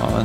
Ja,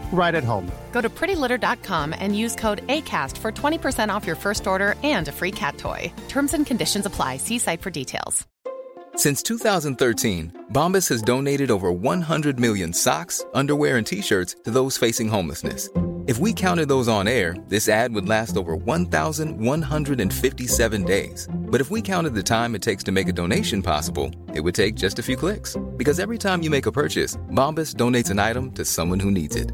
right at home. Go to prettylitter.com and use code ACAST for 20% off your first order and a free cat toy. Terms and conditions apply. See site for details. Since 2013, Bombas has donated over 100 million socks, underwear, and t shirts to those facing homelessness. If we counted those on air, this ad would last over 1,157 days. But if we counted the time it takes to make a donation possible, it would take just a few clicks. Because every time you make a purchase, Bombas donates an item to someone who needs it.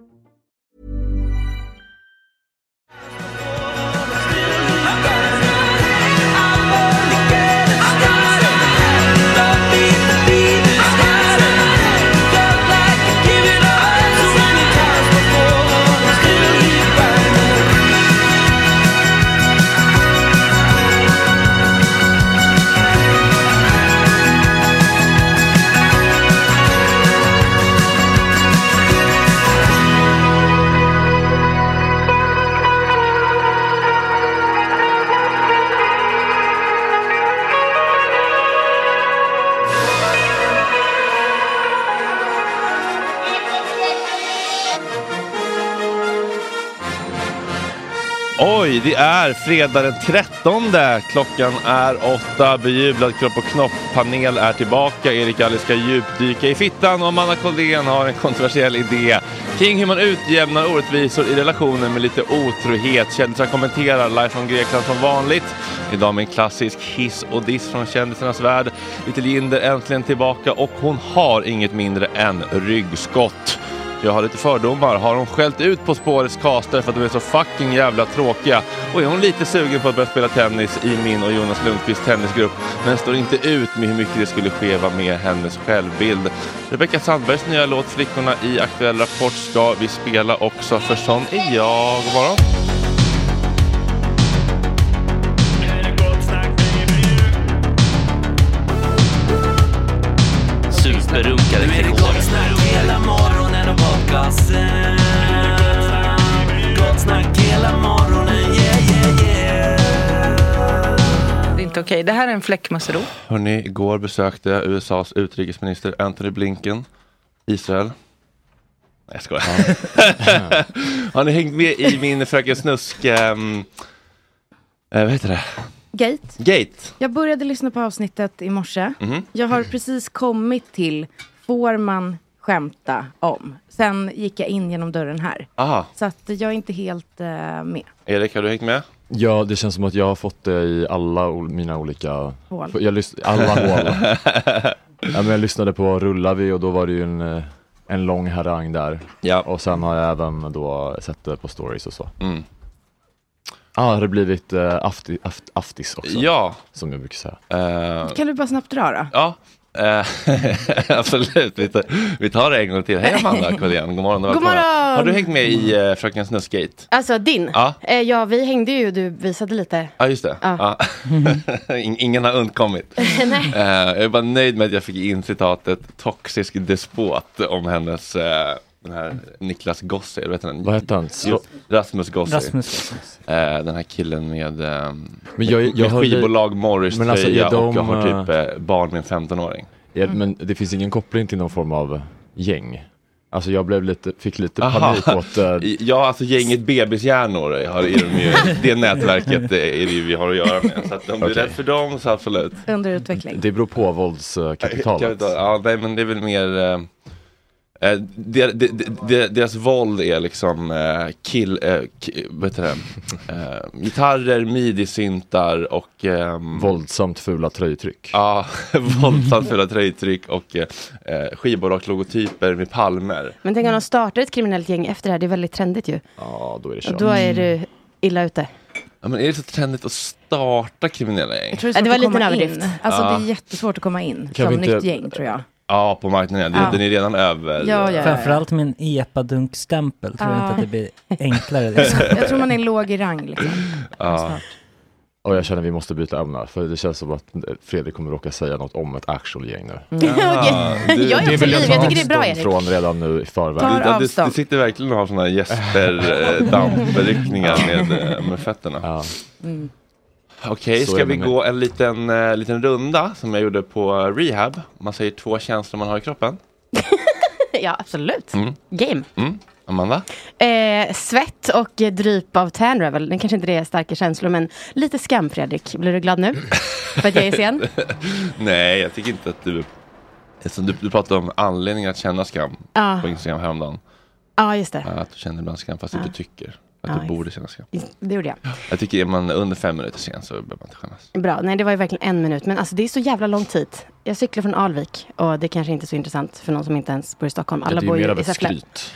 Thank Oj, det är fredag den 13. Klockan är åtta. Bejublad kropp och knopp-panel är tillbaka. Erik Ali ska djupdyka i fittan och Amanda Koldén har en kontroversiell idé kring hur man utjämnar orättvisor i relationer med lite otrohet. Kändisar kommenterar live från Grekland som vanligt. Idag med en klassisk hiss och diss från kändisarnas värld. Little Jinder äntligen tillbaka och hon har inget mindre än ryggskott. Jag har lite fördomar. Har hon skällt ut På spårets castare för att de är så fucking jävla tråkiga? Och är hon lite sugen på att börja spela tennis i min och Jonas Lundqvists tennisgrupp? Men står inte ut med hur mycket det skulle skeva med hennes självbild. Rebecca Sandbergs nya låt Flickorna i aktuell rapport ska vi spela också, för sån är jag. God morgon! Superrunkare till gott snack hela morgonen och podcasten. Gott snack hela morgonen, yeah yeah yeah. Det är inte okej. Det här är en fläckmussero. Hörni, igår besökte jag USAs utrikesminister Anthony Blinken Israel. Nej, jag skojar. Har ni hängt med i min Fröken Snusk... ehm, eh, vad heter det? Gate. Gate. Jag började lyssna på avsnittet i morse. Mhm. Jag har precis kommit till får man skämta om. Sen gick jag in genom dörren här. Aha. Så att jag är inte helt eh, med. Erik, har du hängt med? Ja, det känns som att jag har fått det i alla ol- mina olika Hål. Jag lys- alla hål. ja, men jag lyssnade på Rullavi och då var det ju en, eh, en lång harang där. Ja. Och sen har jag även då sett det på stories och så. Mm. Ja, ah, har det blivit eh, afti, aft, aftis också? Ja. Som jag brukar säga. eh, Kan du bara snabbt dra då? ja. eh, absolut, vi tar, vi tar det en gång till. Hej Amanda Collén, god morgon och God välkomna. morgon. Har du hängt med i eh, Fröken Snusk-gate? Alltså din? Ja. ja, vi hängde ju. Du visade lite. Ja, just det. Ja. In- Ingen har undkommit. Eh, jag är bara nöjd med att jag fick in citatet toxisk despot om hennes eh, den här Niklas Gossi, eller vet Vad han? hette han? Slå- Just, Rasmus Gossi. Rasmus. Eh, den här killen med, eh, Men jag- jag med hörde- skivbolag, Morris Men tröja alltså, är och de, jag har typ eh, barn med en 15-åring. Ja, men det finns ingen koppling till någon form av gäng. Alltså jag blev lite, fick lite Aha. panik åt eh, I- Ja, alltså gänget bebishjärnor har är de ju, det nätverket eh, är det ju vi har att göra med. Så att om du är Okej. rädd för dem så absolut. Underutveckling. Det beror på våldskapitalet. Kapital, Ja, nej men det är väl mer eh, eh, de- de- de- de- Deras våld är liksom eh, kill, eh, ki- vad heter det? Eh, gitarrer, midi-syntar och ehm, Våldsamt fula tröjtryck. Ja, våldsamt fula tröjtryck och eh, eh, skivbolagslogotyper med palmer. Men tänk om de startar ett kriminellt gäng efter det här. Det är väldigt trendigt ju. Mm. Ja, då är Mm. det kört. är du illa ute. Mm. Ja, men är det så trendigt att starta kriminella gäng? det var lite en överdrift. Alltså det är jättesvårt att komma in Kan vi som inte- nytt gäng tror jag. Ja, på marknaden. Den, den är redan över. Ja, ja, ja. Framförallt min epadunk-stämpel tror jag inte Ah. att det blir enklare. Liksom. Jag tror man är låg i rang liksom. Och jag känner att vi måste byta ämne, för det känns som att eh, Fredrik kommer råka säga något om ett actual gäng nu. Du, jag Det vill jag ta tycker Mm. det är bra, avstånd från redan nu i förväg. Tar du, du avstånd. sitter verkligen och har sådana gäsper-dampryckningar eh, med, eh, med fötterna. Ja. Mm. Okej, Så ska är det vi med. gå en liten, eh, liten runda som jag gjorde på eh, rehab? Man säger två känslor man har i kroppen. Ja, absolut. Mm. Game. Mm. Amanda? Eh, svett och dryp av tan revel. Det kanske inte det är starka känslor, men lite skam, Fredrik. Blir du glad nu? För att jag är sen? Nej, jag tycker inte att du... Eftersom du, du pratade om anledningen att känna skam på Instagram häromdagen. Ja, just det. Eh, Att du känner ibland skam fast att du tycker att Ja, du borde känna skam. Det gjorde jag. Jag tycker är man under fem minuter sen så behöver man inte skämmas. Bra. Nej, det var ju verkligen en minut. Men alltså, det är så jävla långt hit. Jag cyklar från Alvik och det kanske inte är så intressant för någon som inte ens bor i Stockholm. Alla det är bor ju mer ju av i ett Säffle. skryt.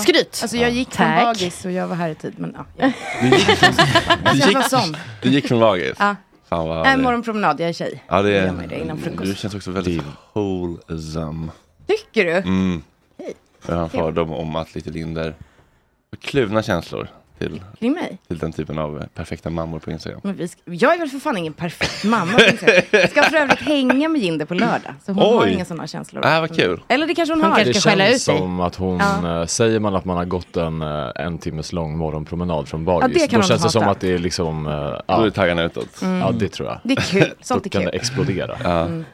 Skryt! Alltså, jag gick från dagis och jag var här i tid. Men, ja. jag var sån. Du gick från dagis? Ja. Fan vad... En morgonpromenad, jag är tjej. ja, det Mm, Jag gör mig det innan frukost. Du känns också väldigt wholesome. Tycker du? Mm. Jag har en fördom om att Little Linder har kluvna känslor till, Kring mig? till den typen av eh, perfekta mammor på Instagram. Men vi ska, jag är väl för fan ingen perfekt mamma. tänkte jag. Jag ska för övrigt hänga med Jinder på lördag. Så hon Oj. har inga sådana känslor. Äh, vad kul. Eller det kanske hon, har. Det känns som att hon, eh, säger man att man har gått en eh, en timmes lång morgonpromenad från Ja, dagis, det kan då hon känns det som hata. Mm. att det är liksom, eh, Då är ja, det taggarna utåt. ja det tror jag. Det är kul. Sånt Då är kan det kul. Mm. explodera.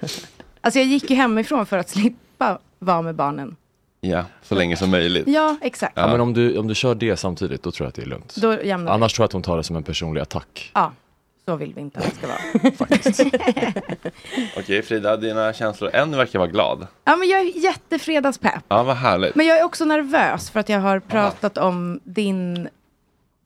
Alltså jag gick ju hemifrån för att slippa vara med barnen Ja, så länge som möjligt. Ja, exakt. Ja, men om du, om du kör det samtidigt, då tror jag att det är lugnt. Då jämnar vi. Annars tror jag att hon tar det som en personlig attack. Ja, så vill vi inte att det ska vara. Okej Frida, dina känslor. En verkar vara glad. ja, men jag är jättefredagspepp. Ja, vad härligt. Men jag är också nervös för att jag har pratat om din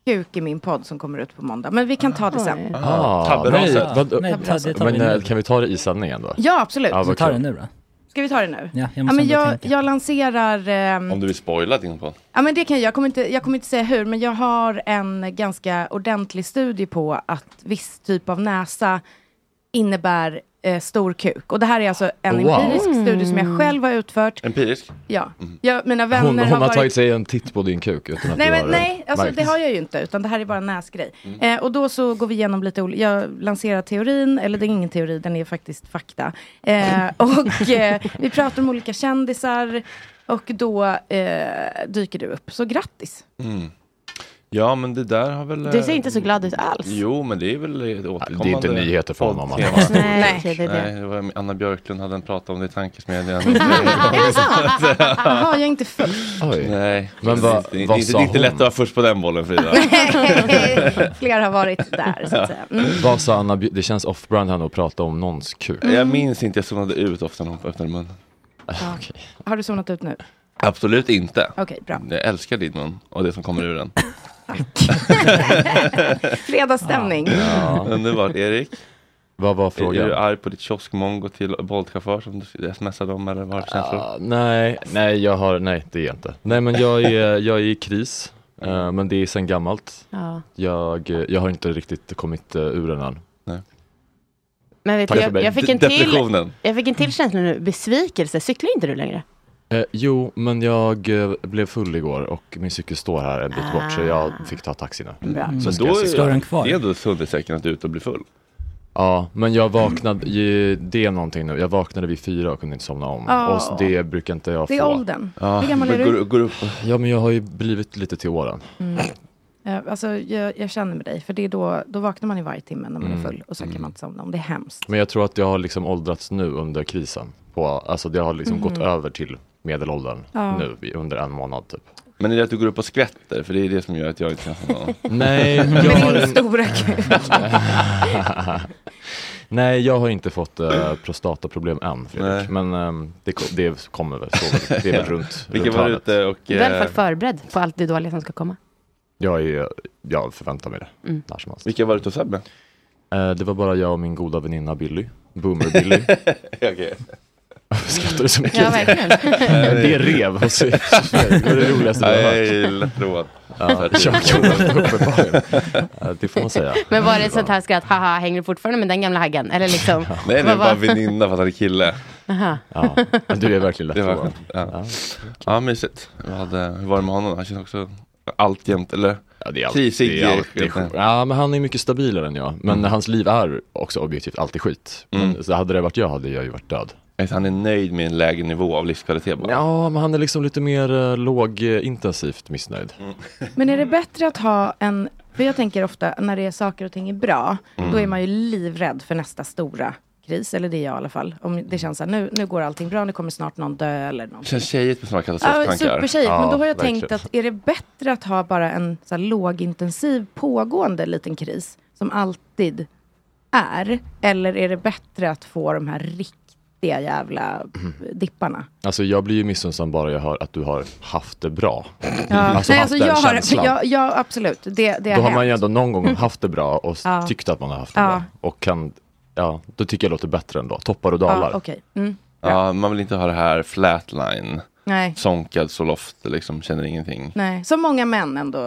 kuk i min podd som kommer ut på måndag. Men vi kan ta det sen. Ah, tabberaset. nej, vad- Nej, ta- det tar vi men nu. eh, kan vi ta det i sändningen då? Ja, absolut. Ja, vad Vi tar kul. det nu då. Ska vi ta det nu? Ja, Ja, men jag, jag lanserar... ehm, Om du vill spoila din podd. Ja, men det kan jag. Jag kommer, inte, jag kommer inte säga hur, men jag har en ganska ordentlig studie på att viss typ av näsa innebär eh, stor kuk. Och det här är alltså en Wow. Mm. empirisk studie som jag själv har utfört. Empirisk? Ja, jag, mina vänner Hon, hon har har varit... tagit sig en titt på din kuk utan att Nej, du men, har Mm. nej alltså, märkt. det har jag ju inte, utan det här är bara en näsgrej. Eh, och då så går vi igenom lite olika, jag lanserar teorin, eller det är ingen teori, den är faktiskt fakta. Eh, Mm. och eh, vi pratar om olika kändisar, och då eh, dyker du upp. Så grattis! Mm. Ja, men det där har väl... Du ser inte eh, så glad ut alls. Jo, men det är väl ett återkommande. Det är inte nyheter för honom om han har poddtema. Nej, Nej, okej, det är det. Nej, det var Anna Björklund hade en prat om det i tankesmedjan. Är det sant? Jaha, jag är inte full. Oj. Nej, Men vad- det, är vad inte, sa det är inte hon? lätt att vara först på den bollen Frida. Fler har varit där, så att säga. Mm. Vad sa Anna, Bj- det känns off-brand här nu att prata om någons kuk. Jag Mm. minns inte, jag zonade ut ofta när hon öppnade munnen. Ah, Ja. Har du somnat ut nu? Absolut inte. Okej, bra. Jag älskar din mun och det som kommer ur den. Fredagsstämning. Ja. Underbart, Erik. Vad var Är frågan? du arg på ditt kioskmongo till Bolt-chaufför som du smsade om eller vad har du för känslor? Ah, nej, nej, jag har, nej det är jag inte. Nej men jag är, jag är i kris, eh, men det är sen gammalt. Ja. Jag, eh, jag har inte riktigt kommit eh, ur den än. Nej. Men vet Tack du, för jag, mig. jag, fick en De- till, depressionen. jag fick en till känsla nu, besvikelse. Cyklar inte du längre? Eh, jo, men jag eh, blev full igår och min cykel står här en bit bort så jag Ah. fick ta taxi nu. Mm. Bra. Men Så ska då jag är- cykla. Står den kvar? det är ändå hundersäkert att du är ute och blir full. Ja, men jag vaknade, ju- det är någonting nu, jag vaknade vid fyra och kunde inte somna om. Ja. Och s- det brukar inte jag få. Det är åldern. Hur gammal är men du? går- går upp. Ja, men jag har ju blivit lite till åren. Mm. Eh, Alltså, jag, jag känner med dig, för det är då, då vaknar man i varje timme när man är Mm. full och så kan man inte somna om. Det är hemskt. Men jag tror att jag har liksom åldrats nu under krisen. På, alltså det har liksom Mhm. gått över till medelåldern Ja. nu i- under en månad typ. Men är det att du går upp och skvätter? För det är det som gör att jag inte kan somna om. Nej, Men jag din har en- stora kuk. Nej, jag har inte fått eh, prostataproblem än Fredrik. Men ehm, det, ko- det kommer väl, så, väl. det är väl runt, Vilken runt var hörnet. ute och... eh, Du är i alla fall förberedd på allt det dåliga som ska komma. Jag, är, jag förväntar mig det Mm. när som helst. Vilka var du ute hos Sebbe? Eh, det var bara jag och min goda väninna Billy. Boomer Billy. Okej. Skrattar du så mycket? Ja, verkligen. det är rev hos Det var det roligaste du har hört. Nej, jag gillar tråd. Ja, jag gjorde uppenbarligen. Eh, Det får man säga. Men var det ett sånt här skratt, haha, hänger du fortfarande med den gamla haggen? Eller liksom? Nej, det vad var bara var- väninna för att han är kille. Aha. Ja, men du är verkligen lätt Det var på. skönt. Ja, ja mysigt. Jag hade, hur var det med honom? Han känns också alltjämt, eller? Ja, det är alltid, Krisig. det är alltid skit. Ja, men han är mycket stabilare än jag. Men Mm. hans liv är också objektivt alltid skit. Men, så hade det varit jag hade jag ju varit död. Han är nöjd med en lägre nivå av livskvalitet bara. Ja, men han är liksom lite mer eh, lågintensivt missnöjd. Mm. Men är det bättre att ha en... För jag tänker ofta när det är saker och ting är bra, Mm. då är man ju livrädd för nästa stora kris. Eller det är jag i alla fall. Om det känns så här, nu, nu går allting bra, nu kommer snart någon dö eller någon. Känns tjejigt med sådana Ja, katastroftankar. supertjejigt. men då har jag tänkt att är det bättre att ha bara en så här, lågintensiv pågående liten kris som alltid är? Eller är det bättre att få de här riktiga jävla Mm. dipparna? Alltså jag blir ju missunnsam bara jag hör att du har haft det bra. Ja. Alltså Nej, haft alltså, den jag har, känslan. ja, ja, absolut. Det, det Då har har man ju hänt. ändå någon gång haft det bra och s- Ja. tyckt att man har haft det Ja. bra. Och kan, ja, då tycker jag låter bättre ändå. Toppar och dalar. Ja, okej. Mm. Ja, man vill inte ha det här flatline. Nej. Sonkad så loft, liksom känner ingenting. Nej, som många män ändå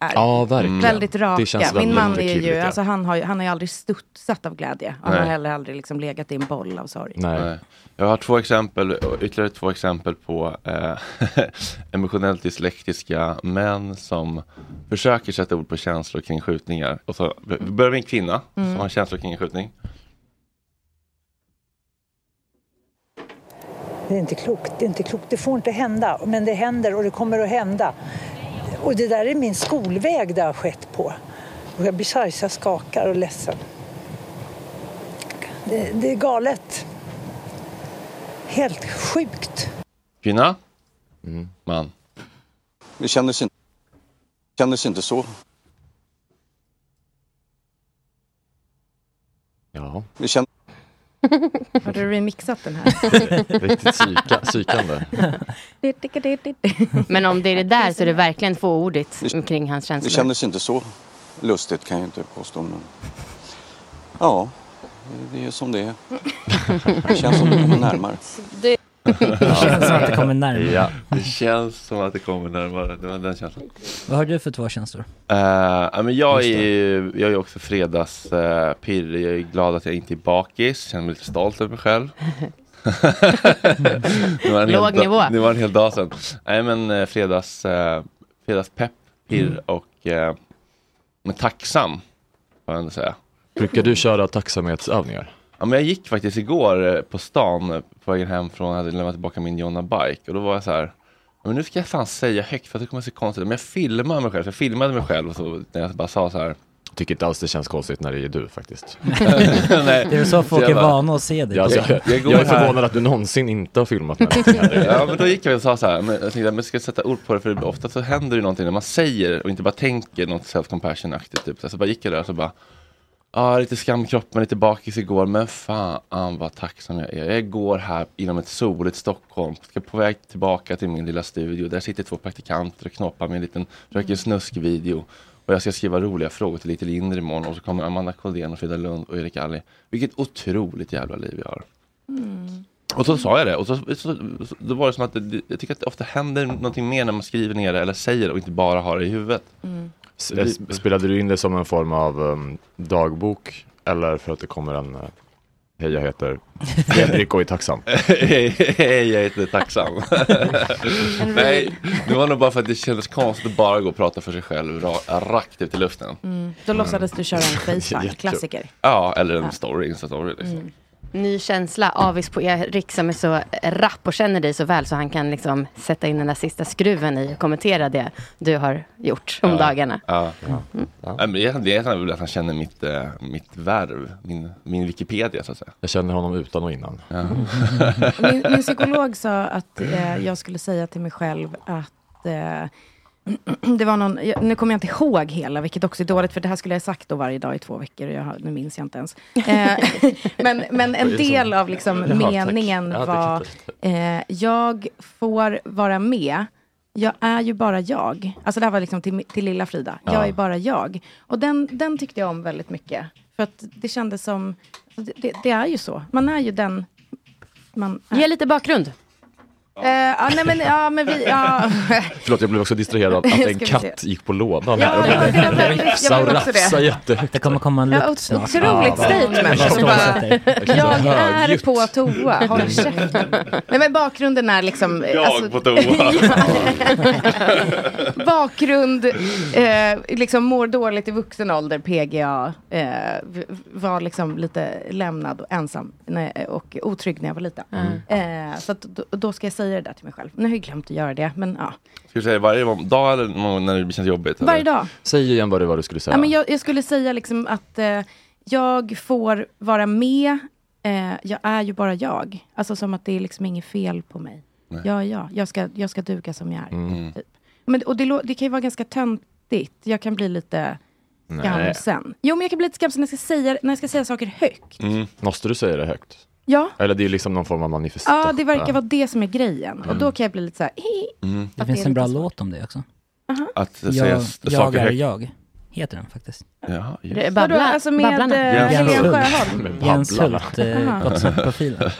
är. Mm. Ja, verkligen. Väldigt raka. Det känns Min väldigt man är killigt, ju, ja. alltså, han, har ju, han har ju aldrig studsat av glädje. Han har Nej. heller aldrig liksom legat i en boll av sorg. Nej. Jag har två exempel, och ytterligare två exempel på eh, emotionellt dyslektiska män som försöker sätta ord på känslor kring skjutningar. Och så vi börjar med en kvinna Mm. som har känslor kring en skjutning. Det är inte klokt, det är inte klokt. Det får inte hända, men det händer och det kommer att hända. Och det där är min skolväg det har skett på. Och jag blir så arg så jag skakar och ledsen. Det, det är galet. Helt sjukt. Kvinna, man. Det kändes inte, kändes inte så. Ja. Det kändes Har du remixat den här? Riktigt psyka, psykande. Men om det är det där så är det verkligen fåordigt kring hans Det känslor. kändes inte så lustigt kan jag inte påstå. Men... Ja, det är som det är. Det känns som det kommer närmare. Det- Det känns som att det kommer närmare. Ja, det känns som att det kommer närmare. Det var den känslan. Vad har du för två känslor? Eh, ja, men jag, är ju, jag är också fredagspirr. jag är glad att jag inte är bakis. Känner mig lite stolt över mig själv. det var en hel Låg dag- nivå. Det var en hel dag sedan. Nej men eh, fredags, eh, fredagspepp, pirr Mm. och eh, men tacksam. Får jag ändå säga. Brukar du köra tacksamhetsövningar? Ja, men jag gick faktiskt igår eh, på stan eh, på vägen hem från, jag hade lämnat tillbaka min Jonna Bike och då var jag så här, "Ja, men nu ska jag fan säga högt för att det kommer att se konstigt ut. Men jag filmade mig själv, så jag filmade mig själv och så, när jag bara sa så här. Tycker inte alls det känns konstigt när det är du faktiskt. Nej. Det är så folk jag är bara- vana att se dig. Jag, alltså, jag, jag, går är här. förvånad att du någonsin inte har filmat med någonting här. Ja men då gick jag och sa så här, men jag tänkte men ska jag sätta ord på det för ofta så händer det ju någonting när man säger och inte bara tänker något self compassion-aktigt typ. Så, så bara gick jag där och så bara, ja lite skamkroppen, lite bakis igår men fan vad tacksam jag är. Jag går här inom ett soligt Stockholm, ska på väg tillbaka till min lilla studio. Där sitter två praktikanter och knoppar med en liten röker snusk-video. Och jag ska skriva roliga frågor till Lite Lindre imorgon och så kommer Amanda Koldén och Frida Lund och Erik Alli. Vilket otroligt jävla liv jag har. Mm. Och så sa jag det och så, så, så då var det som att det- det, jag tycker att det ofta händer någonting mer när man skriver ner det eller säger det och inte bara har det i huvudet. Mm. S- eh, Spelade du in det som en form av um, dagbok eller för att det kommer en eh, Hej jag heter Fredrik och är tacksam. Hej, jag heter tacksam. Nej, det var nog bara för att det kändes konstigt att bara gå och prata för sig själv ra- rakt ut i luften. Mm. Då låtsades du köra en Facetime, klassiker. Mm. Ja, eller en Ja. story, Insta-story liksom. Mm. Ny känsla, avis på Erik som är så rapp och känner dig så väl så han kan liksom sätta in den där sista skruven i och kommentera det du har gjort om Ja. dagarna. Ja. Mm. Ja. men det är- Det är väl att han känner mitt, eh, mitt värv, min, min Wikipedia så att säga. Jag känner honom utan och innan. Min, min psykolog sa att eh, jag skulle säga till mig själv att eh, det var någon, jag- nu kommer jag inte ihåg hela, vilket också är dåligt, för det här skulle jag ha sagt då varje dag i två veckor, och jag, har- nu minns jag inte ens. Eh, men, men Vad är en det som- del av liksom Ja, tack. meningen Ja, tack, var, tack, eh, jag får vara med, jag är ju bara jag. Alltså det här var liksom till, till lilla Frida, jag Ja. är bara jag. Och den, den tyckte jag om väldigt mycket, för att det kändes som, det, det, det är ju så, man är ju den man är. Ge lite bakgrund. Eh, ja, nej men, ja, men vi, ja. Förlåt, jag blev också distraherad av att Ska en vi se. katt gick på lådan Ja, här. jag blev- jag blev- jag rafsa och blev också rafsa det. jättehögt. Det kommer komma en Ja, lukt ot- snart. otroligt statement. Jag Som förstår bara, sätter. Jag är på toa, håll käften. Nej men bakgrunden är liksom... eh, Jag alltså- på toa. Bakgrund, eh, liksom mår dåligt i vuxen ålder, PGA. Eh, v- var liksom lite lämnad och ensam när, och otrygg när jag var liten. Eh, så att, då, då ska jag säga det där till mig själv. Nu har jag ju glömt att göra det, men ja. Ska du säga varje dag eller någon gång när det känns jobbigt? eller? Varje dag. Säg igen vad det var du skulle säga. Ja, men jag, jag skulle säga liksom att eh, jag får vara med. Eh, jag är ju bara jag. Alltså som att det är liksom inget fel på mig. Nej. Ja, ja. Jag ska, jag ska duga som jag är. Mm. Typ. Men, och det, lå- det kan ju vara ganska töntigt. Jag kan bli lite Nej. skamsen. Jo, men jag kan bli lite skamsen när jag ska säga, när jag ska säga saker högt. Mm. Måste du säga det högt? Ja. Eller det är liksom någon form av manifestation. Ja, det verkar Mm. vara det som är grejen. Och då Mm. kan jag bli lite så här... "Hej." Det Att finns det är en bra lite låt om det också. Att jag, säga s- jag saker är högt. jag, heter den faktiskt. Ja, just. Det är Babbla, Vadå, alltså med, Babblarna. eh, Helene Sjöholm? Med Jens Babblarna. Hult, eh, Aha. Gottsundprofilen.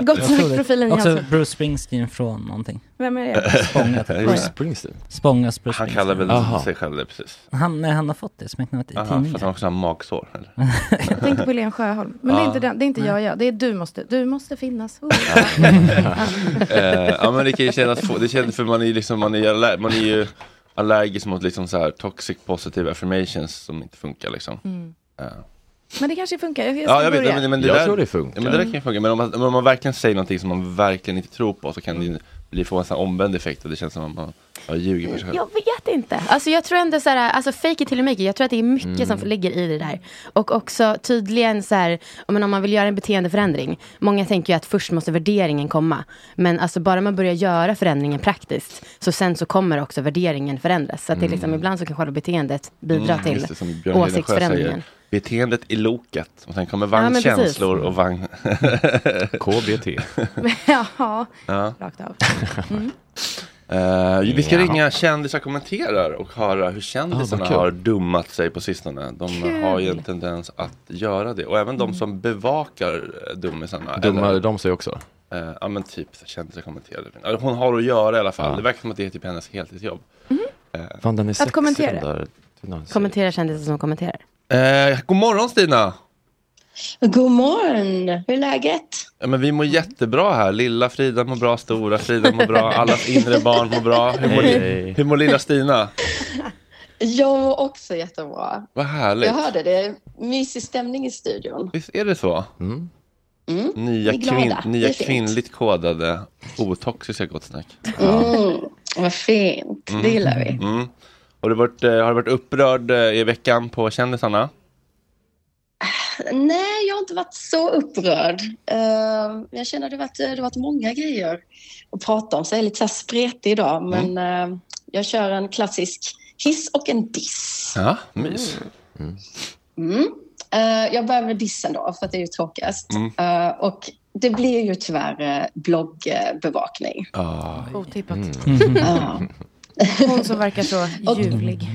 Gottsundprofilen Jens Också Hult. Bruce Springsteen från någonting. Vem är det? Spångat. Bruce Springsteen? Spångas Bruce Han Springsteen. kallar väl Aha. sig själv det precis. Han, nej, han har fått det smeknamnet i Aha, för att tidningen. han också har magsår. Eller? Jag tänkte på Helene Sjöholm. Men det är Ja. inte, den, det är inte jag, jag. Det är du måste, du måste finnas. Oh. Eh, ja men det kan ju kännas, få- det känns, för man är ju liksom, man är, ju aller- man är ju allergisk mot liksom så här toxic positive affirmations som inte funkar liksom. Mm. Eh. Men det kanske funkar. Jag, jag ska Ja, jag vet, börja. men, men det Jag där, tror det funkar. Ja, men det där kan ju funka, men om man, men om man verkligen säger någonting som man verkligen inte tror på så kan det ju blir får en sån här omvänd effekt och det känns som att man ja, ljuger för sig själv. Jag vet inte. Alltså jag tror ändå så här, alltså fake it till you make it. Jag tror att det är mycket Mm. som ligger i det där. Och också tydligen så här, om man, om man vill göra en beteendeförändring. Många tänker ju att först måste värderingen komma. Men alltså bara man börjar göra förändringen praktiskt. Så sen så kommer också värderingen förändras. Så att det är liksom, Mm. ibland så kan själva beteendet bidra Mm, till just det, som Björn Hedensjö åsiktsförändringen. säger. Beteendet i loket och sen kommer Ja, vagn men precis. känslor och vagn... KBT. Jaha, ja. rakt av. Eh, vi ska Ja. ringa kändisar kommenterar och höra hur kändisarna Ah, vad kul. har dummat sig på sistone. De Kul. har ju en tendens att göra det. Och även de som bevakar eh, dummisarna. Dummar eller- de sig också? Eh, ja men typ så kändisar kommenterar. Eller Hon har att göra i alla fall. Ja. Det verkar som att det är typ hennes heltidsjobb. Eh, Fan den är Att sexig kommentera. den där. tunnan. Kommentera kändisar som kommenterar. Eh, god morgon Stina! God morgon! Hur är läget? Ja, men vi mår jättebra här. Lilla Frida mår bra, stora Frida mår bra, allas inre barn mår bra. Hur mår, Hej. hur mår lilla Stina? Jag mår också jättebra. Vad härligt. Jag hörde det. är Mysig stämning i studion. Visst är det så? Mm. Nya, Vi är glada. kvin- Det nya är fint. kvinnligt kodade, otoxiska Gott Snack. Mm. Vad fint. Det gillar vi. Mm. Har, du varit, eh, har du varit upprörd eh, i veckan på kändisarna? Nej, jag har inte varit så upprörd. Eh, jag känner att det har varit, det har varit många grejer att prata om, så jag är lite så här spretig idag. Mm. Men eh, jag kör en klassisk hiss och en diss. Ja, mys. Mm. Eh, jag börjar med dissen då, för att det är ju tråkigast. Mm. Eh, och det blir ju tyvärr eh, bloggbevakning. Ah. Otippat. Mm. Ja. Hon som verkar så ljuvlig.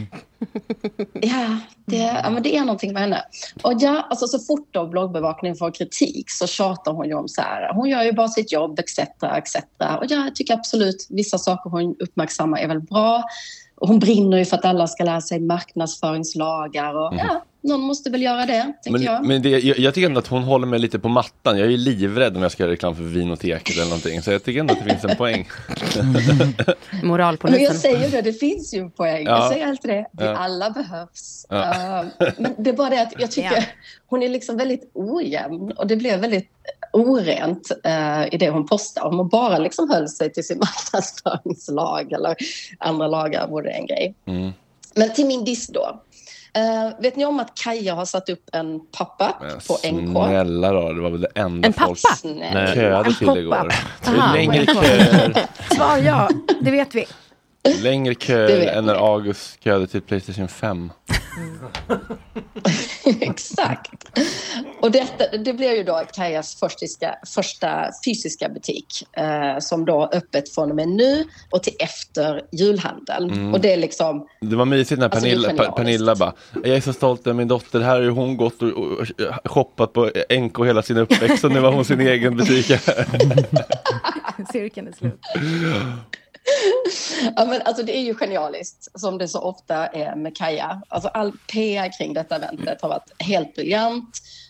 Ja, det, ja, men det är någonting med henne. Och ja, alltså, så fort då bloggbevakningen får kritik så tjatar hon ju om så här, hon gör ju bara sitt jobb etc. etc. Och ja, jag tycker absolut vissa saker hon uppmärksammar är väl bra. Och hon brinner ju för att alla ska lära sig marknadsföringslagar och Mhm. ja, någon måste väl göra det, tänker jag. Men, men det, jag, jag tycker ändå att hon håller mig lite på mattan. Jag är ju livrädd om jag ska göra reklam för Vinoteket eller någonting. Så jag tycker ändå att det finns en poäng. Men jag Moralpolisen. säger det, det finns ju en poäng. Ja. Jag säger alltid det. Vi Ja. alla behövs. Ja. Eh, men det är bara det att jag tycker hon är liksom väldigt ojämn och det blev väldigt orent eh, i det hon postade. Om hon bara liksom höll sig till sin marknadsföringslag eller andra lagar vore det en grej. Mm. Men till min diss då. Eh, vet ni om att Kaja har satt upp en Men pop-up på NK? Snälla då, det var väl det enda En folk pappa? Nej, köade En till igår. pop-up. Det är Aha. Längre köer, Svar ja, det vet vi. längre Det köer vet än när August köade till Playstation 5. Exakt. Och detta, det blev ju då Kajas första, första fysiska butik eh, som då är öppet från och med nu och till efter julhandeln. Mm. Och det är liksom... Det var mysigt när Alltså, det är Pernilla, genialiskt. Pa- Pernilla bara, jag är så stolt över min dotter, här har ju hon gått och, och, och shoppat på NK hela sin uppväxt och nu har hon sin egen butik. Cirkeln är slut. Ja, men alltså det är ju genialiskt, som det så ofta är med Kaja. Alltså all PR kring detta eventet har varit helt briljant.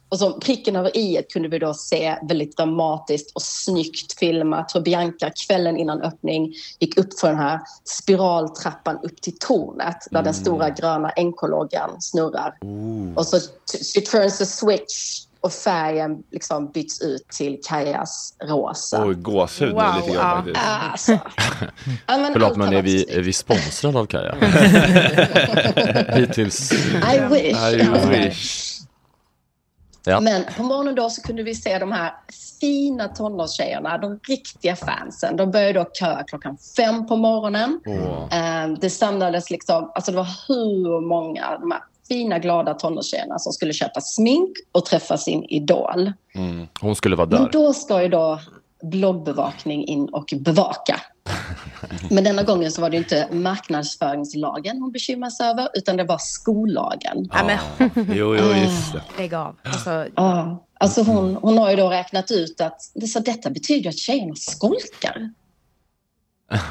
Och som pricken över i kunde vi då se väldigt dramatiskt och snyggt filmat hur Bianca kvällen innan öppning gick upp för den här spiraltrappan upp till tornet där den stora gröna NK-loggan snurrar. Och så t- she turns the switch och färgen liksom byts ut till Kajas rosa. Oj, gåshud Wow, nu lite ja. grann Ah, faktiskt. Alltså. Ja, men Förlåt allt men har är varit vi, är vi sponsrade av Kaja? Hittills. I wish. I wish. Ja. Men på morgonen då så kunde vi se de här fina tonårstjejerna, de riktiga fansen. De började då köa klockan fem på morgonen. Åh. Eh, Det samlades liksom, alltså det var hur många, de här fina glada tonårstjejerna som skulle köpa smink och träffa sin idol. Mm. Hon skulle vara Men där. då ska ju då bloggbevakning in och bevaka. Men denna gången så var det ju inte marknadsföringslagen hon bekymrade sig över, utan det var skollagen. Ja, men- Ah. Jo, jo, just det. Mm. Lägg av. Alltså, Ja, alltså hon, hon har ju då räknat ut att det, så detta betyder ju att tjejerna skolkar.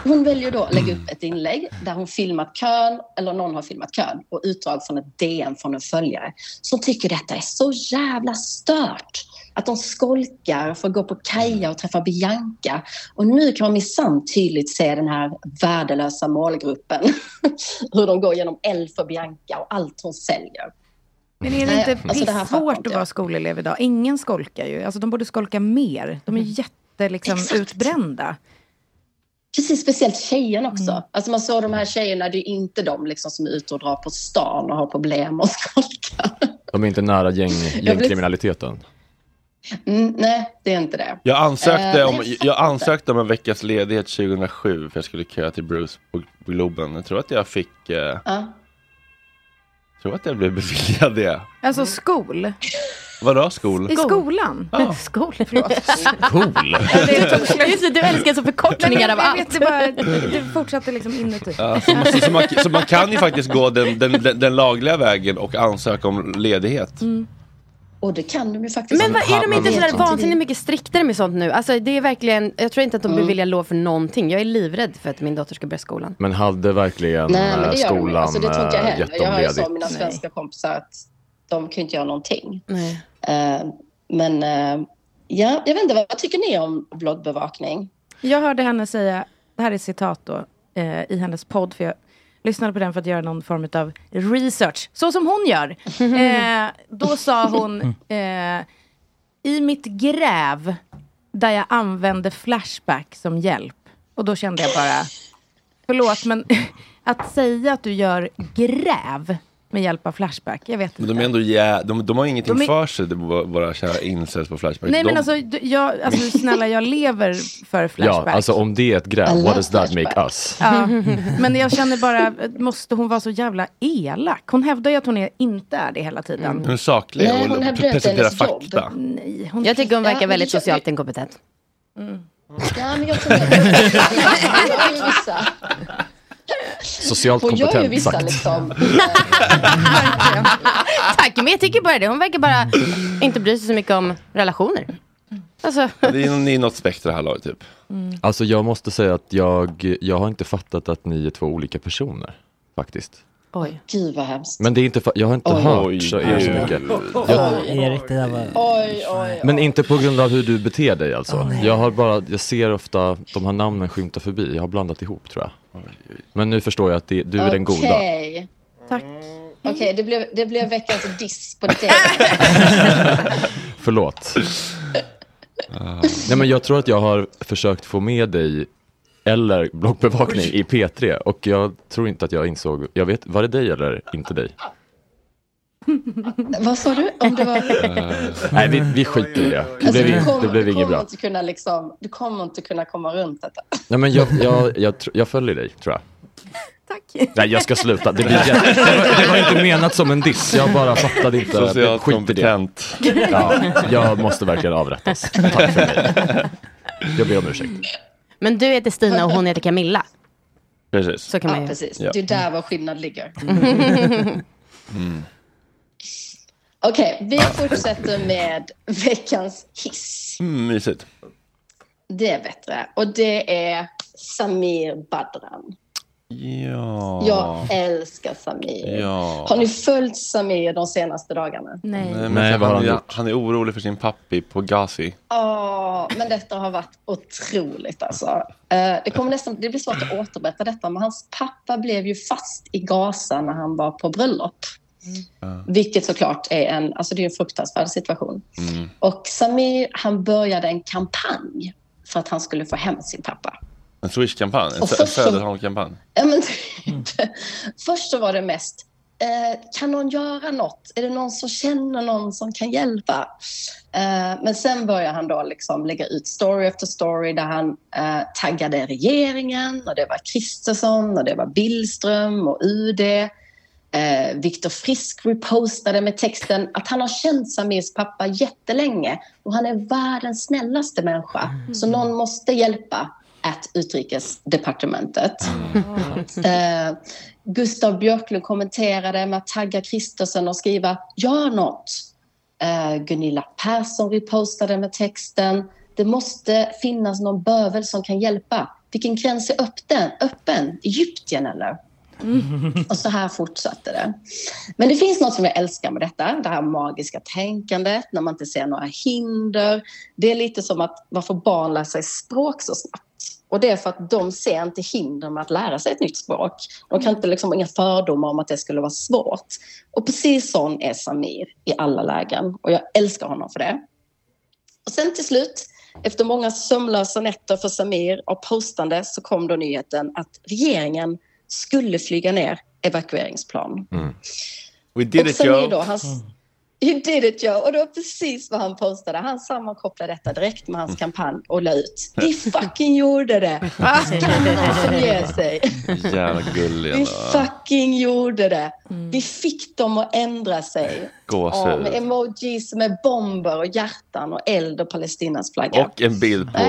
Hon väljer då att lägga upp ett inlägg där hon filmat kön, eller någon har filmat kön, och utdrag från ett DM från en följare som tycker detta är så jävla stört. Att de skolkar för att gå på Kaja och träffa Bianca. Och nu kan man minsann tydligt se den här värdelösa målgruppen. Hur de går genom L för Bianca och allt hon säljer. Men är det Nej, inte alltså det här fattar svårt att vara skolelev idag? Ingen skolkar ju. Alltså, de borde skolka mer. De är jätte, liksom, utbrända. Precis, speciellt tjejerna också. Mm. Alltså man såg de här tjejerna, det är inte de liksom som är ute och drar på stan och har problem och skoj. De är inte nära gäng, gängkriminaliteten. Mm, nej, det är inte det. Jag ansökte, Eh, om, nej, jag ansökte om en veckas ledighet 2007 för jag skulle köa till Bruce på på Globen. Jag tror att jag fick... Eh, Ja. tror att jag blev beviljad det. Alltså skol. Vadå skol? I skolan. Ja. Skol, förlåt. Cool! Just det, du älskar så förkortningar av Jag vet, allt. det, bara, det fortsatte liksom inuti. Ja, så, man, så, man, så man kan ju faktiskt gå den, den, den, den lagliga vägen och ansöka om ledighet. Och det kan de ju faktiskt. Men vad, är de inte Men- sådär vansinnigt mycket striktare med sånt nu? Alltså det är verkligen, jag tror inte att de Mm. beviljar lov för någonting. Jag är livrädd för att min dotter ska börja skolan. Men hade verkligen Nej, men eh, det gör de skolan ju. Alltså, det tror inte jag eh, heller. gett Jag dem har ju så av ledigt? mina svenska kompisar att de kan ju inte göra någonting. Nej. Eh, men eh, ja, jag vet inte, vad tycker ni om bloggbevakning? Jag hörde henne säga, det här är citat då, eh, i hennes podd, för jag lyssnade på den för att göra någon form av research, så som hon gör. Eh, då sa hon, eh, i mitt gräv, där jag använde Flashback som hjälp. Och då kände jag bara, förlåt, men att säga att du gör gräv med hjälp av Flashback, jag vet Men de är ändå jä... de, de har ingenting De är- för sig, det var- våra kära incels på Flashback. Nej de... men alltså, du- jag, alltså snälla jag lever för Flashback. Ja, alltså om det är ett I gräv, love what does that make us? Ja. Men jag känner bara, måste hon vara så jävla elak? Hon hävdar ju att hon är, inte är det hela tiden. Mm. Hon är saklig, Nej, hon, hon hävdar pre- att det är presenterar hennes jobb. fakta. Nej, hon Jag tycker hon Ja, verkar men väldigt jag- socialt inkompetent. Ja, men jag tror att jag har ju vissa, Socialt Hon gör ju kompetent vissa sagt. liksom, Tack, men jag tycker bara det. Hon verkar bara inte bry sig så mycket om relationer. Alltså, Det är, ni är något spektra här laget typ. Mm. Alltså jag måste säga att jag, jag har inte fattat att ni är två olika personer, faktiskt. Oj. Gud vad hemskt. Men det är inte, fa- jag har inte Oj. hört så, er så mycket. Jag, Erik, det där var... Oj, oj. men inte på grund av hur du beter dig alltså. jag har bara, jag ser ofta de här namnen skymta förbi, jag har blandat ihop tror jag. Men nu förstår jag att det, du är den goda. Okej. Mm. Tack. Okej, det, blev, det blev veckans diss på dig. Förlåt. Nej men jag tror att jag har försökt få med dig eller bloggbevakning i P3 och jag tror inte att jag insåg, jag vet, var det dig eller inte dig? vad sa du? Om det var... Alltså, Nej vi, vi skiter i Eh, det, det blev, du, ing- kommer, det blev du, inget kommer bra. inte kunna liksom, du kommer inte kunna komma runt detta. Nej men jag, jag, jag, tr- jag följer dig tror jag. Tack. Nej jag ska sluta, det, blir jä- det, var, det var inte menat som en diss, jag bara fattade inte. Socialt Skit i det. kompetent. Ja, jag måste verkligen avrättas. Tack för mig. Jag ber om ursäkt. men du heter Stina och hon heter Camilla. Precis. Så kan man ja, ju. precis. Ja. Det är där vår skillnad ligger. Mm. Okej, vi fortsätter med veckans hiss. Mm, mysigt. Det är bättre. Och det är Samir Badran. Ja. Jag älskar Samir. Ja. eh, Har ni följt Samir de senaste dagarna? Nej. Nej, men Nej, han, vad har han är- gjort? han är orolig för sin pappi på Gazi. Ja, men detta har varit otroligt alltså. Eh, Det, kommer nästan, det blir svårt att återberätta detta, men hans pappa blev ju fast i Gaza när han var på bröllop. Vilket såklart är en, alltså det är en fruktansvärd situation. Mm. Och Samir, han började en kampanj för att han skulle få hem sin pappa. En Swish-kampanj, en Och Sö- först så- Söderholm-kampanj. Ja, men, typ. Först så var det mest, eh, kan någon göra något? Är det någon som känner någon som kan hjälpa? Eh, men sen började han då liksom lägga ut story efter story där han eh, taggade regeringen och det var Kristersson och det var Billström och UD. Eh, Viktor Frisk repostade med texten att han har känt Samirs pappa jättelänge och han är världens snällaste människa. Så någon måste hjälpa att utrikesdepartementet. Eh, Gustav Björklund kommenterade med att tagga Kristersen och skriva “Gör något”. Eh, Gunilla Persson repostade med texten “Det måste finnas någon bövel som kan hjälpa. Vilken gräns är öppen? öppen? Egyptien eller?” Och så här fortsatte det. Men det finns något som jag älskar med detta, det här magiska tänkandet, när man inte ser några hinder. Det är lite som att varför barn lär sig språk så snabbt. Och det är för att de ser inte hinder med att lära sig ett nytt språk. De kan inte liksom ha inga fördomar om att det skulle vara svårt. Och precis sån är Samir i alla lägen. Och jag älskar honom för det. Och sen till slut Efter många sömnlösa nätter för Samir och postande så kom då nyheten att regeringen skulle flyga ner evakueringsplan. Mm. We did och it Samir Då, Joe. han, you did it Joe. Och det var precis vad han postade. Han sammankopplade detta direkt Mm. med hans kampanj och la ut. Vi fucking gjorde det. Kan någon som ger sig? Jävla gullig Vi ändå. fucking gjorde det. Vi fick dem att ändra sig. Gåshud. Ja, med emojis med bomber och hjärtan och eld och Palestinas flagga. Och en bild på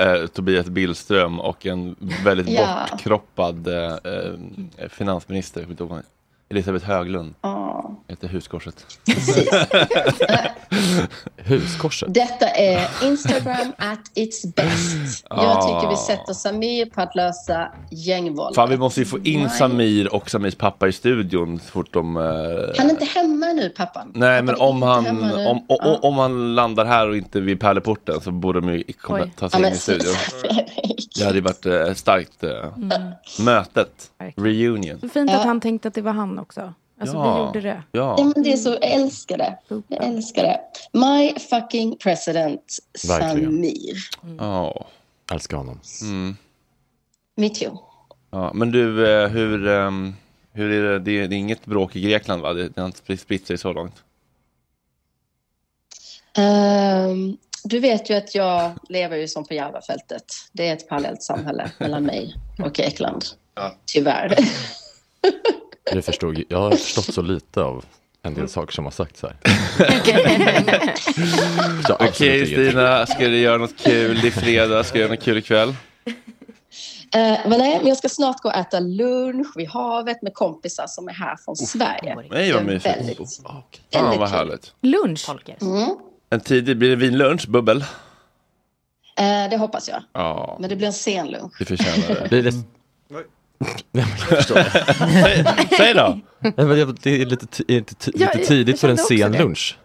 eh, Tobias Billström och en väldigt Ja. bortkroppad eh, eh, finansminister. jag kommer inte ihåg vad hon heter. Elisabeth Höglund. Ja. Heter Huskorset. Huskorset? Detta är Instagram at its best. Ah. Jag tycker vi sätter Samir på att lösa gängvåldet. Fan, vi måste ju få in Nej. Samir och Samirs pappa i studion så fort de... eh, Han är inte hemma nu, pappan. Nej, men om han, hemma nu. om, o, o, om han landar här och inte vid pärleporten så borde de ju komma, Oj. ta sig Ja, in men- i studion. Det hade ju varit eh, starkt. eh, Mötet. Reunion. Fint att han tänkte att det var han också. Alltså vi gjorde det. Ja, men det är så, jag älskar det. Jag älskar det. My fucking president, Verkligen. Samir. Ja. Älskar honom. Mm. Me too. Ja, men du, eh, hur, ehm, hur är det? det? är- Det är inget bråk i Grekland, va? Det, det har inte spritt- spritt sig så långt. Ehm, du vet ju att jag lever ju som på Järvafältet. Det är ett parallellt samhälle mellan mig och Ekland. Tyvärr. Det förstod, jag har förstått så lite av en del saker som har sagts här. Så absolut Okej, ingenting. Stina, ska du göra något kul? Det är fredag, ska du göra något kul ikväll? Eh, men nej, men jag ska snart gå och äta lunch vid havet med kompisar som är här från Sverige. Nej, Oh, vad Det är mysigt. väldigt- Oh, väldigt Fan, vad kul. härligt. Lunch? Mm. En tidig, blir det vinlunch, bubbel? Eh, det hoppas jag. Ja, Men det blir en sen lunch. du förtjänar det. Blir det... Nej, men jag förstår. säg, säg då! Nej, men jag- det är lite, ti- är inte ti- Ja, lite jag- tidigt jag för en kände också sen det. lunch.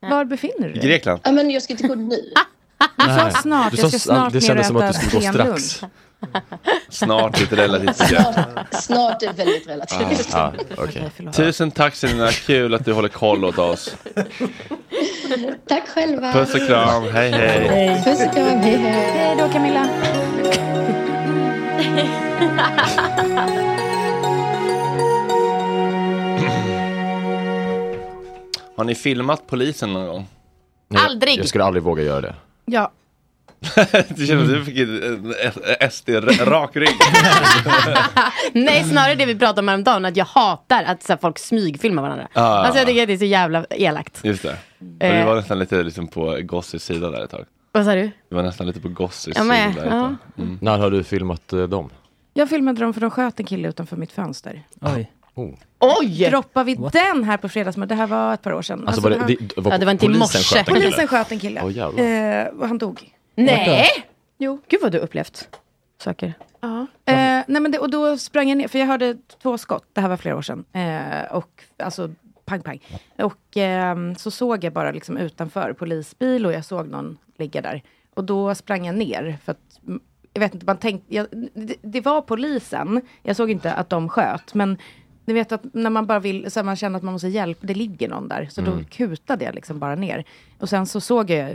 Var befinner du dig? Grekland. Ja, men jag ska inte gå nu. Du sa Nej. snart, Du jag sa ska s- snart det eh, ner och kändes som äta att du skulle gå senlunch. strax. Snart, lite relativt begrepp. Snart är väldigt relativt. Ah, ah, okej. Tusen tack, Stina. Kul att du håller koll åt oss. Tack själva. Puss och kram. Hej, hej. Puss och kram. Hej, hej. Hej då Camilla. Har ni filmat polisen någon gång? Nej, Aldrig. Jag skulle aldrig våga göra det. Ja, Det känns som du fick en en SD-rak rygg. Nej, snarare det vi pratade om häromdagen, att jag hatar att så här, folk smygfilmar varandra. Ah. Alltså jag tycker att det är så jävla elakt. Just det. Och Eh. du var nästan lite liksom, på Gossys sida där ett tag. Vad sa du? Du var nästan lite på Gossys Jag med, sida ett tag. Mm. När har du filmat eh, dem? jag filmade dem för de sköt en kille utanför mitt fönster. Oj. Oh. Oj! Droppar vi den här på fredagsmorgon? Det här var ett par år sedan. Alltså, var det- han- det- det var Ja, det var inte i polisen morse. sköt en kille? Polisen sköt en kille. Åh, jävlar. Eh, och han dog. Nej! Jo. Gud vad du upplevt saker. Ja. Eh, nej men det, och då sprang jag ner, för jag hörde två skott, det här var flera år sedan. Eh, och alltså pang pang. Och ehm, så såg jag bara liksom utanför polisbil och jag såg någon ligga där. Och då sprang jag ner för att mm, jag vet inte, man tänkte, jag, det, det var polisen, jag såg inte att de sköt, men ni vet att när man bara vill, så här, man känner att man måste hjälp, det ligger någon där. Så då Mm. kutade jag liksom bara ner. Och sen så såg jag,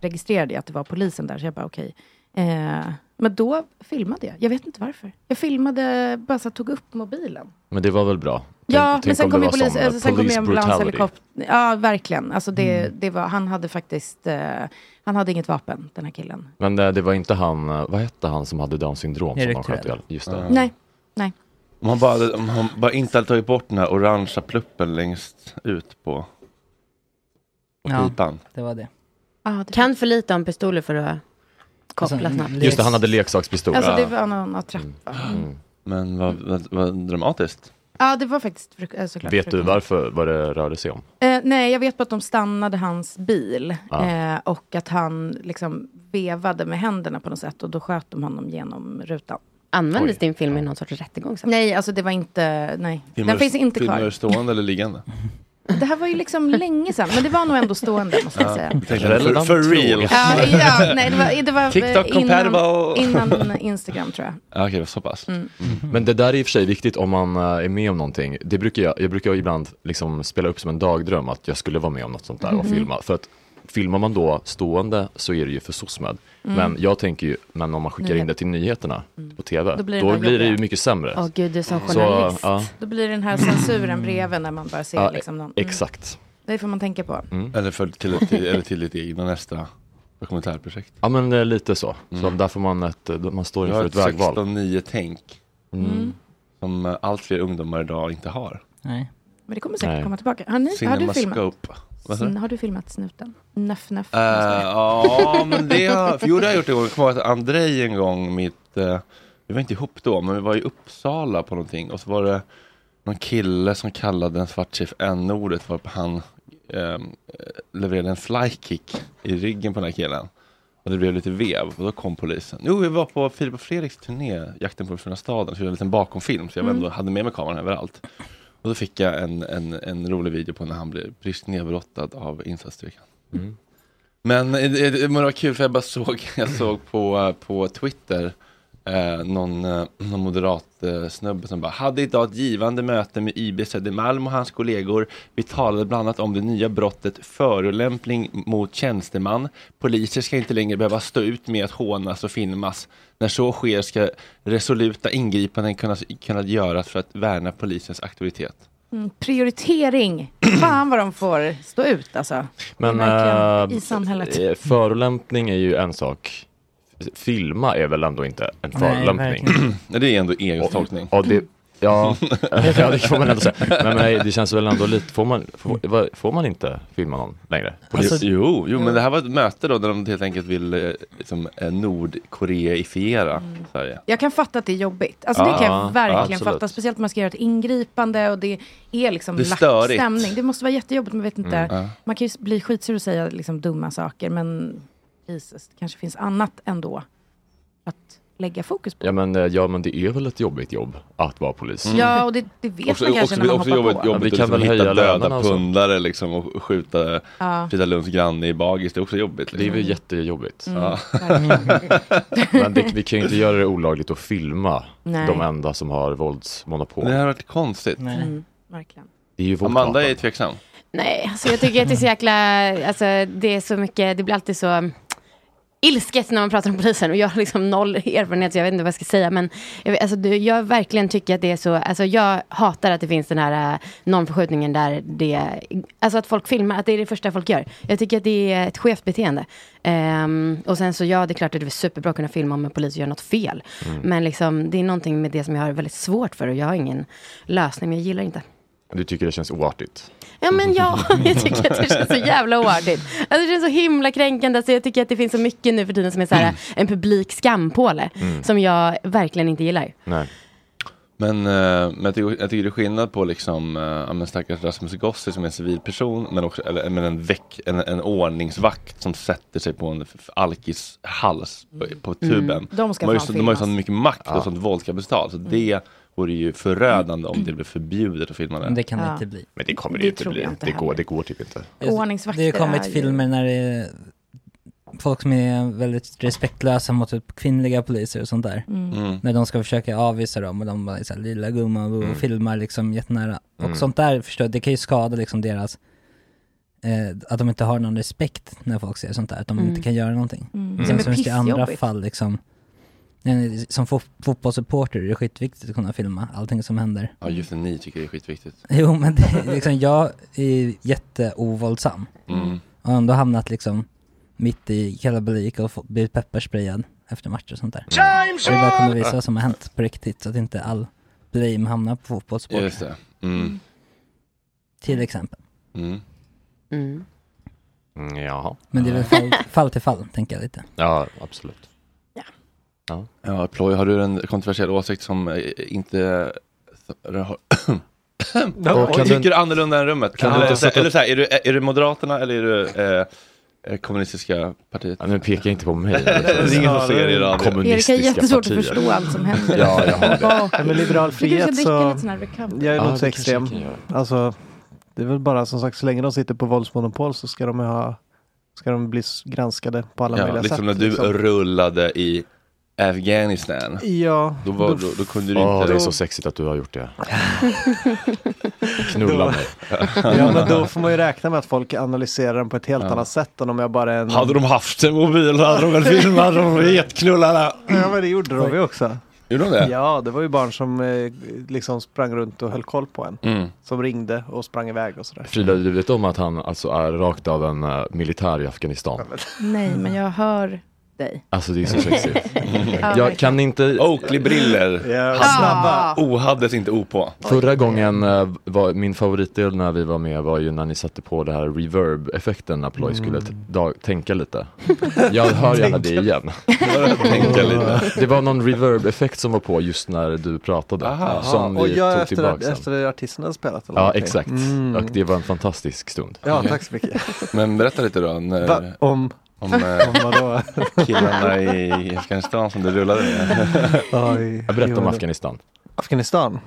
registrerade jag att det var polisen där, så jag bara okej. Eh, men då filmade jag, jag vet inte varför. Jag filmade, bara så här, tog upp mobilen. Men det var väl bra? Ja, men sen om kom det ju var polis, sån, eh, alltså, sen kom ju police brutality. Mm. ambulanshelikopter. Ja, verkligen. Alltså det, det var, han hade faktiskt, eh, han hade inget vapen, den här killen. Men eh, det var inte han, eh, vad hette han som hade down syndrom som Erik de sköt ihjäl? Just det. Nej, nej. Om han bara, hade- om han bara inte hade tagit bort den här orangea pluppen längst ut på på Ja. pipan. Det var det. Kan för lite om pistoler för att koppla snabbt. Just det, han hade leksakspistol. Alltså det var någon trappa. Men vad, vad, vad dramatiskt. Ja, det var faktiskt fruk- eh, såklart. Vet du fruktansvärt. varför, vad det rörde sig om? Eh, nej, jag vet bara att de stannade hans bil. Ah. Eh, och att han liksom vevade med händerna på något sätt. Och då sköt de honom genom rutan. Användes din film i någon sorts rättegång? sen? Nej, alltså det var inte, nej. Filmar- Den finns inte filmar du kvar. stående eller liggande? Det här var ju liksom länge sedan. Men det var nog ändå stående, måste jag säga. Jag tänkte, för, för real. Ja, ja, nej, det var, det var eh, TikTok innan, compatible. innan Instagram tror jag. Ja, Ah, Okej, så pass. Mm. Men det där är i och för sig viktigt om man eh, är med om någonting. Det brukar jag, jag brukar ibland liksom spela upp som en dagdröm att jag skulle vara med om något sånt där och Mhm. filma. För att filmar man då stående så är det ju för SOSMED. Mm. Men jag tänker ju, men om man skickar in Nyhet. Mm. det till nyheterna på TV, Då då blir blir det det, där ju jobbiga. mycket sämre. Åh gud, du som Så, journalist. ja. Då blir det den här censuren bredvid när man bara ser Ja, e- Mm. liksom någon. Mm. Exakt. Det får man tänka på. Mm. Eller, för, till, till, eller till ditt egna nästa dokumentärprojekt. Mm. Ja men eh, lite så. Så där får man ett, eh, man står Jag har inför ett ett vägval. 16-9-tänk. Mm. Som eh, allt fler ungdomar idag inte har. Nej. Men det kommer säkert Nej. komma tillbaka. Har, ni, har du filmat? Cinemascope. Vad sa du? Sn- har du filmat snuten? Nöff, nöff. Eh, Ja, men det har, för jo, det har jag gjort en gång. Jag kommer ihåg att Andrej en gång, mitt, eh, vi var inte ihop då, men vi var i Uppsala på någonting och så var det någon kille som kallade en svartskift n-ordet varpå han ehm, levererade en flykick i ryggen på den här killen. Och det blev lite vev och då kom polisen. Jo, vi var på Filip och Fredriks turné, Jakten på den försvunna staden, så vi gjorde en liten bakomfilm, så jag var Mm. ändå hade med mig kameran överallt. Och då fick jag en, en, en rolig video på när han blev bryskt nedbrottad av insatsstyrkan. Mm. Men eh, det, det, men det var kul för jag bara såg, jag såg på, eh, på Twitter eh, någon, eh, någon moderat eh, snubbe som bara hade idag ett givande möte med YB Södermalm och hans kollegor. Vi talade bland annat om det nya brottet förolämpning mot tjänsteman. Poliser ska inte längre behöva stå ut med att hånas och filmas. När så sker ska resoluta ingripanden kunna, kunna göras för att värna polisens auktoritet. Mm, prioritering. Fan vad de får stå ut alltså. Men Verkligen. eh, I samhället. eh, förolämpning är ju en sak. Filma är väl ändå inte en Nej, förolämpning? verkligen. Nej, det är ändå egen tolkning. Ja, det, ja, ja, det får man ändå säga. Men nej, det känns väl ändå lite, får man, får, vad- får man inte filma någon längre? Polis- Alltså, jo, jo, men det här var ett möte då där de helt enkelt vill eh, liksom, eh, nordkoreifiera Mm. Sverige. Jag kan fatta att det är jobbigt. Alltså det Ja, kan jag verkligen absolut. fatta. Speciellt om man ska göra ett ingripande och det är liksom Det är lack störigt. stämning. Det måste vara jättejobbigt. Man vet inte. Mm, ja. Man kan ju bli skitsur och säga liksom dumma saker. Men Jesus, det kanske finns annat ändå att lägga fokus på. Ja men, eh, ja men det är väl ett jobbigt jobb att vara polis? Mm. Ja, och det, det vet man kanske när man hoppar på. Ja, vi kan väl höja lönerna och så. liksom pundare liksom, och skjuta Ja. Frida Lunds granne i bagis. Det är också jobbigt. Liksom. Det är väl jättejobbigt. Mm, Ja. Men det, vi kan ju inte göra det olagligt att filma Nej. de enda som har våldsmonopol. Det har varit konstigt. Mm, verkligen. Det är ju våldtapen. Amanda är tveksam. Nej, alltså jag tycker att det är så jäkla, alltså det är så mycket, det blir alltid så mm, ilsket när man pratar om polisen och jag har liksom noll erfarenhet så jag vet inte vad jag ska säga men jag, vet- alltså, du, jag verkligen tycker att det är så, alltså jag hatar att det finns den här eh, normförskjutningen där det, alltså att folk filmar, att det är det första folk gör. Jag tycker att det är ett skevt beteende. Ehm, och sen så ja, det är klart att det är superbra att kunna filma om en polis gör något fel. Mm. Men liksom det är någonting med det som jag har väldigt svårt för och jag har ingen lösning, men jag gillar inte. Du tycker det känns oartigt? Ja men ja, jag tycker att det känns så jävla oartigt. Alltså, det känns så himla kränkande. Alltså, jag tycker att det finns så mycket nu för tiden som är så här, en publik skampåle. Mm. Som jag verkligen inte gillar. Nej. Men, eh, men jag, tycker, jag tycker det är skillnad på liksom, eh, ja, men stackars Rasmus Gossi som är en civilperson men också eller, men en, väck, en, en ordningsvakt som sätter sig på en f- alkis hals på, på tuben. Mm. De ska har ju, fan så- de har ju filmas. sån mycket makt Ja. och sånt våldskapital så Mm. det vore ju förödande om det blev förbjudet att filma det. Men det kan det Mm. Ja. inte bli. Men det kommer det, Det ju inte tror bli. jag inte det, går, heller. det går typ inte. Ordningsvakter Det har ju är ju- kommit filmer när det är folk som är väldigt respektlösa mot typ kvinnliga poliser och sånt där. Mm. Mm. När de ska försöka avvisa dem och de bara så här, lilla gumman och Mm. filmar liksom jättenära. Och Mm. sånt där förstår det kan ju skada liksom deras, eh, att de inte har någon respekt när folk ser sånt där, att de Mm. inte kan göra någonting. Sen Mm. Det är så finns det ju andra pissjobbigt. fall liksom, eh, som fo- fotbollssupporter är det skitviktigt att kunna filma allting som händer. Ja just det, ni tycker det är skitviktigt. Jo men det, liksom, jag är jätteovåldsam. Mm. Och ändå hamnat liksom mitt i kalabalik och få- blivit pepparsprayad efter matcher och sånt där. Time's Så det bara kommer visa up! vad som har hänt på riktigt så att inte all blame hamnar på fotbollssport. Just det. Mm. Till exempel. Mm. Mm. Mm, jaha. Men det är väl fall, fall till fall, tänker jag lite. Ja, absolut. Ja. Ploy, har du en kontroversiell åsikt som eh, inte... Ja, kan tycker du- annorlunda än rummet? kan du eller, inte sätta- eller så här, är du, är du Moderaterna eller är du eh, eh, kommunistiska partiet? Ja, nu pekar inte på mig. det är ingen som ser det i radio. Erik har jättesvårt att förstå allt som händer. Ja, jag har det. Bak. Nej, men liberal Du kanske ska frihet dricka så... lite sån här recovery. Jag är Ja, nog så det kanske extrem. jag kan göra. Alltså, det är väl bara som sagt, så länge de sitter på våldsmonopol så ska de ju ha... Ska de bli s- granskade på alla Ja, möjliga liksom sätt. när du liksom. rullade i Afghanistan. Ja. Då, var, då, då kunde du Åh, inte... det är så sexigt att du har gjort det. Knulla Då- mig. Ja, men då får man ju räkna med att folk analyserar den på ett helt Ja. annat sätt än om jag bara är en... Hade de haft en mobil hade de väl filmat de getknullarna. Ja, men det gjorde de ju också. Gjorde de det? Ja, det var ju barn som eh, liksom sprang runt och höll koll på en. Mm. Som ringde och sprang iväg och sådär. Frida, du vet om att han alltså är rakt av en eh, militär i Afghanistan? Nej, men jag hör dig. Alltså det är så sexigt. Ja, Jag kan inte... Oakley-briller. Snabba. O hades inte O på. Förra gången eh, var min favoritdel när vi var med var ju när ni satte på det här reverb-effekten när Ploy skulle t- dag- tänka lite. Jag hör gärna det igen. tänka lite. Det var någon reverb-effekt som var på just när du pratade. Som och vi jag tog efter, tillbaka sen. efter artisten hade spelat? eller Ja, någonting. exakt. Mm. Och det var en fantastisk stund. Ja, tack så mycket. Men berätta lite då. När, Va? Om? Om, Om eh, vadå? killarna i Afghanistan som du rullade med. Oj. Jag berättar om Jo, det- Afghanistan. Afghanistan?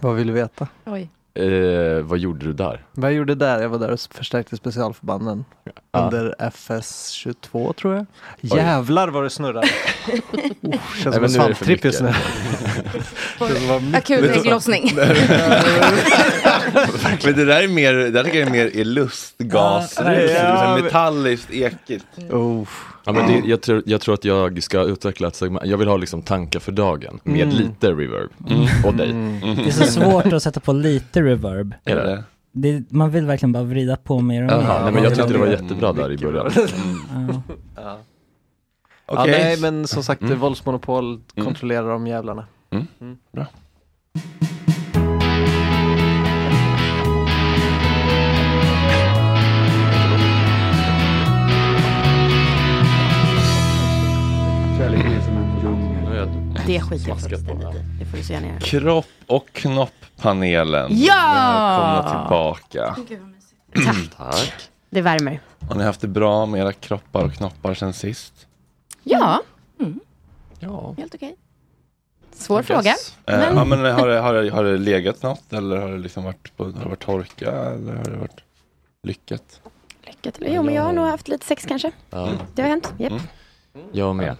Vad vill du veta? Oj. Eh, vad gjorde du där? Vad jag gjorde där? Jag var där och förstärkte specialförbanden. Under FS22 tror jag. Jävlar vad det snurrar. Usch, känns som en svamptripp just nu. Känns som att- Akut Vet du- ägglossning. Men det där är mer, det där tycker jag är mer i lustgas. Ja, Det är verkligen. liksom metalliskt, ekigt. Ja, men det, jag, tror, jag tror att jag ska utveckla ett segment. Jag vill ha liksom tankar för dagen med Mm. lite reverb. Mm. Och dig. Det är så svårt att sätta på lite reverb. Mm. Är det? Det, man vill verkligen bara vrida på mer och mer. Jaha, nej, men jag tyckte det var jättebra där i början. Ja. Okej. Ja, nej, men som sagt, Mm. våldsmonopol Mm. kontrollerar de jävlarna. Mm. Mm. Bra. Det skiter jag fullständigt i. Det får du så gärna göra. Kropp och knopppanelen. Ja! Välkomna tillbaka. Tack. Det värmer. Har ni haft det bra med era kroppar och knoppar sen sist? Ja. Ja. Helt okej. Svår I fråga. guess. Eh, men- ja, men har, det, har, det, har det legat något eller har det, liksom varit, på, har det varit torka eller har det varit lyckat? Lycka till. Jo, men jag har nog haft lite sex kanske. Ja. Mm. Det har hänt. Japp. Jag med.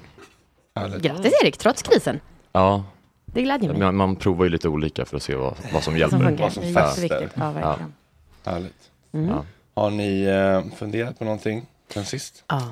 Grattis Erik, trots krisen. Ja. Det glädjer mig. Man, man provar ju lite olika för att se vad, vad som hjälper. Mm. funkar. Vad som Det är fäster. jätteviktigt. Ja, verkligen. Härligt. Mm. Ja. Har ni eh, funderat på någonting sen sist? Ja.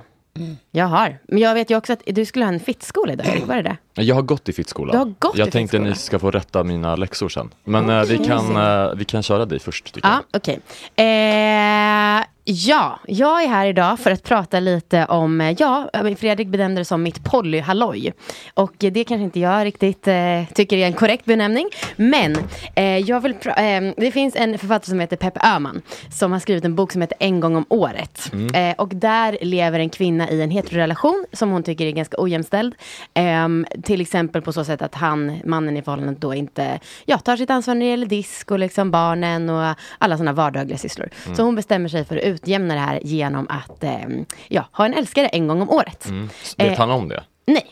Jag har. Men jag vet ju också att du skulle ha en fittskola idag. Erik. Var det det? Jag har gått i fittskola. Du har gått jag i tänkte fittskola. ni ska få rätta mina läxor sen. Men eh, vi, Okej. kan, eh, vi kan köra dig först. Tycker Ja, okej. Eh, ja, jag är här idag för att prata lite om, eh, ja, Fredrik benämnde det som mitt polyhalloj. Och eh, det kanske inte jag riktigt eh, tycker är en korrekt benämning. Men eh, jag vill pra- eh, det finns en författare som heter Pep Öhman som har skrivit en bok som heter En gång om året. Mm. Eh, och där lever en kvinna i en heterorelation som hon tycker är ganska ojämställd. Ehm, till exempel på så sätt att han, mannen i förhållandet då inte ja, tar sitt ansvar när det gäller disk och liksom barnen och alla sådana vardagliga sysslor. Mm. Så hon bestämmer sig för att utjämna det här genom att ehm, ja, ha en älskare en gång om året. jag. Mm. Vet Eh, han om det? Nej.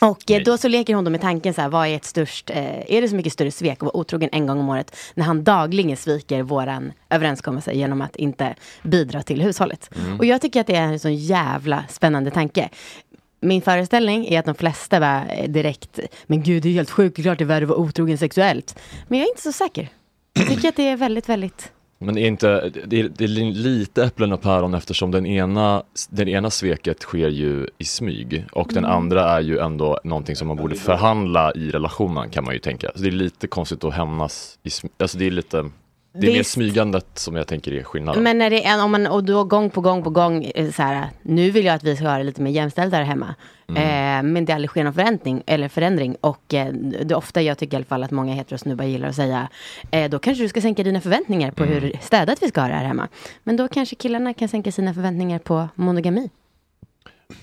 Och eh, då så leker hon då med tanken så här, vad är ett störst, eh, är det så mycket större svek att vara otrogen en gång om året när han dagligen sviker våran överenskommelse genom att inte bidra till hushållet? Mm. Och jag tycker att det är en sån jävla spännande tanke. Min föreställning är att de flesta bara eh, direkt, men gud det är ju helt sjukt, det är klart det är värre att vara otrogen sexuellt. Men jag är inte så säker. Jag tycker att det är väldigt, väldigt Men det är, inte, det, är, det är lite äpplen och päron eftersom den ena, den ena sveket sker ju i smyg och den Mm. andra är ju ändå någonting som man borde förhandla i relationen kan man ju tänka. Så det är lite konstigt att hämnas i smyg. Alltså det är lite, det är mer Visst. smygandet som jag tänker är skillnaden. Men när det är en, om man, och då gång på gång på gång, eh, så här, nu vill jag att vi ska göra det lite mer jämställt där hemma. Mm. Eh, men det aldrig sker någon förändring, eller förändring. Och eh, det är ofta, jag tycker i alla fall att många heterosnubbar gillar att säga, eh, då kanske du ska sänka dina förväntningar på Mm. hur städat vi ska ha det här hemma. Men då kanske killarna kan sänka sina förväntningar på monogami.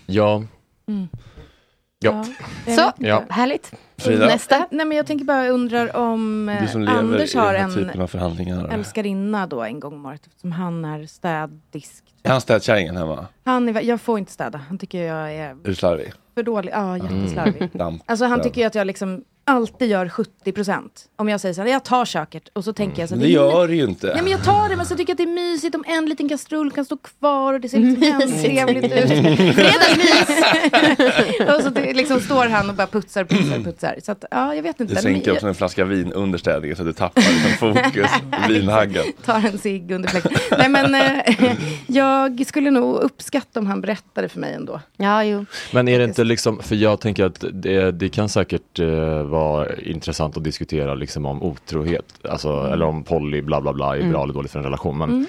Ja. Mm. Ja. Ja. Så, Ja. härligt. Frida? Nästa. Nej, men jag tänker bara undrar om eh, Du som lever Anders i har den här typen en av förhandlingar. älskarinna då en gång om året eftersom han är städdisk. Är han städkärringen hemma? Han är, jag får inte städa. Han tycker jag är Är du slarvig? för dålig. Ja, jätteslarvig. Mm. Damp, Alltså han städ. tycker ju att jag liksom, ja alltid gör 70 procent. Om jag säger så här, jag tar köket och så tänker jag så här, Mm. Det är min- gör det ju inte. Nej Alltså, men jag tar det men så tycker jag att det är mysigt om en liten kastrull kan stå kvar och det ser liksom Mysigt. trevligt ut. Fredagsmys! och så det, liksom står han och bara putsar, putsar, putsar. Så att, ja, jag vet inte. Du Men sänker också en flaska vin under städningen så att du tappar liksom fokus. Vinhaggen. tar en cigg under fläkten. Nej men eh, jag skulle nog uppskatta om han berättade för mig ändå. Ja, jo. Men är det inte liksom, för jag tänker att det, det kan säkert eh, vara intressant att diskutera liksom om otrohet, alltså, Mm. eller om poly bla bla bla är Mm. bra eller dåligt för en relation. Men Mm.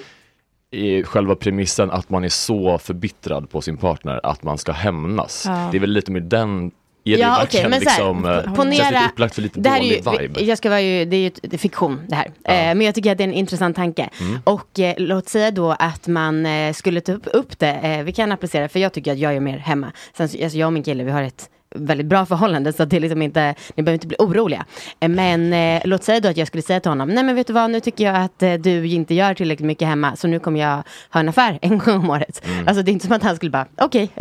i själva premissen att man är så förbittrad på sin partner att man ska hämnas. Ja. Det är väl lite mer den, är det Ja, verkligen okej, men så här, liksom, eh, ponera- känns lite upplagt för lite det här är dålig ju, vibe? Jag ska vara ju, det är ju ett- det är fiktion det här. Eh, men jag tycker att det är en intressant tanke. Mm. Och eh, låt säga då att man eh, skulle ta upp, upp det. Eh, vi kan applicera, för jag tycker att jag är mer hemma. Sen, så- alltså, jag och min kille, vi har ett väldigt bra förhållande så att det är liksom inte, ni behöver inte bli oroliga. Eh, Men eh, låt säga då att jag skulle säga till honom, nej men vet du vad, nu tycker jag att eh, du inte gör tillräckligt mycket hemma så nu kommer jag ha en affär en gång om året. Mm. Alltså det är inte som att han skulle bara, okej.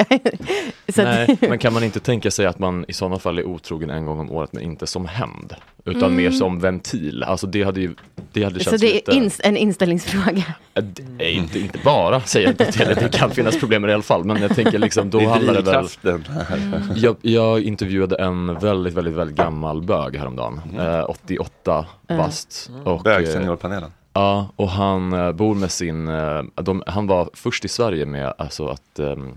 Så att- Nej, men kan man inte tänka sig att man i sådana fall är otrogen en gång om året men inte som hämnd, utan Mm. mer som ventil. Alltså det hade ju, det hade Så känts det lite... är ins- en inställningsfråga. Äh, d- Nej, inte, inte bara säger jag inte till, det kan finnas problem i alla fall, men jag tänker liksom Det då är handlar det väl... drivkraften här. Mm. Jag, jag intervjuade en väldigt, väldigt, väldigt gammal bög häromdagen, eh, 88 Mm. bast. Mm. och, Bög, eh, seniorpanelen. Ja, och han eh, bor med sin, eh, de, han var först i Sverige med alltså att ehm,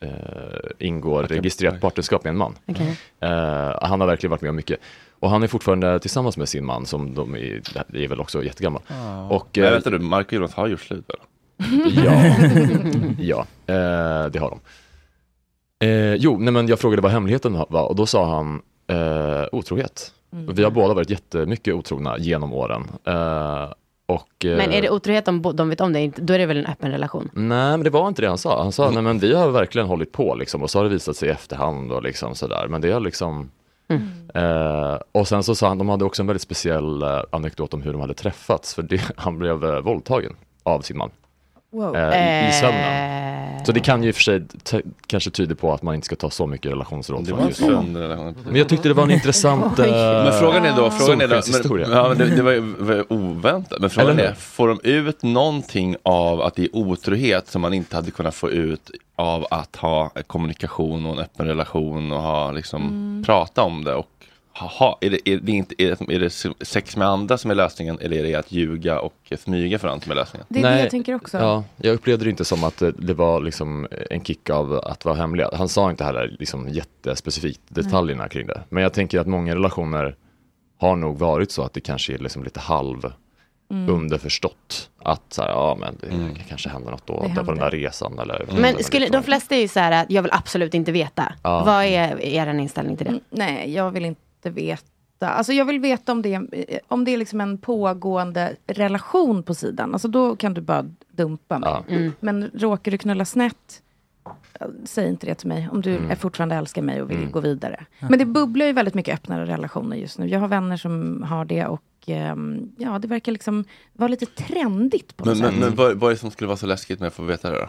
eh, ingå registrerat partnerskap med en man. Okej. Eh, han har verkligen varit med om mycket. Och han är fortfarande tillsammans med sin man som de är, det är väl också jättegammal. Ja. Och, Ah. Men eh, vänta du, Mark och Jonas har gjort slut eller? Ja, ja eh, det har de. Eh, jo, nej, men jag frågade vad hemligheten var och då sa han eh, otrohet. Mm. Vi har båda varit jättemycket otrogna genom åren. Eh, och, eh, Men är det otrohet om bo- de vet om det, inte- då är det väl en öppen relation? Nej, men det var inte det han sa. Han Mm. sa, nej men vi har verkligen hållit på liksom och så har det visat sig i efterhand och liksom sådär. Men det har liksom Mm. Eh, och sen så sa han, de hade också en väldigt speciell eh, anekdot om hur de hade träffats, för det, han blev eh, våldtagen av sin man. Wow. Eh, i, I sömnen. Eh. Så det kan ju i och för sig t- kanske tyda på att man inte ska ta så mycket relationsråd Det från var just en honom. sund relation. Men jag tyckte det var en intressant eh, Men frågan är då, frågan är då solskenshistoria. men, ja, men det, det var ju var oväntat. Men frågan Eller hur? är, får de ut någonting av att det är otrohet som man inte hade kunnat få ut av att ha kommunikation och en öppen relation och ha liksom Mm. prata om det och Haha, är det, är, det inte, är, det, är det sex med andra som är lösningen eller är det att ljuga och smyga för andra som är lösningen? Det är det jag tänker också. Ja, jag upplevde det inte som att eh, det var liksom en kick av att vara hemlig. Han sa inte heller liksom jättespecifikt detaljerna kring det. Men jag tänker att många relationer har nog varit så att det kanske är liksom lite halv Mm. underförstått. Att så här, ja men det kanske händer något då, Det på den där händer. resan eller Mm. Men skulle, de flesta är ju så här, att jag vill absolut inte veta. Ja. Vad är er inställning till det? Nej, jag vill inte veta. Alltså jag vill veta om det, är- om det är liksom en pågående relation på sidan. Alltså då kan du bara dumpa mig. Mm. Men råkar du knulla snett, eh, säg inte det till mig. Om du Mm. är fortfarande älskar mig och vill Mm. gå vidare. Men det bubblar ju väldigt mycket öppnare relationer just nu. Jag har vänner som har det och ehm, ja, det verkar liksom vara lite trendigt på något Mm. Men, men, sätt. men vad, vad är det som skulle vara så läskigt med att få veta det då?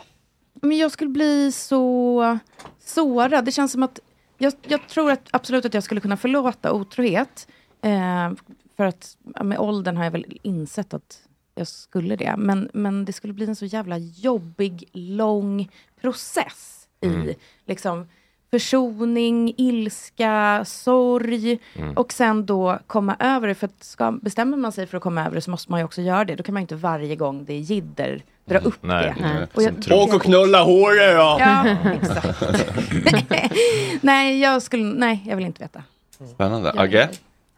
Men jag skulle bli så sårad. Det känns som att jag, jag tror att absolut att jag skulle kunna förlåta otrohet. Eh, för att ja, med åldern har jag väl insett att jag skulle det. Men, men det skulle bli en så jävla jobbig, lång process i Mm. liksom, försoning, ilska, sorg. Mm. Och sen då komma över det. För att ska, bestämmer man sig för att komma över det så måste man ju också göra det. Då kan man ju inte varje gång det är jidder Mm. dra upp Nej, det. nej. Och jag- Som tråkigt. Åk och knulla håret då! Ja, exakt. nej, jag skulle, nej, jag vill inte veta. Spännande. Agge,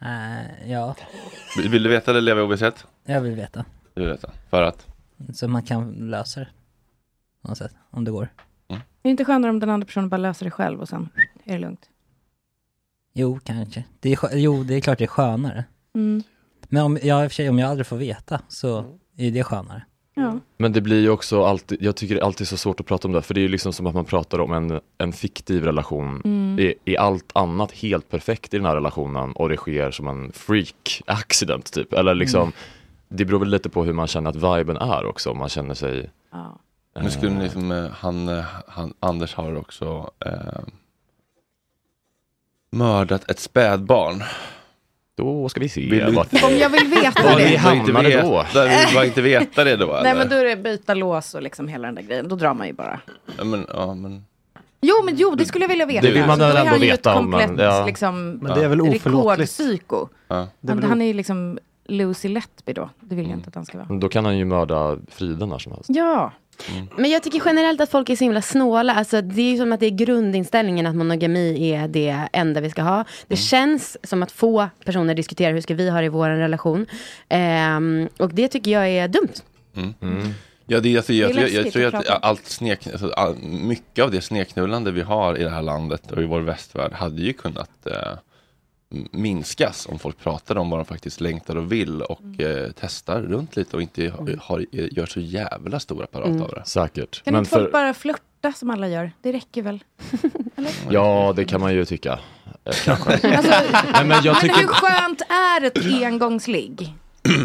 Eh, ja, vill vill du veta eller leva i ovisshet? jag vill veta. Du vill veta. För att? Så man kan lösa det. På något sätt, om det går. Är det inte skönare om den andra personen bara löser det själv och sen är det lugnt? Jo, kanske. Det är, skö- jo, det är klart det är skönare. Mm. Men om, ja, i och för sig, om jag aldrig får veta så Mm. är ju det skönare. Ja. Mm. Men det blir ju också alltid, jag tycker det är alltid så svårt att prata om det, för det är ju liksom som att man pratar om en, en fiktiv relation. Mm. Är, är allt annat helt perfekt i den här relationen och det sker som en freak accident typ? Eller liksom, Mm. det beror väl lite på hur man känner att viben är också, om man känner sig... Ja. Nu skulle ni liksom, eh, han, eh, han, Anders har också eh, mördat ett spädbarn. Då ska vi se. Vill du- Eh, Om jag vill eh, veta Vad det. vi hamnade Hamnade då. då. Där vill man inte veta det då? Nej eller? men då är det byta lås och liksom hela den där grejen. Då drar man ju bara. Ja, men, ja, men... Jo men jo, det skulle jag vilja veta. Det vill man Då är väl ändå han ju ett veta om man- komplett, ja. liksom, Men det är väl oförlåtligt. Rekordpsyko. Ja. Han, han är ju liksom Lucy Letby då. Det vill jag inte att han ska vara. Då kan han ju mörda Frida när som helst. Ja. Mm. Men jag tycker generellt att folk är så himla snåla. Alltså, det är ju som att det är grundinställningen att monogami är det enda vi ska ha. Det Mm. känns som att få personer diskuterar hur ska vi ha det i vår relation. Ehm, och det tycker jag är dumt. Mm. Ja, det, är- alltså, jag, Det är jag, jag läskigt tror att att prata om. allt snek, alltså, all, mycket av det sneknullande vi har i det här landet och i vår västvärld hade ju kunnat eh, m- minskas om folk pratade om vad de faktiskt längtar och vill och Mm. eh, testar runt lite och inte ha- har, eh, gör så jävla stor apparat Mm. av det. Säkert. Kan inte folk bara flörta som alla gör? Det räcker väl? Ja, det kan man ju tycka. Eh, Kanske. Alltså, Nej, men jag tycker... hur skönt är ett engångsligg?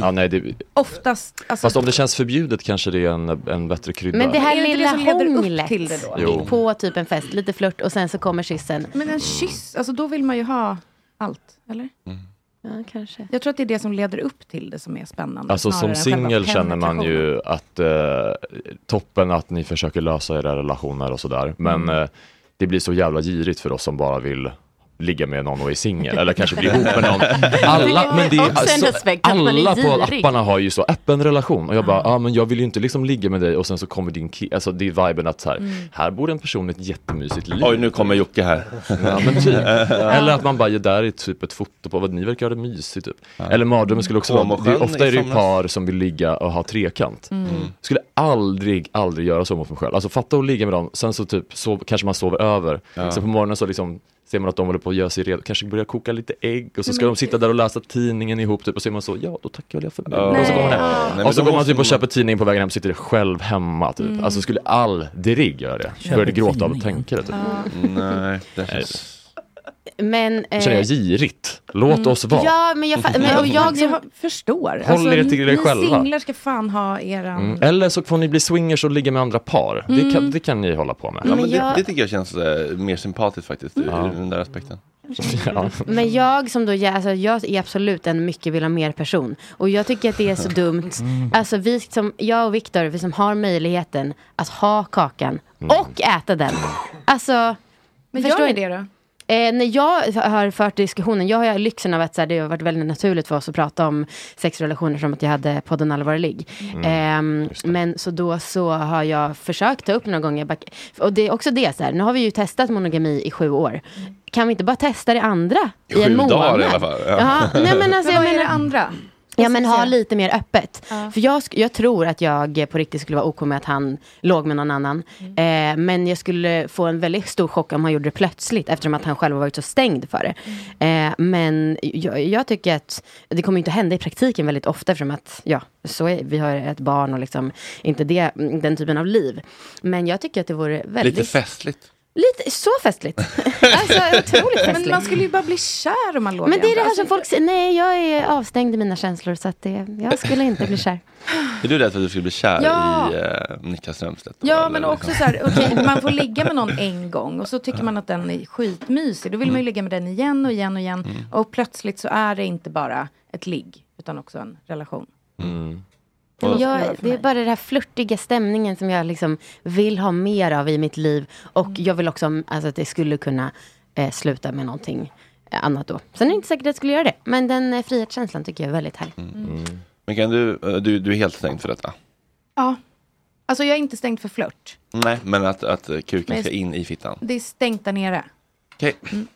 Ja, nej, det... Oftast. Alltså, Fast om det känns förbjudet kanske det är en, en bättre krydda. Men det här Är det inte lilla det som leder upp hånglet till det då? Jo. på typ en fest, lite flört och sen så kommer kyssen. Men en kyss, alltså då vill man ju ha allt, eller? Mm. Ja, kanske. Jag tror att det är det som leder upp till det som är spännande. Alltså som snarare än själva singel känner man penetrationen. ju att eh, toppen att ni försöker lösa era relationer och sådär. Men Mm. eh, det blir så jävla girigt för oss som bara vill ligga med någon och är singel eller kanske bli ihop med någon. Alla, men det är, Också en alltså, respekt att man är alla på girig. apparna har ju så öppen relation och jag bara, ja ah, men jag vill ju inte liksom ligga med dig och sen så kommer din ki- alltså det är viben att så här, Mm. här bor en person med ett jättemysigt liv. Oj, nu kommer Jocke här. Ja, men typ. Eller att man bara, "Ja, där är typ ett foto på vad ni verkar ha det mysigt. Typ. Eller mardrömmen skulle också vara, det, Homosjön är- ofta är i det ju somras. par som vill ligga och ha trekant. liksom. Mm. Mm. Skulle aldrig, aldrig göra så mot mig själv. Alltså fatta att ligga med dem, sen så typ så kanske man sover över. Ja. Sen på morgonen så liksom ser man att de håller på att göra sig redo, kanske börja koka lite ägg och så Nej, ska men- de sitta där och läsa tidningen ihop typ och så är man så, ja då tackar väl jag för mig. Ja. Och så går man, hem. Nej. Nej, men och så då går man måste typ man- och köper tidningen på vägen hem, sitter själv hemma typ. Mm. Alltså skulle aldrig göra det. Började gråta av att tänka det typ. Nej, det känns... Men, Nu känner jag girigt. Låt oss vara. Mm. Mm. Ja, men jag, fa- men, och jag, Mm. liksom- Jag förstår. Alltså, Håll er till er ni själva. singlar ska fan ha eran... Mm. Eller så får ni bli swingers och ligga med andra par. Det, Mm. kan, det kan ni hålla på med. Ja, men det, jag- det tycker jag känns eh, mer sympatiskt faktiskt, ur ur den där aspekten. Mm. men jag som då, jag, alltså, jag är absolut en mycket vill ha mer person. Och jag tycker att det är Mm. så dumt. Alltså vi som, jag och Viktor, vi som har möjligheten att ha kakan Mm. och äta den. Alltså, Men förstår gör ni ni? det då? Eh, när jag har fört diskussionen, jag har ju lyxen av att så här, det har varit väldigt naturligt för oss att prata om sexrelationer som att jag hade podden Allvar ligg. Mm, Ehm, men så då så har jag försökt ta upp några gånger, back- och det är också det så här, nu har vi ju testat monogami i sju år. Kan vi inte bara testa det andra i Sju en månad? dagar i alla fall. Ja. Ja, nej, men alltså, jag vad är menar, det andra? Ja men ha lite mer öppet. Ja. För jag, sk- jag tror att jag eh, på riktigt skulle vara OK med att han låg med någon annan. Mm. Eh, men jag skulle få en väldigt stor chock om han gjorde det plötsligt eftersom att han själv har varit så stängd för det. Mm. Eh, men jag, jag tycker att det kommer inte hända i praktiken väldigt ofta eftersom att ja, så är, vi har ett barn och liksom inte det, mm, den typen av liv. Men jag tycker att det vore väldigt... Lite festligt. Lite, så festligt. alltså otroligt festligt. Men man skulle ju bara bli kär om man låg Men det är det här Alltså, som folk säger, nej jag är avstängd i mina känslor så att det, jag skulle inte bli kär. Är du rädd för att du skulle bli kär Ja. i eh, Niklas Strömstedt? då, Ja, eller men också liksom? så här, okej, man får ligga med någon en gång och så tycker man att den är skitmysig. Då vill Mm. man ju ligga med den igen och igen och igen. Och plötsligt så är det inte bara ett ligg, utan också en relation. Men Mm. Och- Jag, det är bara den här flörtiga stämningen som jag liksom vill ha mer av i mitt liv. Och jag vill också alltså, att det skulle kunna eh, sluta med någonting eh, annat då. Sen är det inte säkert att jag skulle göra det. Men den eh, frihetskänslan tycker jag är väldigt härlig. Men kan du, eh, du, du är helt stängd för detta? Ja. Alltså jag är inte stängd för flört. Nej, men att, att eh, kuken Men- Mm. ska in i fittan. Det är stängt där nere. Okej,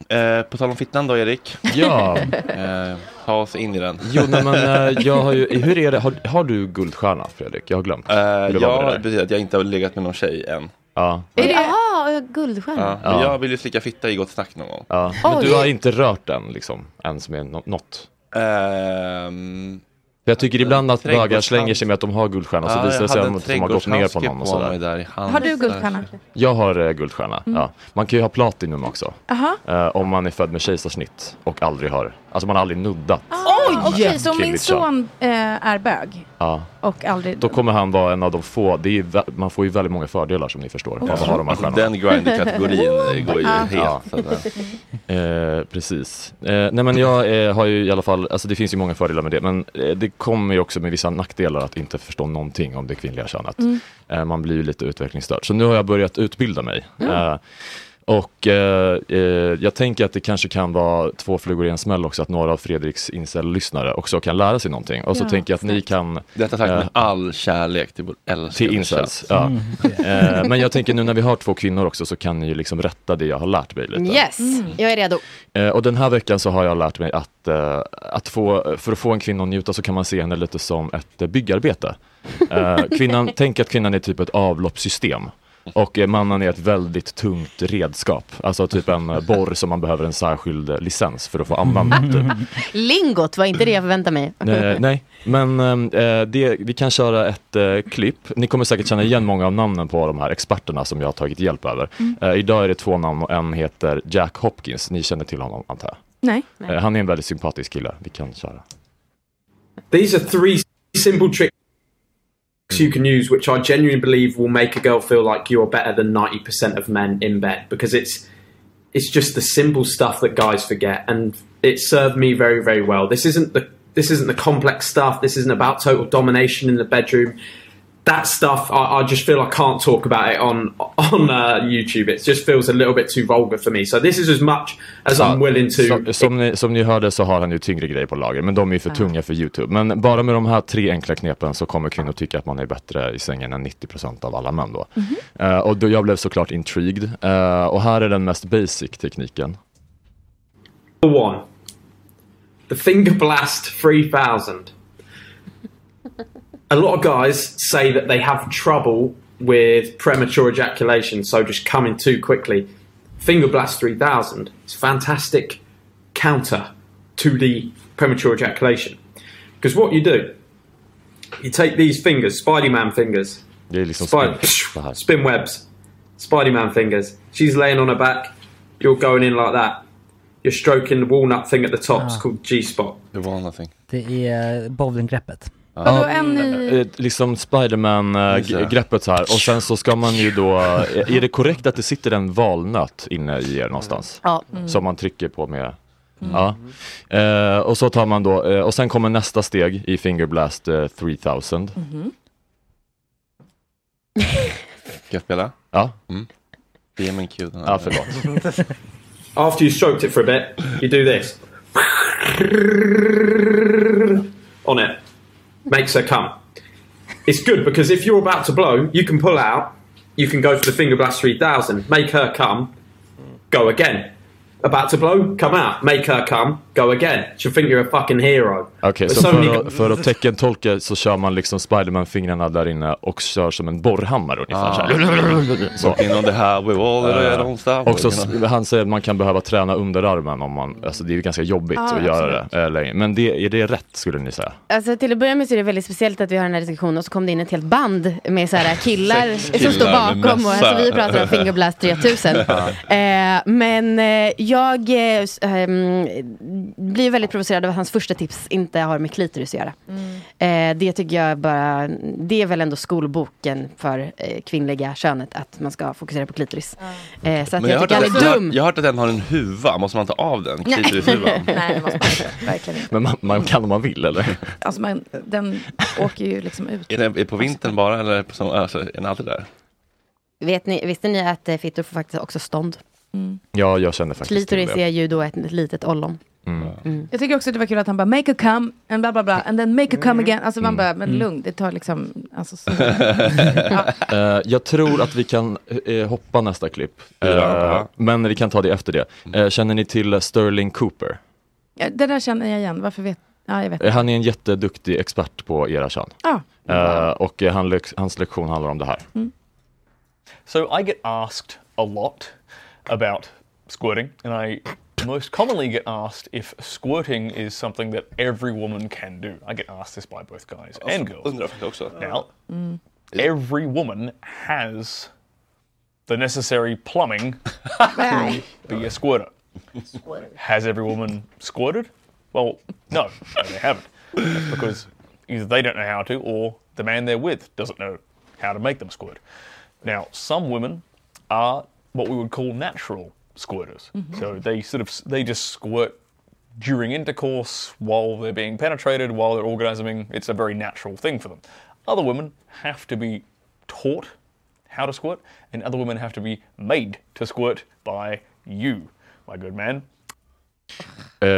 eh, på tal om fittan då Erik. Ja. eh, ta oss in i den. Jo, nej, men eh, jag har ju, hur är det, har, har du guldstjärna Fredrik? Jag har glömt. Hur det var med Eh, ja, det det där. betyder att jag inte har legat med någon tjej än. Ja. Jaha, Ja. guldstjärna. men Jag vill ju slicka fitta i Gott Snack någon gång. Ja. Oj. Men du har inte rört den liksom, ens med nå- något? Ehm, För jag tycker ibland att bögar trädgårdshand- slänger sig med att de har guldstjärna, så Ja, visar det jag sig hade att en de har gått ner på trädgårdshandske någon och på mig där i sådär. handen. Har du guldstjärna? Jag har eh, guldstjärna, Mm. ja. Man kan ju ha platinum också. Aha. Eh, om man är född med kejsarsnitt och aldrig har, alltså man har aldrig nuddat. Oj! Ah. Okej, så om min Kvinnligt kön. son eh, är bög, Ja. Och aldrig... Då kommer han vara en av de få. Det är, ju vä- man får ju väldigt många fördelar som ni förstår. Ja. av att ha de här stjärnorna. Den grindkategorin går ju helt, så att Eh, precis. Eh, nej men jag eh, har ju i alla fall, alltså det finns ju många fördelar med det men eh, det kommer ju också med vissa nackdelar att inte förstå någonting om det kvinnliga könet. Mm. Eh, man blir ju lite utvecklingsstörd. Så nu har jag börjat utbilda mig. Mm. Eh, och eh, eh, jag tänker att det kanske kan vara två flugor i en smäll också att några av Fredriks incel-lyssnare också kan lära sig någonting. Och så Ja, tänker jag att ni snällt. kan... eh, Detta sagt med all kärlek till vår älskade incels. chat. Ja. Mm. Eh, men jag tänker nu när vi har två kvinnor också så kan ni ju liksom rätta det jag har lärt mig lite. Yes, jag är redo. Eh, och den här veckan så har jag lärt mig att, eh, att få, för att få en kvinna att njuta så kan man se henne lite som ett eh, byggarbete. Eh, kvinnan, tänk att kvinnan är typ ett avloppssystem. Och eh, mannen är ett väldigt tungt redskap, alltså typ en eh, borr som man behöver en särskild eh, licens för att få använda. Typ. Lingot var inte det jag förväntade mig. Nej, Eh, nej. men eh, det, vi kan köra ett eh, klipp. Ni kommer säkert känna igen många av namnen på de här experterna som jag har tagit hjälp över. Mm. Eh, idag är det två namn och en heter Jack Hopkins. Ni känner till honom antar jag? Nej. Eh, Han är en väldigt sympatisk kille. Vi kan köra. These are three simple tricks you can use, which I genuinely believe will make a girl feel like you're better than 90% of men in bed because it's it's just the simple stuff that guys forget, and it served me very, very well. This isn't the this isn't the complex stuff. This isn't about total domination in the bedroom. That stuff, I, I just feel I can't talk about it on on uh, YouTube. It just feels a little bit too vulgar for me. So this is as much as Alltså, I'm willing to. Som, som, ni, som ni hörde så har han ju tyngre grejer på lager, men de är ju för Ja. tunga för YouTube. Men bara med de här tre enkla knepen så kommer kvinnor tycka att man är bättre i sängen än 90% av alla män då. Mhm. Eh, och då, jag blev såklart intrigued. Eh, och här är den mest basic tekniken. Number one, the Finger Blast 3000. A lot of guys say that they have trouble with premature ejaculation, so just coming too quickly. Finger Blast 3000 is a fantastic counter to the premature ejaculation. Because what you do, you take these fingers, Spidey Man fingers, Det är liksom Spin, spin webs. Spidey Man fingers. She's laying on her back. You're going in like that. You're stroking the walnut thing at the top. It's Ah. called G spot. The walnut thing. Det är bowlinggreppet. Vadå, en i- eh, liksom Just det. Spiderman-greppet så här. Och sen så ska man ju då, eh, är det korrekt att det sitter en valnöt inne i er någonstans? Ja. Mm. Som man trycker på med Mm. Ja. Eh, och så tar man då, eh, och sen kommer nästa steg i Finger Blast eh, 3000. Mm-hmm. Mhm. Ska jag spela? Ja. Ge mig en kul den Ja, förlåt. After you stroked it for a bit, you do this. On it. Makes her come. It's good because if you're about to blow, you can pull out. You can go for the Finger Blast 3000. Make her come. Go again. About to blow, come out. Make her come. Go again. She'll think you're a fucking hero. Okej, But så so many- för att, för att teckentolka så kör man liksom Spiderman-fingrarna där inne och kör som en borrhammare ungefär. Ah. Så här. Walking on the highway, all the way Eh, down south. Och så, s- han säger att man kan behöva träna underarmen om man, alltså det är ju ganska jobbigt Ja, att göra det eh, länge. Men det, är det rätt skulle ni säga? Alltså, till att börja med så är det väldigt speciellt att vi har den här diskussionen och så kom det in ett helt band med så här killar Sex killar som står med bakom och mössa. alltså, vi pratar om Fingerblast 3000. Ja. eh, men eh, jag eh, s- ehm, blir väldigt provocerad av att hans första tips inte har med klitoris att göra. Mm. Eh, det tycker jag bara, det är väl ändå skolboken för eh, kvinnliga könet att man ska fokusera på klitoris. Eh, så att Men jag, jag, tycker har hört han att är den, dum. jag har hört att den har en huva, måste man ta av den? Nej. Klitorishuvan? Nej, det måste man inte. Verkligen inte. Men man, man kan om man vill eller? Alltså, man, den åker ju liksom ut. Är det är på vintern bara eller är det på som, alltså, är den alltid där? Vet ni, visste ni att eh, fittor får faktiskt också stånd? Ja, jag känner faktiskt Klitoris till det. är ju då ett litet ollon. Mm. Mm. Jag tycker också det var kul att han bara make a come and bla bla bla and then make a come again. Alltså man bara, men Mm. lugn, det tar liksom, alltså så. Eh, jag tror att vi kan eh, hoppa nästa klipp. Eh, Ja. men vi kan ta det efter det. Eh, känner ni till Sterling Cooper? Ja, Det där känner jag igen, varför vet, ja jag vet. Eh, han är en jätteduktig expert på era kön. Ja. Eh, och eh, han, lek- hans lektion handlar om det här. So I get asked a lot about squirting, and I most commonly get asked if squirting is something that every woman can do. I get asked this by both guys and girls. Now, Mm. every woman has the necessary plumbing to be a squirter. Has every woman squirted? Well, no, no, they haven't. That's because either they don't know how to or the man they're with doesn't know how to make them squirt. Now, some women are what we would call natural squirters. Mhm. So they sort of they just squirt during intercourse while they're being penetrated, while they're orgasming. It's a very natural thing for them. Other women have to be taught how to squirt, and other women have to be made to squirt by you, my good man. Eh,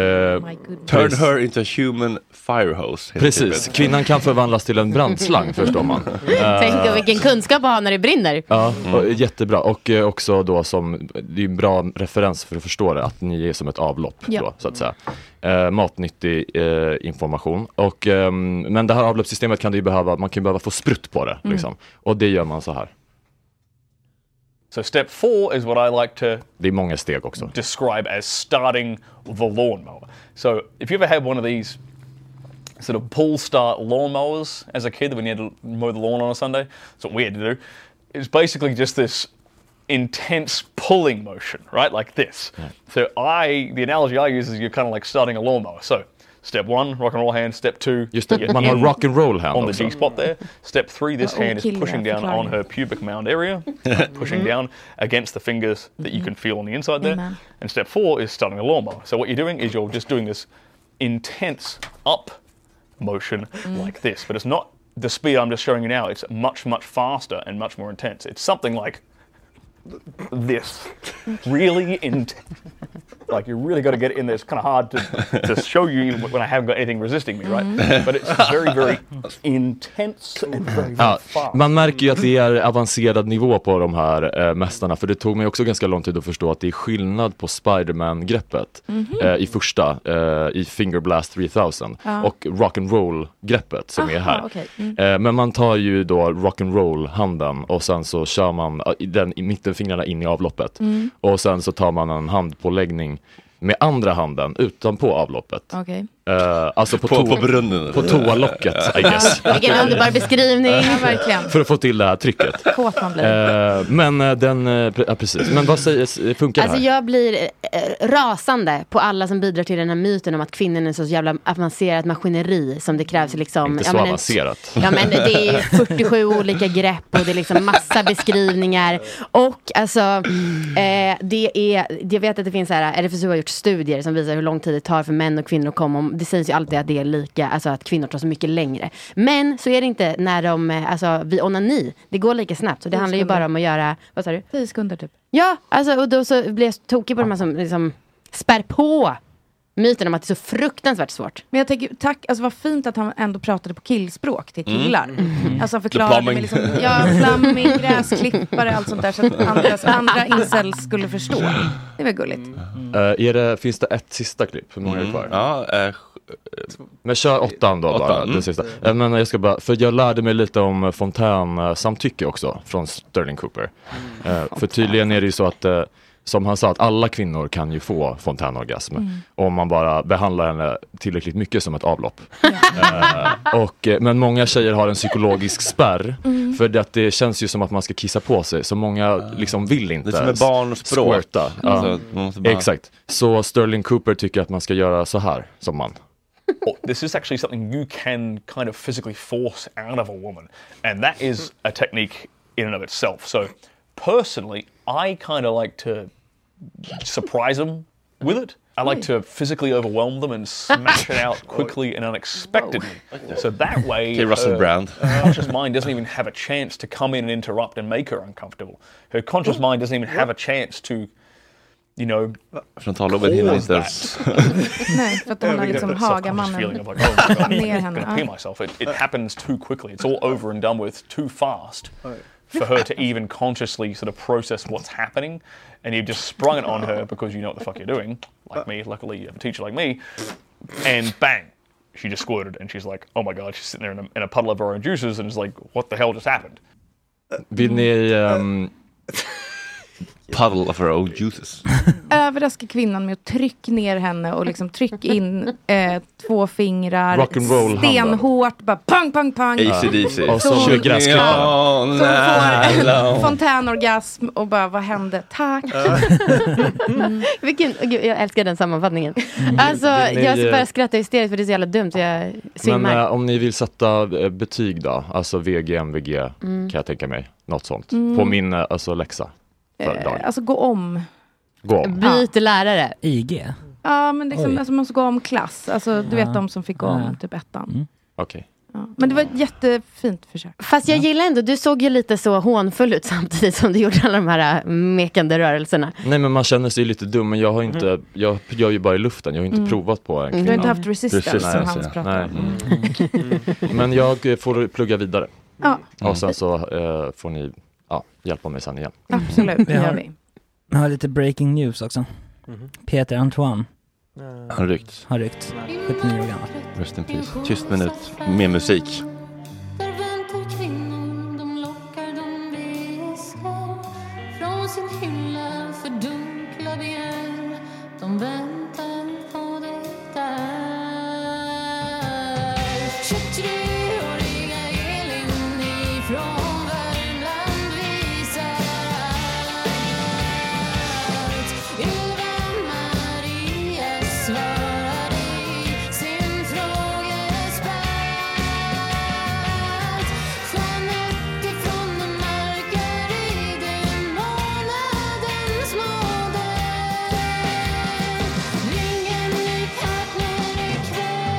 My goodness. turn her into a human fire hose. heter Precis, det. typ kvinnan kan förvandlas till en brandslang förstår man. Eh, Tänk och vilken kunskap att ha när det brinner. Ja, och jättebra. Och eh, också då som, det är en bra referens för att förstå det, att ni är som ett avlopp Ja. då, så att säga. Eh, matnyttig eh, information. Och, ehm, men det här avloppssystemet kan du ju behöva, man kan ju behöva få sprutt på det. Mm. Liksom. Och det gör man så här. So step four is what I like to Det är många steg också. describe as starting the lawnmower. So if you ever had one of these sort of pull start lawnmowers as a kid when you had to mow the lawn on a Sunday, that's what we had to do. It's basically just this intense pulling motion, right? Like this. So I, the analogy I use is you're kind of like starting a lawnmower. So step one, rock and roll hand. Step two, Just det, you're man har in rock and roll hand on the också. G spot there. Step three, this Oh, hand is killer, pushing down on förklaringen. her pubic mound area, pushing Mhm. down against the fingers that you can feel on the inside there. Amen. And step four is starting a lawnmower. So what you're doing is you're just doing this intense up motion like this, but it's not the speed I'm just showing you now. It's much, much faster and much more intense. It's something like this, really intense. Like you really got to get it in there. It's kind of hard to, to show you when I haven't got anything resisting me, right? Mhm. But it's very, very intense and very, very Ja, fast. man märker ju att det är avancerad nivå på de här eh, mästarna, för det tog mig också ganska lång tid att förstå att det är skillnad på Spiderman-greppet Mhm. eh, i första, eh, i Fingerblast 3000, Ja. och Rock'n'Roll-greppet som är här. Aha, okej. Mm. Eh, men man tar ju då Rock'n'Roll-handen och sen så kör man eh, i den, i mittenfingrarna in i avloppet Mm. och sen så tar man en handpåläggning med andra handen utanpå avloppet. Okej. Eh, alltså på, På- to- på brunnen. På toalocket, I guess. Vilken underbar beskrivning. Ja, verkligen. För att få till det här trycket. Kåt man blir. Eh, men eh, den, eh, pre- ja, precis. Men vad sägs, funkar Alltså det här? jag blir eh, rasande på alla som bidrar till den här myten om att kvinnan är så jävla avancerat maskineri som det krävs liksom. Inte så ja, men en- avancerat. Ja men det är 47 olika grepp och det är liksom massa beskrivningar. Och alltså, eh, det är, jag vet att det finns så här, RFSU har gjort studier som visar hur lång tid det tar för män och kvinnor att komma om. Det sägs ju alltid att det är lika, alltså att kvinnor tar så mycket längre. Men så är det inte när de, eh, alltså vid onani, det går lika snabbt. Så det Tio handlar ju sekunder. bara om att göra, vad sa du? Tio sekunder typ. Ja, alltså, och då så blir jag så tokig på de här som liksom spär på myten om att det är så fruktansvärt svårt. Men jag tänker, tack, alltså vad fint att han ändå pratade på killspråk till Mm. killar. Mhm. Alltså han The förklarade plumbing. med liksom, ja, plumbing, gräsklippare, allt sånt där. Så att andra, andra incels skulle förstå. Det var gulligt. Eh, är det, finns det ett sista klipp? Hur många är det Mm. kvar? men kör åttan då eh, åttan, bara, mm. den sista. Eh, men jag ska bara, för jag lärde mig lite om fontänsamtycke också från Sterling Cooper. Mm. Eh, för tydligen är det ju så att, eh, som han sa, att alla kvinnor kan ju få fontänorgasm Mm. om man bara behandlar henne tillräckligt mycket som ett avlopp. Eh, och, eh, men många tjejer har en psykologisk spärr Mm. för det, att det känns ju som att man ska kissa på sig så många liksom vill inte Det är som ett barnspråk. squirta. Ja. Alltså, man måste bara- Exakt. Så Sterling Cooper tycker att man ska göra så här som man. Or oh, this is actually something you can kind of physically force out of a woman. And that is a technique in and of itself. So, personally, I kind of like to surprise them with it. I like to physically overwhelm them and smash it out quickly and unexpectedly. So that way, Okay, Russell her Brand. conscious mind doesn't even have a chance to come in and interrupt and make her uncomfortable. Her conscious mind doesn't even have a chance to, you know, Frontalloben hinner cause inte that. ens... Nej, för att hon har Yeah, liksom that subconscious feeling Hagamannen of like, oh my God, ner I'm henne. gonna pee Ja. myself. It, it happens too quickly. It's all over and done with too fast for her to even consciously sort of process what's happening. And you've just sprung it on her because you know what the fuck you're doing. Like me, luckily you have a teacher like me. And bang, she just squirted. And she's like, oh my God, she's sitting there in a, in a puddle of her own juices and is like, what the hell just happened? Vill ni... ehm, Um... Puddle of her own juices. Överraska kvinnan med att tryck ner henne och liksom tryck in eh, två fingrar. Rock'n'roll-handen. Stenhårt, bara pang, pang, pang. AC/DC. Och så Tryck gräsklippare. ner. Åh, Så hon får Hello. Fontänorgasm och bara, vad hände? Tack. Vilken, gud, jag älskar den sammanfattningen. Alltså, Vill ni, jag eh, bara skrattar hysteriskt för det är så jävla dumt. Jag Men svimmar. eh, om ni vill sätta eh, betyg då, alltså VG, MVG Mm. kan jag tänka mig, något sånt. Mm. På min eh, alltså, läxa för Eh, dagen. Alltså gå om. Gå om. Byt lärare. IG? Ja, men liksom, Oj. alltså, man måste gå om klass. Alltså, du vet Ja. de som fick gå Ja. om typ ettan. Okej. Ja. Men det var ett jättefint försök. Fast jag gillar ändå, du såg ju lite så hånfull ut samtidigt som du gjorde alla de här äh, mekande rörelserna. Nej men man känner sig lite dum, men jag har inte, jag gör ju bara i luften, jag har inte Mm. provat på en Du har kvinna. inte haft resistance Precis. som Hans pratar Mm. Nej. Mm. Men jag eh, får plugga vidare. Ja. Och sen så eh, får ni ja, hjälpa mig sen igen. Absolut, det Vi gör har- vi. Vi har lite breaking news också. Mm-hmm. Peter Antoine Har ryckts. har ryckt, 79 år gammal. Rest in peace. Tyst minut med musik. kvinnor de lockar, de viskar från sin himla fördunkla begär De väntar på det där 23-åriga Elin ifrån Värmland visar allt Ylva Maria svarar i sin frågespalt Jeanette ifrån den mörka riden, månadens moder Ring en ny partner ikväll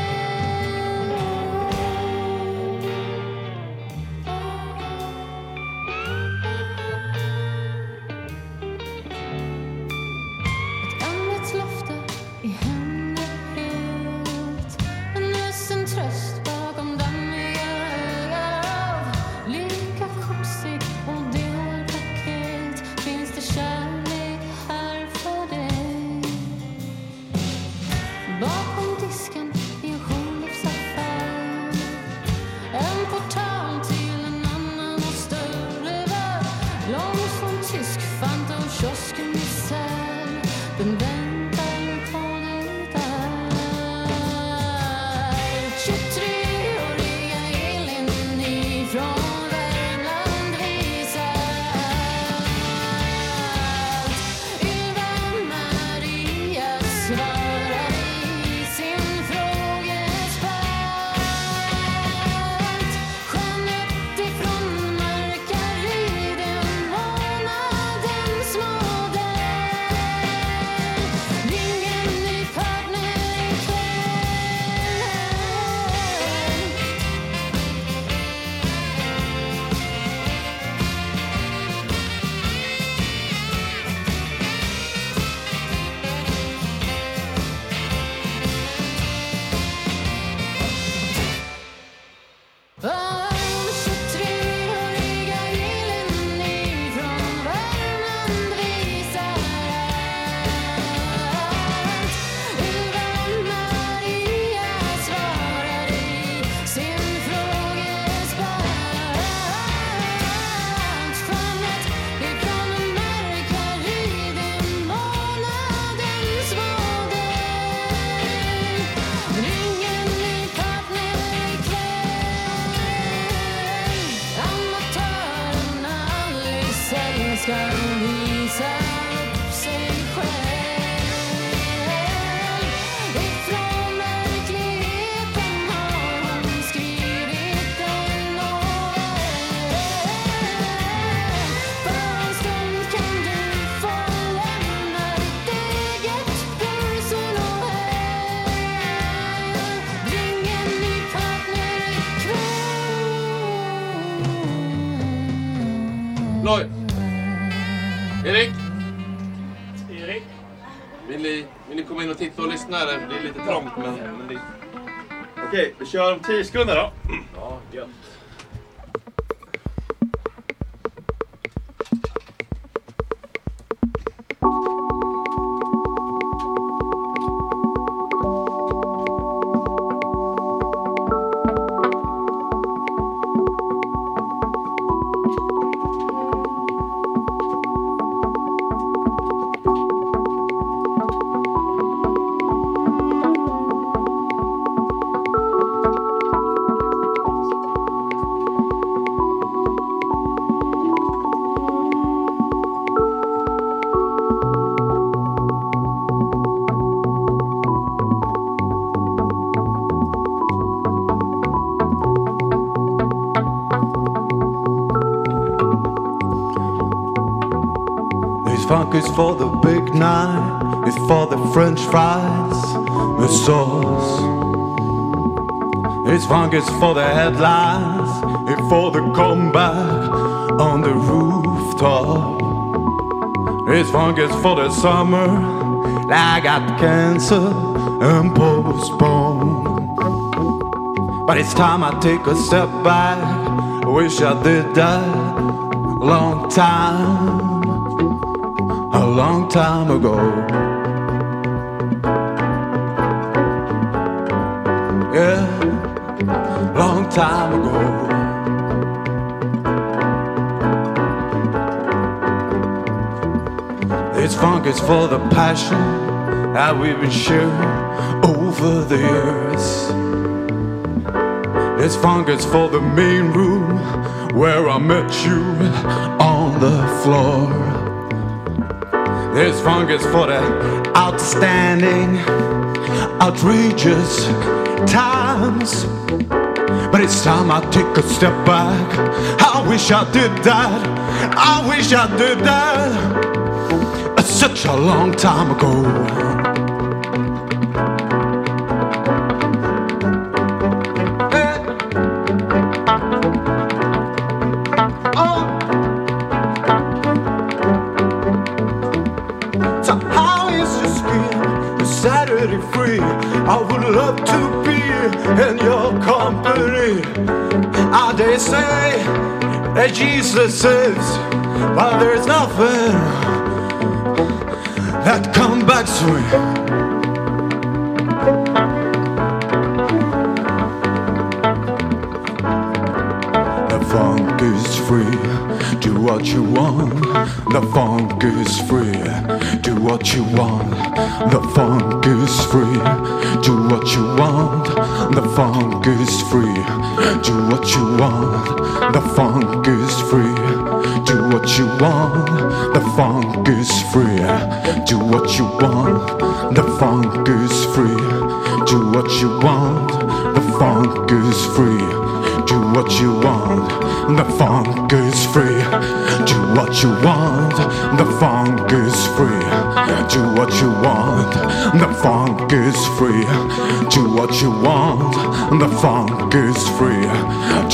Ett andets löfte i henne helt Men nyss en tröst bakom dammiga ögon Lika kopsig och det här paket Finns det kärlek här för dig? Bakom disken i en Schultz-affär En portal till en annan och större värld Långt från tysk Fanta och kiosken isär Den väntar på dig där 23-åriga Elin ifrån Värmland visar Ylva Maria svarar i sin frågespalt Jeanette ifrån Markariden, månadens moder Ring en ny partner ikväll Ring en ny partner ikväll Amatören Alice älskar visa upp sig själv Ifrån verkligheten har han skrivit en novell På en stund kan du få lämna ditt eget hus och novell Ring en ny partner Loj! Erik! Erik? Vill ni, vill ni komma in och titta och lyssna? eller? Det är lite trångt men... men det... Okej, vi kör om 10 sekunder då. Ja, gött. Ring en ny partner ikväll funkers for the big night It's for the french fries with sauce It's funkers for the headlines It's for the comeback on the rooftop It's funkers for the summer I got cancer and postponed But it's time I take a step back I wish I did that a long time a long time ago. Yeah, long time ago. This funk is for the passion that we've been sharing over the years. This funk is for the main room where I met you on the floor. This funk is for the outstanding, outrageous times. But it's time I take a step back. I wish I did that. I wish I did that. Such a long time ago. So how is your skin Saturday free? I would love to be in your company. Ah, they say that Jesus saves, but there's nothing that come back to me. The funk is free. Do what you want. The funk is free. Do what you want. The funk is free. Do what you want. The funk is free. Do what you want. The funk is free. Do what you want. The funk is free. Do what you want. The funk is free. Do what you want. The funk is free. Do what you want, the funk is free. Do what you want, the funk is free. Do what you want, the funk is free. Do what you want, the funk is free.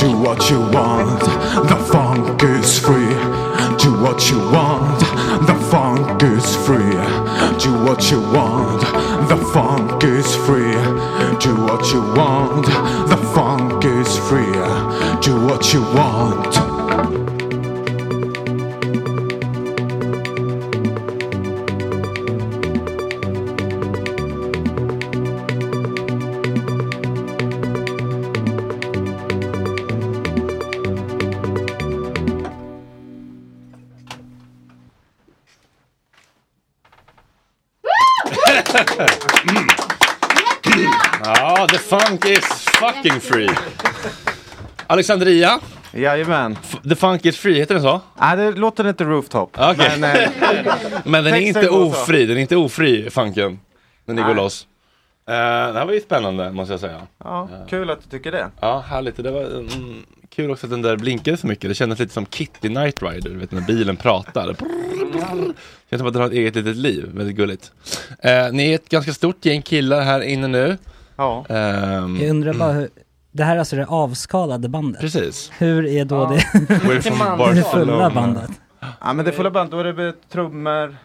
Do what you want, the funk is free. Do what you want, the funk is free. Do what you want, the funk is free. Do what you want, the funk is free. Do what you want. Mm. Ja, the funk is fucking free. Alexandria? Jajamän. The funk is free, heter den så? Nej, det låter inte rooftop. Okej. Men, eh, Men den är texten inte går så. ofri, den är inte ofri, funken. När ni går Nej. loss. Eh, det här var ju spännande, måste jag säga. Ja, kul att du tycker det. Ja, härligt. Det var mm, kul också att den där blinkade så mycket. Det kändes lite som Kitty Knight Rider, du vet när bilen pratar. Känns som att den har ett eget litet liv, väldigt gulligt. Eh, ni är ett ganska stort gäng killar här inne nu. Ehm, Ja. Mm. Jag undrar bara hur, det här är alltså det avskalade bandet? Precis. Hur är då det, We're from det fulla bandet? Ja, men det fulla bandet, då är det trummor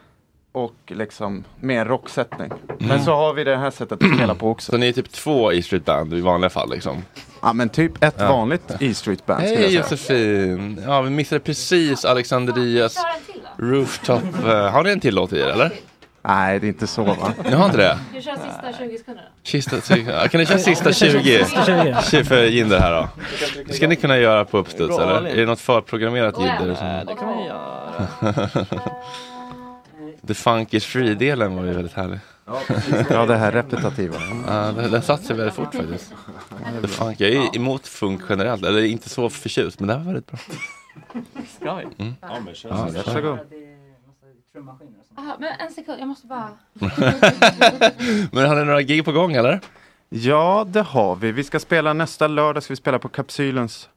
och liksom mer rocksättning. Men Mm. så har vi det här sättet att spela på också. Så ni är typ två E Street Band i vanliga fall liksom? Ja, men typ ett Ja. vanligt E Street Band skulle Hej jag säga. Josefin! Ja, vi missade precis Alexandrias rooftop. eh, Har ni en till låt i er eller? Nej, det är inte så va? Ni har inte det? Du kör sista 20 sekunderna. Kista, ja, kan ni köra sista Vi kör 20? sista 20. Tjej för Jinder här då. Det ska ni kunna göra på uppstuds Bra, eller? Malin. Är det något förprogrammerat ljud? eller Nej, så? det kan man ju göra. The Funk is Free-delen var ju väldigt härlig. Ja, det här repetitiva. Ja, den den satt sig väldigt fort faktiskt. The Funk, jag är emot funk generellt, eller inte så förtjust, men det här var väldigt bra. Skoj. Mm. Mm-hmm. Ja, men kör. Ja, varsågod. Aha, men en sekund, jag måste bara... Men har ni några gig på gång eller? Ja, det har vi. Vi ska spela nästa lördag, ska vi spela på Kapsylens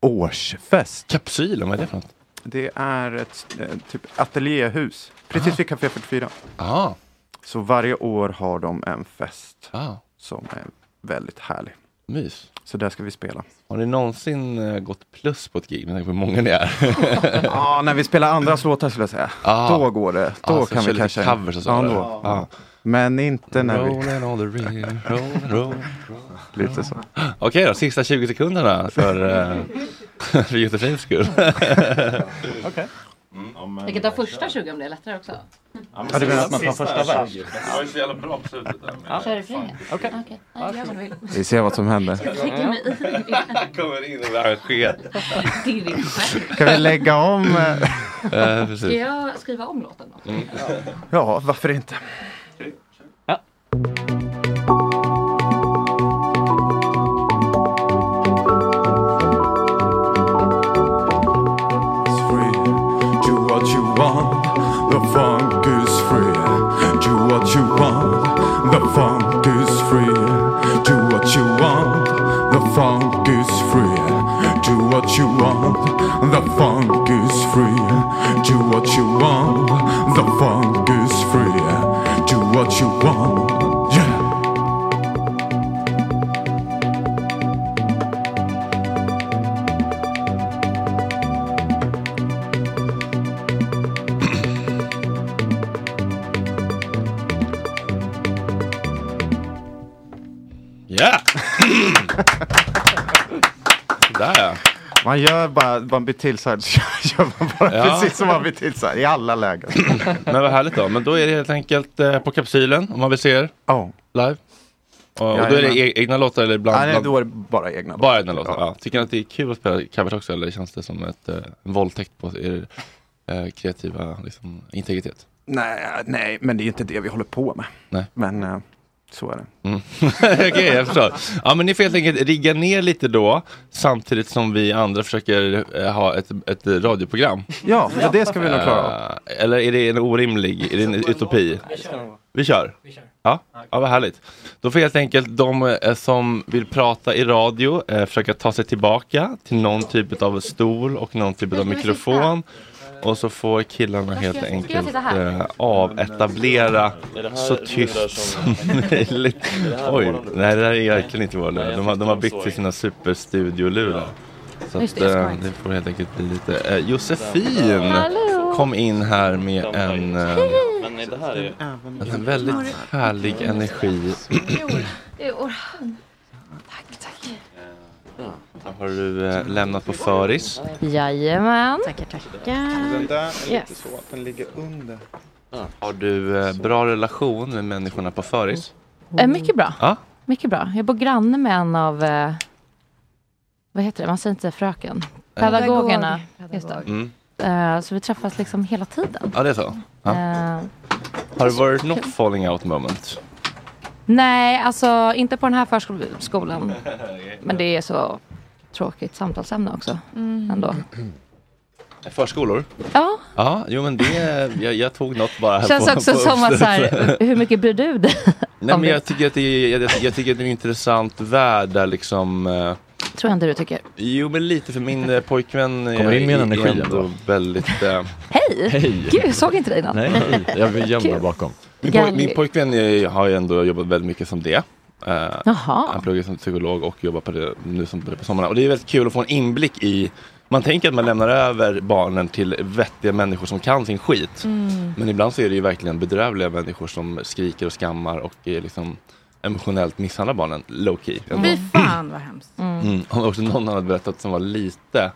årsfest. Kapsylen, vad är det för något? Det är ett eh, typ ateljéhus, Ah. precis vid Café 44. Aha. Så varje år har de en fest Ah. som är väldigt härlig. Mys. Så där ska vi spela. Har ni någonsin eh, gått plus på ett gig? Med tanke på hur många ni är. Ja, när vi spelar andras låtar skulle jag säga. Ah. Då går det. Då Ah, så kan kör vi lite kanske... covers och så, ja, eller? då. Ah. Men inte när vi... Rolling on the ring, roll, roll, Lite så. Okej då, sista 20 sekunderna för, eh, för Josefins skull. Okej. Vi kan ta första 20 om det är lättare också. Ja, det menar att man tar första vers. Det var ju så jävla bra på slutet där. Kör refrängen. Okej. Nej, gör vad du vill. Vi ser vad som händer. Jag lägger mig i. Kommer in och det här sker. Dirrig skärm. Kan vi lägga om? eh? Ska jag skriva om låten då? Ja, varför inte? Do what you want, the funk is free. Do what you want, the funk is free. Do what you want, the funk is free. Do what you want, the funk is free. Do what you want, the funk is free. Do what you want, yeah. Ja! Där ja. Man gör bara, man blir tillsagd så gör man bara Ja. precis som man blir tillsagd i alla lägen. Men vad härligt då. Men då är det helt enkelt eh, på kapsylen om man vill se er live. Och, och då är det Jajamän. e- egna låtar eller bland... Nej, nej, bland... då är det bara egna Bara egna låtar. Ja. Tycker ni att det är kul att spela covers också eller känns det som ett, eh, en våldtäkt på er eh, kreativa liksom, integritet? Nej, nej, men det är ju inte det vi håller på med. Nej. Men eh, så är det. Mm. Okej, jag förstår. Ja, men ni får helt enkelt rigga ner lite då, samtidigt som vi andra försöker eh, ha ett, ett radioprogram. Ja, men det ska vi nog klara av. Eh, Eller är det en orimlig, är det en utopi? Vi kör? Ja, ja vad härligt. Då får helt enkelt de eh, som vill prata i radio eh, försöka ta sig tillbaka till någon typ av stol och någon typ av mikrofon. Och så får killarna helt enkelt sitta här? eh, avetablera Är det här så lurar tyst som som- möjligt. Är det här Oj, våran lur? nej det där är verkligen inte vår Nej, lur. jag De har, de tänkte har de byggt såg till sina superstudiolurar. Så Just att, det, jag eh, skojar. det får helt enkelt bli lite... Eh, Josefin kom in här med en... Eh, Men det här är en väldigt härlig energi. Det är Orhan. Tack, tack. Har du eh, lämnat på föris? Jajamän. Tackar, tackar. Den där är lite Yes. så att den ligger under. Har du eh, bra relation med människorna på föris? Eh, mycket bra. Ja. Mycket bra. Jag bor granne med en av, eh, vad heter det, man säger inte fröken, pedagogerna. Just det. Mm. Eh, så vi träffas liksom hela tiden. Ja, det är så. Ja. Eh, Har det varit något falling out moment? nej, alltså inte på den här förskolan. Men det är så tråkigt samtalsämne också. Mm. Ändå. Förskolor? Ja. Ja, jo men det... Jag, jag tog något bara här Känns på, också på som att så här, uppstuds. hur mycket bryr du dig? Nej men om det? jag tycker att det är, jag, jag tycker att det är en intressant värld där liksom eh, Tror jag inte du tycker. Jo men lite för min eh, pojkvän eh, Kommer in med en är energi ändå ändå. väldigt eh, Hej! Hej. Gud, jag såg inte dig innan. Kul. Min, poj- Galli. min pojkvän är, har ju ändå jobbat väldigt mycket som det. Eh, Jaha. Han pluggar som psykolog och jobbar på det nu som på sommarna. Och det är väldigt kul att få en inblick i man tänker att man lämnar över barnen till vettiga människor som kan sin skit. Mm. Men ibland så är det ju verkligen bedrövliga människor som skriker och skammar och är liksom emotionellt misshandlar barnen low key. Fy fan vad hemskt. Mm. Och också någon hade berättat som var lite,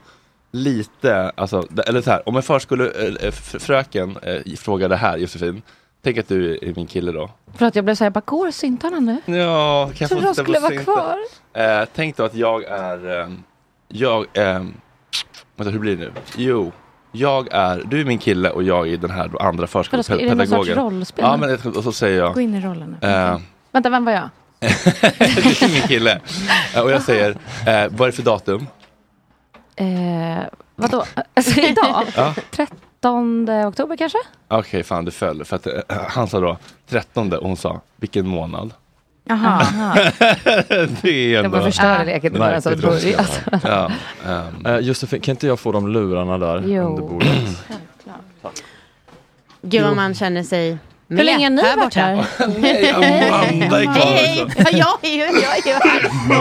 lite, alltså, det- eller så här, om en förskolefröken eh, frågar det här, Josefin, tänk att du är min kille då. För att jag blev så här, jag bara, går syntarna nu? Ja, kan jag Trodde få de titta på skulle vara synten? kvar. Eh, tänk då att jag är, eh, jag, eh, vänta hur blir det nu? Jo, jag är, du är min kille och jag är den här då andra Vadå, ska- är det någon förskolepedagogen. sorts rollspel? Ja, men jag- och så säger jag. Gå in i rollen nu. Eh, Vänta, vem var jag? det är min kille. Eh, Och jag säger, eh, vad är det för datum? Eh, vadå? Alltså, idag? Ja. 13 oktober kanske? eh, Okej, fan det föll. För att, eh, han sa då 13 och hon sa vilken månad? Jaha. det är Jag ändå... bara förstörde leken bara så att det börjar- alltså. Ja, Eh, Josefin, kan inte jag få de lurarna där Jo. under bordet? Gud vad man känner sig med Hur länge har ni här varit borta. här? Hej, Amanda är kvar hej! också. Ja, Jag är ju jag är ju Mm.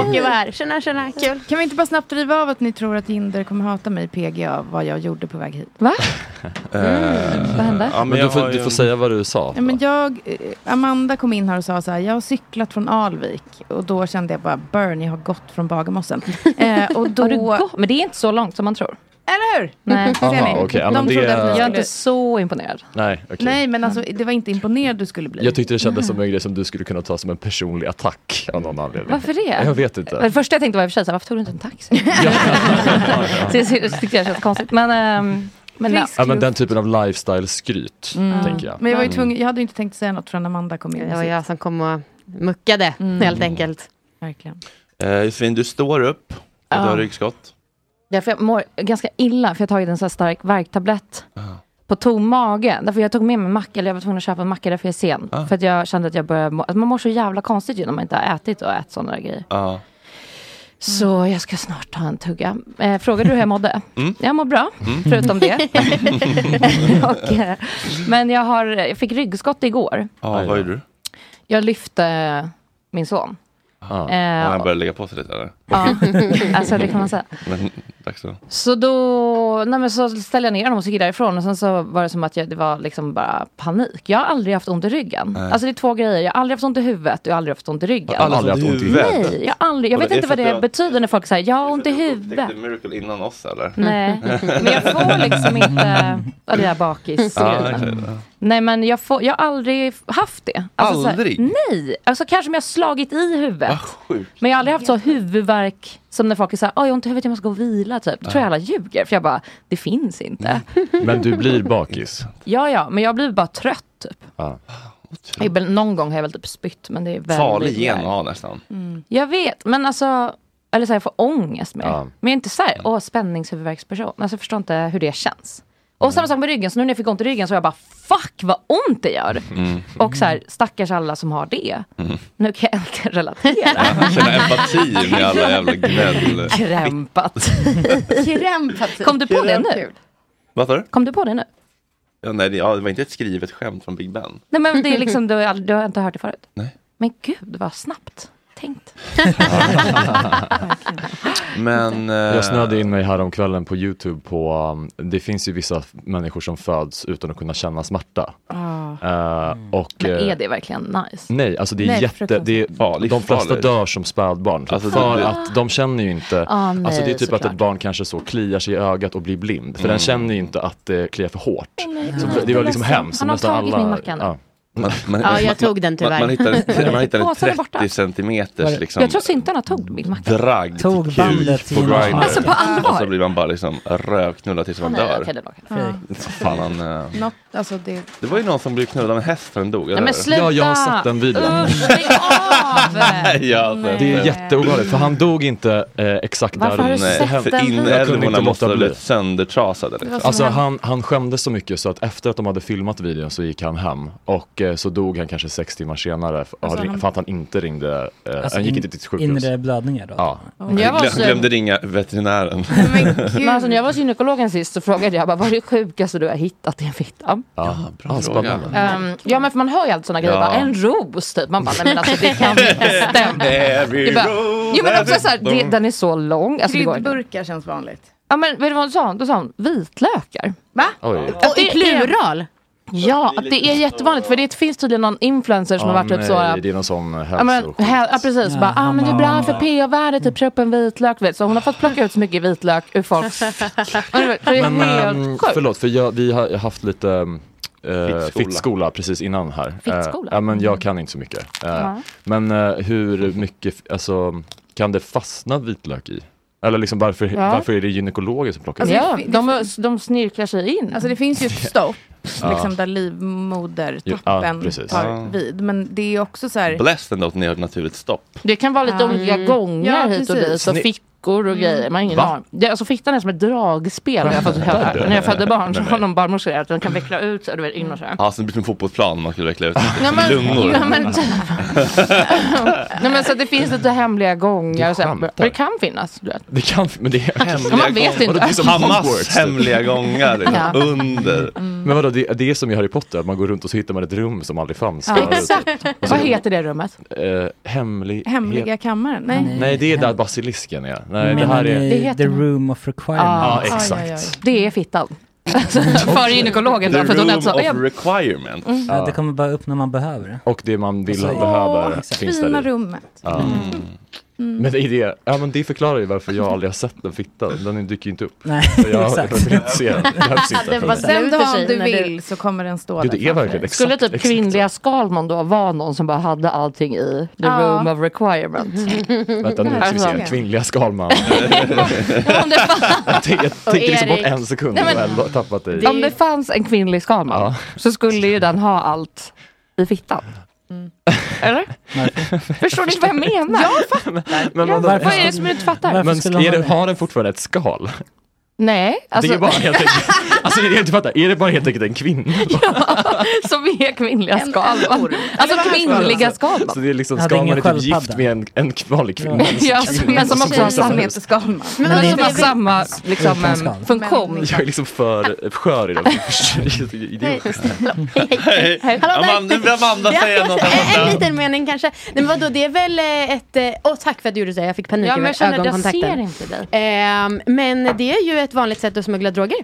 här. Åke var här. Tjena, tjena. Kul. Kan vi inte bara snabbt riva av att ni tror att Jinder kommer hata mig PG av vad jag gjorde på väg hit? Va? Eh, vad hände? Ja, men jag du, får, har ju du får en- säga vad du sa. Ja, men jag, eh, Amanda kom in här och sa så här, jag har cyklat från Alvik och då kände jag bara, burn, jag har gått från Bagarmossen. Eh, och då... Har du gått? Men det är inte så långt som man tror. Eller hur? Nej. Ser Aha, ni? okej. Ja, De men det- trodde att ni Jag är skulle... inte så imponerad. Nej, okej. Nej, men alltså, det var inte imponerad du skulle bli. Jag tyckte det kändes som en grej som du skulle kunna ta som en personlig attack av någon anledning. Varför det? Jag vet inte. Det första jag tänkte var i och för sig, så här, varför tog du inte en taxi? så jag så tyckte jag kändes konstigt. Men, ehm, men ja. Ja, men den typen av lifestyle-skryt, Mm. tänker jag. Men jag var ju Mm. tvungen, jag hade ju inte tänkt säga något förrän Amanda kom in. Mm. Det var jag som kom och muckade helt enkelt. Verkligen. Eh, Josefin, du står upp och du Ja. har ryggskott. Därför jag mår ganska illa, för jag har tagit en så här stark värktablett på tom mage. Därför jag tog med mig en macka, eller jag var tvungen att köpa en macka därför jag är sen. Ah. För att jag kände att jag började må, att man mår så jävla konstigt ju när man inte har ätit och ätit sådana grejer. Ja. Så jag ska snart ta en tugga. Eh, frågade du hur jag mådde? Mm. Jag mår bra, Mm. förutom det. och, eh, men jag, har, jag fick ryggskott igår. Ja, vad gjorde du? Jag lyfte min son. Ah. Eh, har han börjat lägga på sig lite eller? Ja, alltså det kan man säga. Men, dags då. Så då nej men så ställde jag ner honom och så gick jag därifrån. Och sen så var det som att jag, det var liksom bara panik. Jag har aldrig haft ont i ryggen. Nej. Alltså det är två grejer. Jag har aldrig haft ont i huvudet och jag har aldrig haft ont i ryggen. Har du aldrig haft ont i huvudet? Nej, jag, har aldrig, jag Och det vet är inte för vad det att jag- betyder när folk säger jag har ont i huvudet. Tänkte Miracle innan oss eller? Nej, men jag får liksom inte... Ja, det där bakis Ja, exakt, ja. Nej, men jag, får, jag har aldrig haft det. Alltså, så här- Aldrig? nej, alltså kanske om jag har slagit i huvudet. sjukt. Men jag har aldrig haft så huvudvärk som när folk är så här, "Oj, jag har ont i huvudet, jag måste gå och vila. Typ. Då tror jag alla ljuger, för jag bara, det finns inte. Mm. Men du blir bakis. Ja, ja, men jag blir bara trött. Typ. Ja. Ibland- Någon gång har jag väl typ spytt, men det är väldigt... Mm. Farlig gen att ha nästan. Jag vet, men alltså... Eller så här, jag får ångest mer. Ja. Mm. Men jag är inte så här, åh, spänningshuvudvärksperson. Alltså, jag förstår inte hur det känns. Mm. Och samma sak med ryggen, så nu när jag fick ont i ryggen så var jag bara, fuck vad ont det gör. Mm. Och så här, stackars alla som har det. Mm. Nu kan jag inte relatera. Känna empati med alla jävla gnäll. Krämpat. Kom du på det nu? Vad sa du? Kom du på det nu? Ja, nej, det, ja, det var inte ett skrivet skämt från Big Ben. Nej men det är liksom, du, har ald- du har inte hört det förut. Nej. Men gud vad snabbt tänkt. Men, eh, Jag snöade in mig häromkvällen på YouTube på, um, det finns ju vissa f- människor som föds utan att kunna känna smärta. Ah. Eh, och, Men är eh, det verkligen nice? Nej, alltså det är Nej, jätte, det är, de flesta farligt. dör som spädbarn. Alltså, för det- att de känner ju inte, Ah, nej, alltså det är typ att såklart. ett barn kanske så kliar sig i ögat och blir blind. För Mm. den känner ju inte att det kliar för hårt. nej, så nej, det var det är liksom ledsamt. hemskt. Han har Nästan tagit min macka nu. ja. man, man, Ja, jag tog den tyvärr. Man, man hittade, man hittade en Påsen är borta. 30 centimeters liksom, Jag tror syntarna tog min macka. dragg till Tog bandet kuk på genom Grindr. Alltså, på allvar? Och så blir man bara liksom rövknullad tills man nej, dör. okej, det var okej. Ja. Fan, han, eh, Något, alltså det... det var ju någon som blev knullad av en häst för den dog. eller Nej men hur? sluta! Usch, lägg av! Ja, alltså, Det är jätteovanligt för han dog inte eh, exakt Varför där har du och sett då. den Jag kunde videon? inte Inälvorna låta måste ha bli. blivit söndertrasade. Det var Liksom. som Alltså hände. han, han skämdes så mycket så att efter att de hade filmat videon så gick han hem och eh, så dog han kanske sex timmar senare för, Alltså, han, han- för att han inte ringde, eh, Alltså, han gick in- inte till sitt sjukhus. inre blödningar då? Ja. Men Mm. jag var Glöm, så- glömde ringa veterinären. Men alltså, när jag var hos gynekologen sist så frågade jag bara, vad är det sjukaste du har hittat i en fitta? Ja, bra ah, fråga. spännande. Ehm, ja men för man hör ju alltid sådana grejer, Ja. bara, en ros typ. Man bara, nej men alltså det kan inte stämma. Det Every är bara, road jo men också has såhär, its det, own- den är så lång. Alltså, det går inte. Kryddburkar känns vanligt. Ja men vet du vad hon sa? Då sa hon vitlökar. Va? Oj. Och i plural? Ja, att det är jättevanligt för det finns tydligen någon influencer som Ja, har varit typ så. nej, äh, Det är någon sån Ja, men, hälsosjuk. he- ja precis, bara, ah, men det är bra för ja. pH-värdet, typ kör upp en vitlök. du Vet. Så hon har fått plocka ut så mycket vitlök ur folks Och det var- det är Men helt ehm, sjukt. förlåt, för jag, vi har haft lite ehm, eh, Fittskola. fittskola precis innan här. Eh, Fittskola? Mm. Ja, men jag kan inte så mycket. Eh, Ja. Men eh, hur mycket, f- alltså kan det fastna vitlök i? Eller liksom varför, Ja. Alltså, varför är det gynekologer som plockar ut? ja, de, de snirklar sig in. Alltså det finns ju ett stopp, Ja. liksom där livmodertappen Ja, precis. tar Ja. vid. Men det är ju också så här... Bless ändå att ni har ett naturligt stopp. Det kan vara lite Ja. olika Mm. gånger Ja, hit och precis. dit. Och Sni- dockor och grejer. Man har ingen Va? aning. Det- Alltså fittan är som ett dragspel har jag fått höra. Skämtar du? När jag födde barn så Nej, har nej. någon barnmorska sagt att den kan veckla ut sig, du vet, in och så här. Ja, så det blir som en fotbollsplan man skulle veckla ut Ja, men- lungor. ja, men typ. Nej men så att det finns lite hemliga gångar och så här. Men det kan finnas, du vet. Det kan, men det är Ja, man vet inte. Vadå, det är som Hamas Hogwarts. typ. hemliga gångar, liksom, Ja. under. Mm. Men vadå, det, det är som i Harry Potter, att man går runt och så hittar man ett rum som aldrig fanns. Ja, förut. exakt. Och så- Vad heter det rummet? Eh, hemlig... Hemliga kammaren? Nej. he- Nej, det är där basilisken är. Nej, det Menar här ni är... The Room Ah, of Ja, Requirements? exakt. Det är fittan. För gynekologen. då, för att hon lät så- Ja, requirement. Mm. Ja, det kommer bara upp när man behöver det. Alltså, Och det man vill Och så- och behöver Åh, finns där Fina i. rummet. Ja. Mm. Men det, är det, ja, men det förklarar ju varför jag aldrig har sett den fittan. Den dyker ju inte upp. Nej, För jag, exakt. Jag vill inte se den. Det behövs inte för mig. Den dagen du när du- vill så kommer den stå Jo, där det är framför verkligen dig. exakt. Skulle typ kvinnliga Skalman då vara någon som bara hade allting i the Ja. room of requirement? Vänta nu ska vi se, Alltså. kvinnliga Skalman. jag tänker Och tänker liksom bort Erik. en sekund Nej, och men- jag har tappat dig. Om det fanns en kvinnlig Skalman så skulle ju den ha allt i fittan. Eller? Förstår ni inte vad jag menar? Jag fattar. Men Ja, vadå? vad är det som du inte fattar? Men är det, har den fortfarande ett skal? Nej, alltså, Det är bara helt enkelt, alltså är det, jag fattar, är det bara helt enkelt en kvinna? som är kvinnliga Skalman. Alltså kvinnliga Skalman. Så det är liksom, Ja, det är Skalman ingen är typ gift sköldpadda. med en, en vanlig kvinna. Ja, alltså- men som också har samma, Skalman. men Men det är som har inte- samma liksom, Utan em, skal. funktion. Jag är liksom för skör idag. Idiotiskt. Hej. Amanda, vill Amanda säga något? En Amanda? liten mening kanske. Nej men vadå, det är väl eh, ett... eh, Åh tack för att du gjorde så, jag fick panik Ja, men över jag känner att jag ögonkontakten. ser inte dig. Ehm, men det är ju ett vanligt sätt att smuggla droger.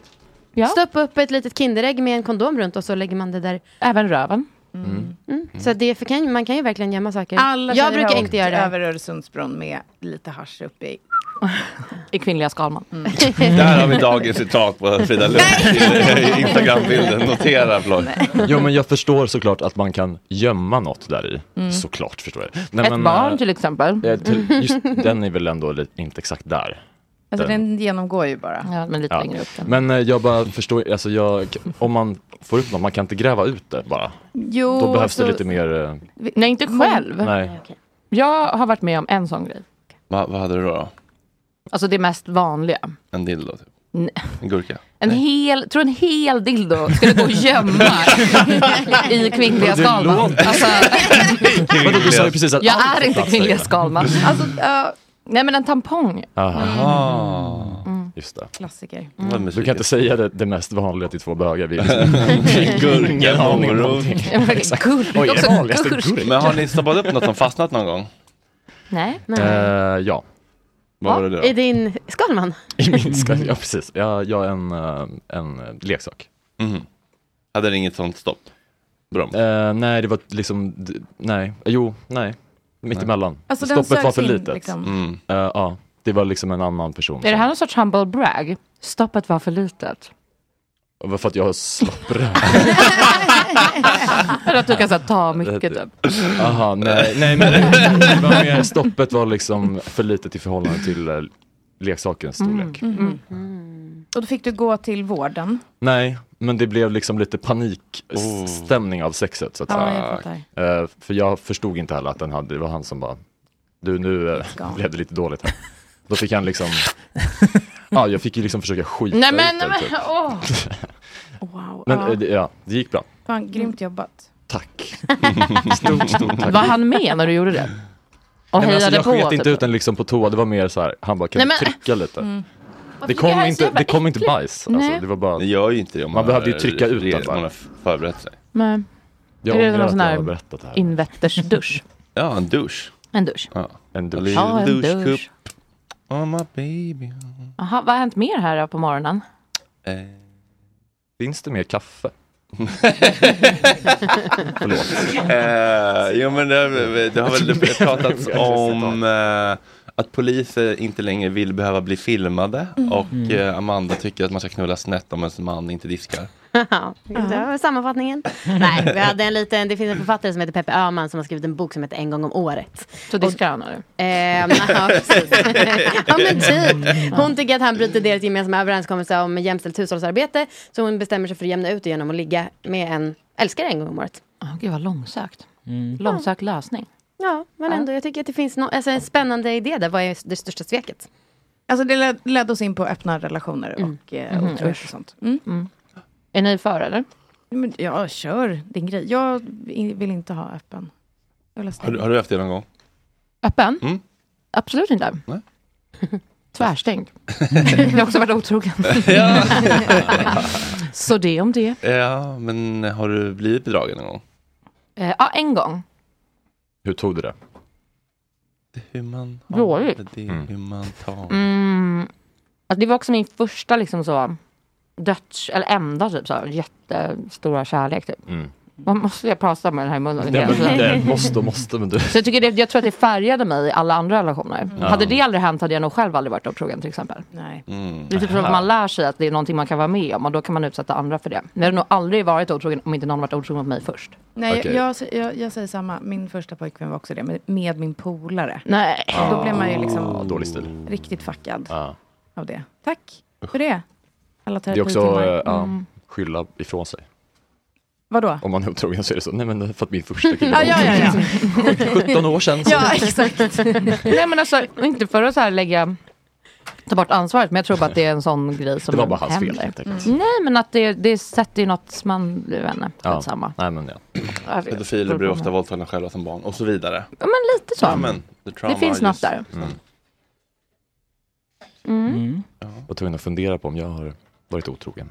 Ja. Stoppa upp ett litet Kinderägg med en kondom runt och så lägger man det där. Mm. Även röven. Mm. Så det för kan, man kan ju verkligen gömma saker. Alla jag tjejer har brukar åkt inte göra det. över Öresundsbron med lite hasch uppe i. I kvinnliga Skalman. Där har vi dagens citat på Frida Lund i Instagram-bilden. Notera Floyd. Jo men jag förstår såklart att man kan gömma något där i. Mm. Såklart förstår jag. Ett barn till exempel. eh, till- Just, den är väl ändå li- inte exakt där. Alltså Den- den genomgår ju bara. Ja, men lite Ja. Men eh, jag bara förstår, alltså jag, om man får upp något, man kan inte gräva ut det bara. Jo, Då behövs det alltså- lite mer, eh, Nej, inte själv. nej. Jag har varit med om en sån grej. Va, vad hade du då? Alltså det mest vanliga. En dildo? Typ. N- En gurka? Alltså, En hel, tror en hel dildo skulle gå och gömma i kvinnliga Det Skalman. låter- Alltså, Vadå, du sa ju precis att jag allt är inte plats kvinnliga där. Skalman. Alltså, ja, nej men en tampong. Mm. Mm. Aha, just det. Mm. Klassiker. Du kan inte säga det, det mest vanliga till två bögar. Vi Gurka, Ingen aning om morot. någonting. Exakt. Gurka Oj, också, vanligaste gurka. gurka. Men har ni stoppat upp något som fastnat någon gång? Nej. Eh, ja. Vad var det I din Skalman? I min skall, ja precis. Jag, jag en, eh, en eh, leksak. Mm-hmm. Hade det inget sånt stopp? Broms? Eh, nej, det var liksom, d- nej, jo, nej, mittemellan. Alltså, den Stoppet var sögs för in, litet. liksom. Mm. Eh, ja, det var liksom en annan person. Är det här någon sorts humble brag? Stoppet var för litet. som- För att jag slapp röra. Eller att du kan så här, ta mycket typ. Aha, nej, nej men det var mer, stoppet var liksom för litet i förhållande till eh, leksakens storlek. Mm. Och då fick du gå till vården. Nej, men det blev liksom lite panikstämning av sexet så att Ja, säga. jag Eh, För jag förstod inte heller att den hade, det var han som bara, du nu eh, blev det lite dåligt här. Då fick han liksom, ja jag fick ju liksom försöka skita Nej, men- ut den, nej, typ. men, åh. Wow. Wow, Men ja. eh, det- ja, det gick bra. Fan, grymt jobbat. Tack. Stort, stort tack. Var han med när du gjorde det? Och Nej, men hejade alltså, jag på? sket inte typ. ut den liksom på toa, det var mer så här, han bara kan Nej, du men- trycka lite? Mm. Det Varför kom, gör jag så inte, jävla det kom inte äckligt? bajs. Alltså, Nej. det var bara, Det gör ju inte det om man behövde ju trycka ut re- den bara. Man har f- förberett sig. Nej. Jag är det ångrar någon att sån jag här har berättat det här. invärtesdusch? Ja, en dusch. En dusch. Ja, en dusch. Ja, en dusch. Oh my baby. Jaha, vad har hänt mer här då på morgonen? Eh, Finns det mer kaffe? Eh, jo men det, det har väl det pratats om eh, att poliser inte längre vill behöva bli filmade Mm. och eh, Amanda tycker att man ska knulla snett om ens man inte diskar. Ja, det var sammanfattningen. Nej, vi hade en liten, det finns en författare som heter Peppe Öhman som har skrivit en bok som heter En gång om året. Så diskar han eller? Ehm, ja, precis. ja men Mm. typ. Hon tycker att han bryter deras gemensamma överenskommelse om jämställt hushållsarbete. Så hon bestämmer sig för att jämna ut det genom att ligga med en älskare en gång om året. Oh, gud vad långsökt. Mm. Långsökt lösning. Ja, men ändå jag tycker att det finns no- alltså, en spännande idé där. Vad är det största sveket? Alltså det led, ledde oss in på öppna relationer och eh, Mhm, otrohet usch. och sånt. Mm. Är ni för eller? Men, ja, kör din grej. Jag i- vill inte ha öppen. Jag vill Har, ha stängd. du- har du haft det någon gång? Öppen? Mm. Absolut inte. Nej. Tvärstängd. Jag har också varit otrogen. Ja. Så det om det. Ja, men har du blivit bedragen någon gång? Eh, Ja, en gång. Hur tog du det? Hur man Dåligt. det, hur man tar. Mm. Alltså, det var också min första liksom så döds, eller enda typ så här, jättestora kärlek typ. Mm. Man måste jag prata med den här i munnen. Nej, men, nej, måste och måste, men du. Mm. Så jag, tycker det, jag tror att det färgade mig i alla andra relationer. Ja. Hade det aldrig hänt hade jag nog själv aldrig varit otrogen till exempel. Nej. Mm. Mm. Det är typ som att man lär sig att det är någonting man kan vara med om och då kan man utsätta andra för det. Men jag har nog aldrig varit otrogen om inte någon varit otrogen mot mig först. Nej, jag, jag, jag säger samma. Min första pojkvän var också det, med, med min polare. Nej. Och Då blev man ju liksom Ah, Dålig stil. riktigt fuckad Ja. av det. Tack för det. Alla Det är också terapitimmar. eh, ja, Mm. skylla ifrån sig. Vadå? Om man är otrogen så är det så, nej men det är för att min första kille Ja, ja, ja, ja. 17 år sedan. så- Nej men alltså, inte för att så här lägga, ta bort ansvaret, men jag tror bara att det är en sån grej som Det var bara hans händer. fel, helt enkelt. Mm. Nej men att det, det sätter ju något man, jag vet inte, Ja. skitsamma. Nej, men ja. Ja, det- Pedofiler blir ofta våldtagna själva som barn och så vidare. Ja men lite så. Ja, men, the trauma det finns något just- där. Mm. Mm. var tvungen att fundera på om jag har varit otrogen.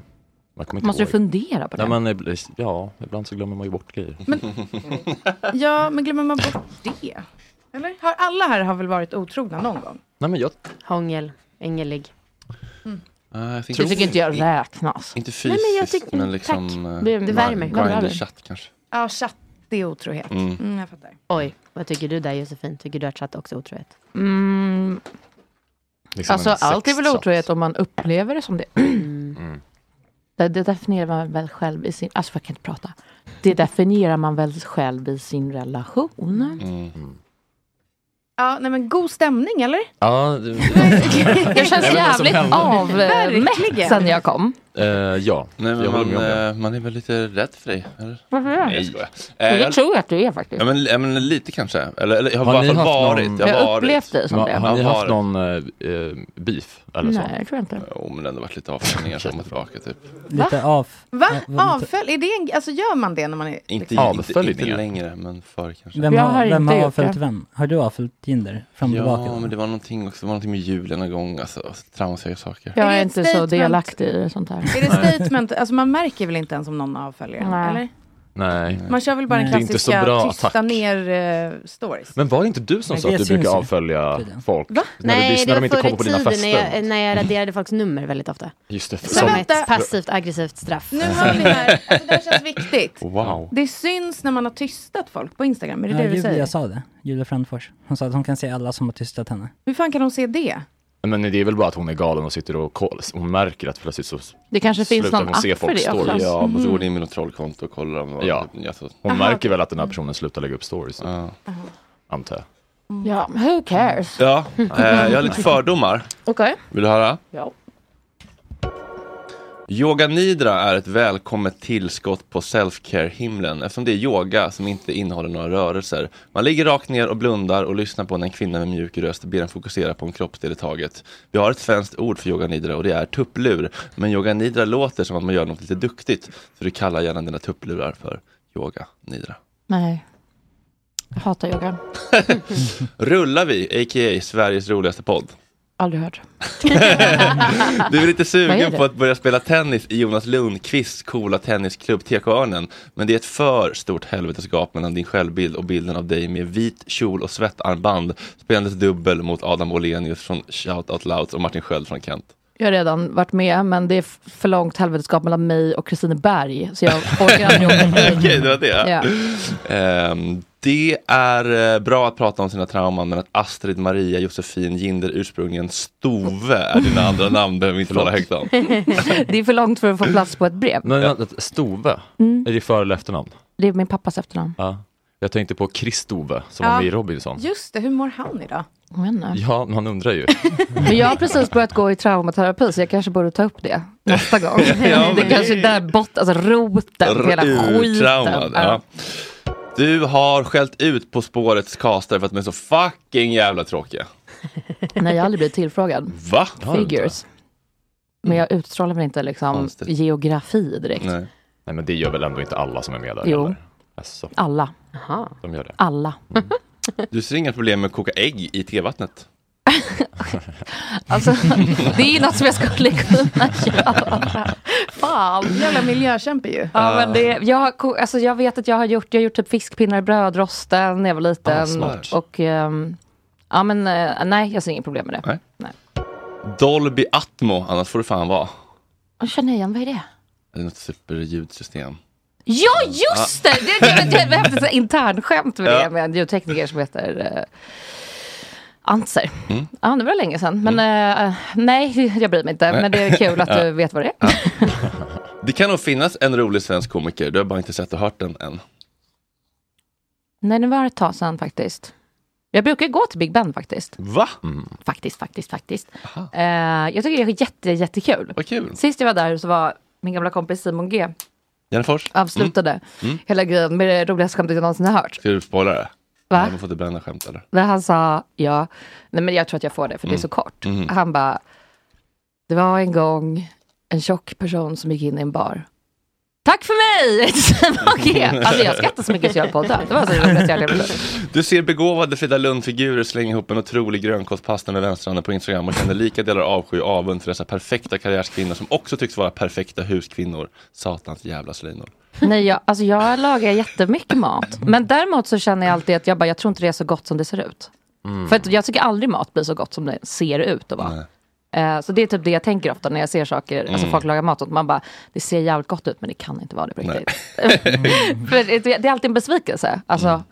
Jag kommer inte Måste du ihåg. fundera på det? Nej, men, ibl- ja, ibland så glömmer man ju bort grejer. Ja, men glömmer man bort det? Eller? Har, alla här har väl varit otrogna någon gång? Nej, men jag... Hångel, ängelig. Nej, jag Så tycker inte jag räknas. Inte fysiskt, Nej, men, men jag tycker- liksom... tack. eh, Det- det värmer. grind- Vad bra grind- det är. chatt kanske. Ja, chatt, det är otrohet. Mm. Mm, jag fattar. Oj, vad tycker du där Josefin? Tycker du att chatt också är otrohet? Mm. Liksom en alltså allt är väl sexchatt. otrohet om man upplever det som det. Mm. Mm. Det, det definierar man väl själv i sin... Alltså jag kan inte prata. Det definierar man väl själv i sin relation. Mm. Ja, nej men god stämning eller? Ja, det- Jag känns Nej, men vad som jävligt hände? avmätt Verkligen. sen jag kom. Eh, ja, Nej, men jag håller man, med om det. eh, man är väl lite rädd för dig? Eller? Varför är jag Nej, jag det? skojar. Men Eh, det jag- tror jag att du är faktiskt. Ja men, ja, men lite kanske. Eller, eller jag har, Har i alla ni fall haft varit. någon- Jag har Jag har varit. upplevt dig som Men det. Har ni Jag haft har- någon eh, eh, beef eller så? Nej, jag tror inte. Jo, men det har ändå varit lite avstängningar fram och tillbaka typ. Lite av. Va? Va? Avfölj? Är det en, alltså gör man det när man är... Inte, liksom- inte, inte längre, men förr kanske. Vem Jag har, har vem inte har gjort avföljt det. vem? Har du avföljt Jinder? Fram och tillbaka? Ja, men det var någonting också. Det var någonting med julen någon gång. Alltså, traumatiska saker. Jag Är är, det ett inte så statement? delaktig i sånt här. Är det statement? Alltså man märker väl inte ens om någon avföljer en, Nej. eller? Nej. Man kör väl bara den Det är inte så klassiska bra tysta attack. ner eh, stories. Men var det inte du som Nej, sa att det du brukar syns ju. avfölja folk? När, Nej, du, det när var de inte förr kommer i på dina tiden fester? när jag, när jag raderade folks nummer väldigt ofta. Just det. Som vänta. ett passivt aggressivt straff. Nu hör vi här, alltså det här känns viktigt. Wow. Det syns när man har tystat folk på Instagram, är det Ja, det du Julia säger? sa det. Julia Frändfors. Hon sa att hon kan se alla som har tystat henne. Hur fan kan de se det? Men det är väl bara att hon är galen och sitter och koll. Hon märker att plötsligt så Det kanske finns slutar någon hon se app för folks det också. stories. Ja, men så går det in med något trollkonto och kollar om alltså- Ja, hon Mm. Aha. märker väl att den här personen slutar lägga upp stories. typ. Antar jag. Ja, who cares? Ja, eh, jag har lite fördomar. Okej. Vill du höra? Ja. Yoga nidra är ett välkommet tillskott på self-care-himlen eftersom det är yoga som inte innehåller några rörelser. Man ligger rakt ner och blundar och lyssnar på när en kvinna med mjuk röst ber en fokusera på en kroppsdel i taget. Vi har ett svenskt ord för yoga nidra och det är tupplur. Men yoga nidra låter som att man gör något lite duktigt så du kallar gärna dina tupplurar för yoga nidra. Nej. Jag hatar yoga. Rullar vi, a.k.a. Sveriges roligaste podd. Aldrig hört. Du är lite Vad är sugen det? på att börja spela tennis i Jonas Lundqvists coola tennisklubb TK-örnen. Men det är ett för stort helvetesgap mellan din självbild och bilden av dig med vit kjol och svettarmband spelandes dubbel mot Adam Olenius från Shout Out Louds och Martin Sköld från Kent. Jag har redan varit med, men det är f- för långt helveteskap mellan mig och Kristine Berg. Så jag orkar aldrig åka Okej, dit. det var det. Ja. Ehm, det är eh, bra att prata om sina trauman, men att Astrid Maria Josefin Ginder ursprungligen Stove är dina andra namn behöver vi inte tala högt om. Det är för långt för att få plats på ett brev. Men vänta, Stove, Mm. är det för eller efternamn? Det är min pappas efternamn. Ja. Jag tänkte på Chris Stove som Ja. var med i Robinson. Just det, hur mår han idag? Jag vet inte. Ja, man undrar ju. Men jag har precis börjat gå i traumaterapi, så jag kanske borde ta upp det nästa gång. Ja, det men- kanske är där bort, alltså roten till hela Ur skiten. trauman, ja. Du har skällt ut På spårets castare för att de är så fucking jävla tråkiga. Nej, jag har aldrig blivit tillfrågad. Va? Har du inte? Figures. Men jag utstrålar väl inte liksom Konstigt. geografi direkt. Nej. Nej, men det gör väl ändå inte alla som är med där? Jo. eller? Alltså, Alla. de gör det. Alla. Du ser inga problem med att koka ägg i tevattnet? Alltså, det är ju något som jag skulle kunna göra. Fan. Jävla miljökämpe ju. Ja, men det, jag, har ko- alltså jag vet att jag har gjort, jag har gjort typ fiskpinnar i brödrosten när jag var Ah, liten. smart. och, ehm, ja, men, eh, nej, jag ser inget problem med det. Nej. Dolby Atmo, annars får du fan vara. Och känner igen, vad är det? Det är något superljudsystem. Ja, just det! det, det, det vi hade ett internskämt med Ja. det med en ljudtekniker som heter eh, Antzer. Mm. Ja, det var länge sedan. Men eh, nej, jag bryr mig inte. Men det är kul att Ja. du vet vad det är. Det kan nog finnas en rolig svensk komiker, du har bara inte sett och hört den än. Nej, det var ett tag sedan faktiskt. Jag brukar gå till Big Ben faktiskt. Mm. Va? Faktiskt, faktiskt, faktiskt. Eh, jag tycker det är jätte, jättekul. Sist jag var där så var min gamla kompis Simon G Jennifors? avslutade Mm. Mm. hela grejen med det roligaste skämtet jag någonsin har hört. Ska du spoila det? Va? Nej, man får inte bränna skämt eller? Där han sa, ja, nej men jag tror att jag får det för det är Mm. så kort. Mm. Han bara, det var en gång en tjock person som gick in i en bar. Tack för mig! Simon G. Alltså jag skrattade så mycket så jag höll på att dö. Det var så roligt jag hade blivit. Du ser begåvade Frida Lund-figurer slänga ihop en otrolig grönkålspasta med vänsterhanden på Instagram och känner lika delar avsky och avund för dessa perfekta karriärskvinnor som också tycks vara perfekta huskvinnor. Satans jävla slinor. Nej, jag, alltså jag lagar jättemycket mat. Men däremot så känner jag alltid att jag bara, jag tror inte det är så gott som det ser ut. Mm. För att jag tycker aldrig mat blir så gott som det ser ut att vara. Eh, Så det är typ det jag tänker ofta när jag ser saker, alltså Mm. folk lagar mat åt man bara, det ser jävligt gott ut men det kan inte vara det på riktigt. För det- det är alltid en besvikelse, alltså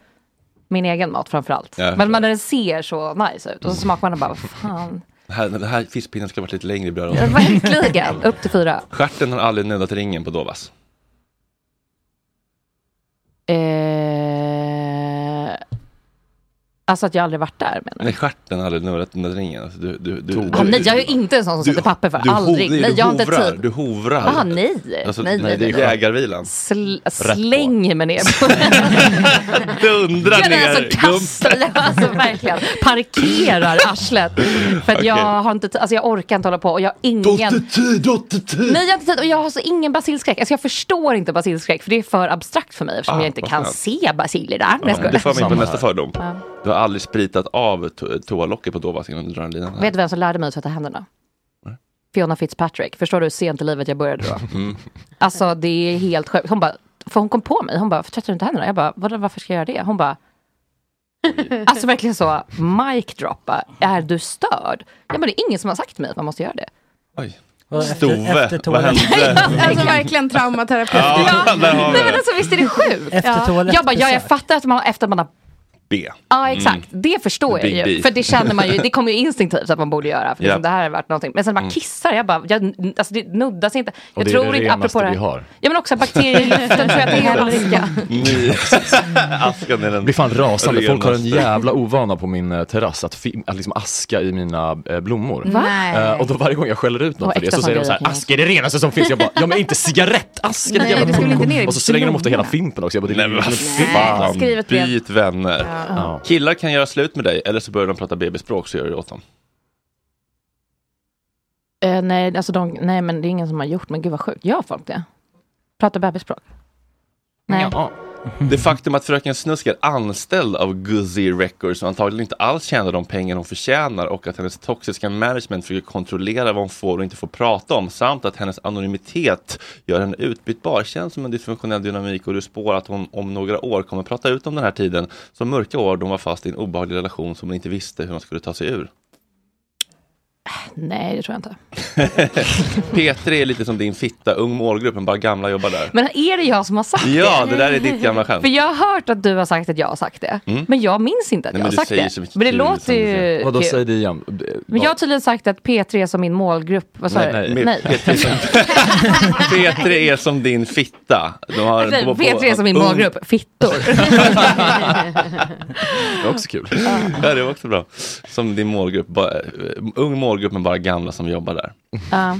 min egen mat framförallt. Mm. Ja, jag men när den ser så nice ut och så smakar man den bara, vad fan, Den här, den här fiskpinnen skulle ha varit lite längre i brödrosten. verkligen, upp till fyra. Stjärten har aldrig nuddat ringen på Dovas. Eh, alltså att jag aldrig varit där menar Nej, stjärten har aldrig nuddat nuddat ringen. Alltså, Du, du, du, du? Ah, nej, jag är ju inte en sån som sätter papper för, du aldrig. hov- nej, nej, du jag har inte hovrar, tid. Du hovrar. Ah, nej. Alltså, nej, nej, det är nej. jägarvilan. Sl- Rätt på. släng mig ner på Dundra Jag ner. alltså kastar, jag alltså verkligen parkerar arslet. För att jag Okej. har inte, t- alltså jag orkar inte hålla på och jag har ingen... tid, åter tid. Nej jag har inte tid och jag har så ingen basilskräck. Alltså jag förstår inte basilskräck för det är för abstrakt för mig eftersom Ah, jag inte vad kan skönt. se basiler där. Nej, jag Ja, skojar. det för mig in på nästa fördom. Ja. Du har aldrig spritat av to- toalocket på Dovas innan du drar en lina. Vet du vem som lärde mig att tvätta händerna? Fiona Fitzpatrick. Förstår du hur sent i livet jag började då? Mm. Alltså det är helt sjukt. Hon bara, för hon kom på mig. Hon bara, varför tvättar du inte händerna? Jag bara, vadå, varför ska jag göra det? Hon bara, alltså verkligen så, mic droppa. Är du störd? Jag bara, det är ingen som har sagt till mig att man måste göra det. Och efter- Stove, efter vad toaletten. hände? Alltså verkligen traumaterapeut. Ja, där har vi Nej men det. alltså visst är det sjukt? Efter toalettbesök. jag bara, ja jag fattar att man, efter att man har B. Ja, exakt. Det förstår Mm. Big jag ju. B. För det känner man ju, det kommer ju instinktivt att man borde göra. För Ja. liksom, det här har varit någonting. Men sen när man Mm. kissar, jag bara, jag, alltså det nuddas inte. Jag Och det är det inte, renaste apropå vi har. Ja men också bakterier i luften tror jag att det är olika. Ni- Askan är den Mm. blir fan rasande. Folk har en renaste. jävla ovana på min eh, terrass att, fi- att liksom aska i mina eh, blommor. Va? Nej. Eh, och då varje gång jag skäller ut Och något för det äkta så säger de så här, sandalierna. aska är det renaste som finns. Jag bara, ja men inte cigarettaska Nej, din jävla det skulle inte koko." ner i Och så slänger de ofta hela fimpen också. Jag bara, det Nej, men vad Nej, fan, skriv ett brev. byt vänner. Ja. Ja. Killar kan göra slut med dig eller så börjar de prata bebisspråk så gör du det åt dem. Eh, nej, alltså de, nej men det är ingen som har gjort, men gud vad sjukt. Gör folk det? Pratar bebisspråk? Nej. Det faktum att Fröken Snusk är anställd av Guzzy Records och antagligen inte alls tjänar de pengar hon förtjänar och att hennes toxiska management försöker kontrollera vad hon får och inte får prata om samt att hennes anonymitet gör henne utbytbar känns som en dysfunktionell dynamik och du spår att hon om några år kommer prata ut om den här tiden som mörka år då hon var fast i en obehaglig relation som hon inte visste hur hon skulle ta sig ur. nej, det tror jag inte. P3 är lite som din fitta, ung målgrupp, men bara gamla jobbar där. Men är det jag som har sagt det? Ja, det där är ditt gamla skämt. För jag har hört att du har sagt att jag har sagt det. Mm. Men jag minns inte att Nej, jag men har du sagt säger det. så mycket Men det kul låter ju Vadå, kul. säg det igen. Men jag har tydligen sagt att P3 är som min målgrupp. Vad sa du? P3 som- P3 är som din fitta. De har Nej, på- på- P3 är Alltså, som min ung- målgrupp. Fittor. Det var också kul. Ja, det var också bra. Som din målgrupp, bara, eh, ung målgrupp men bara gamla som jobbar där. Ja. Ja,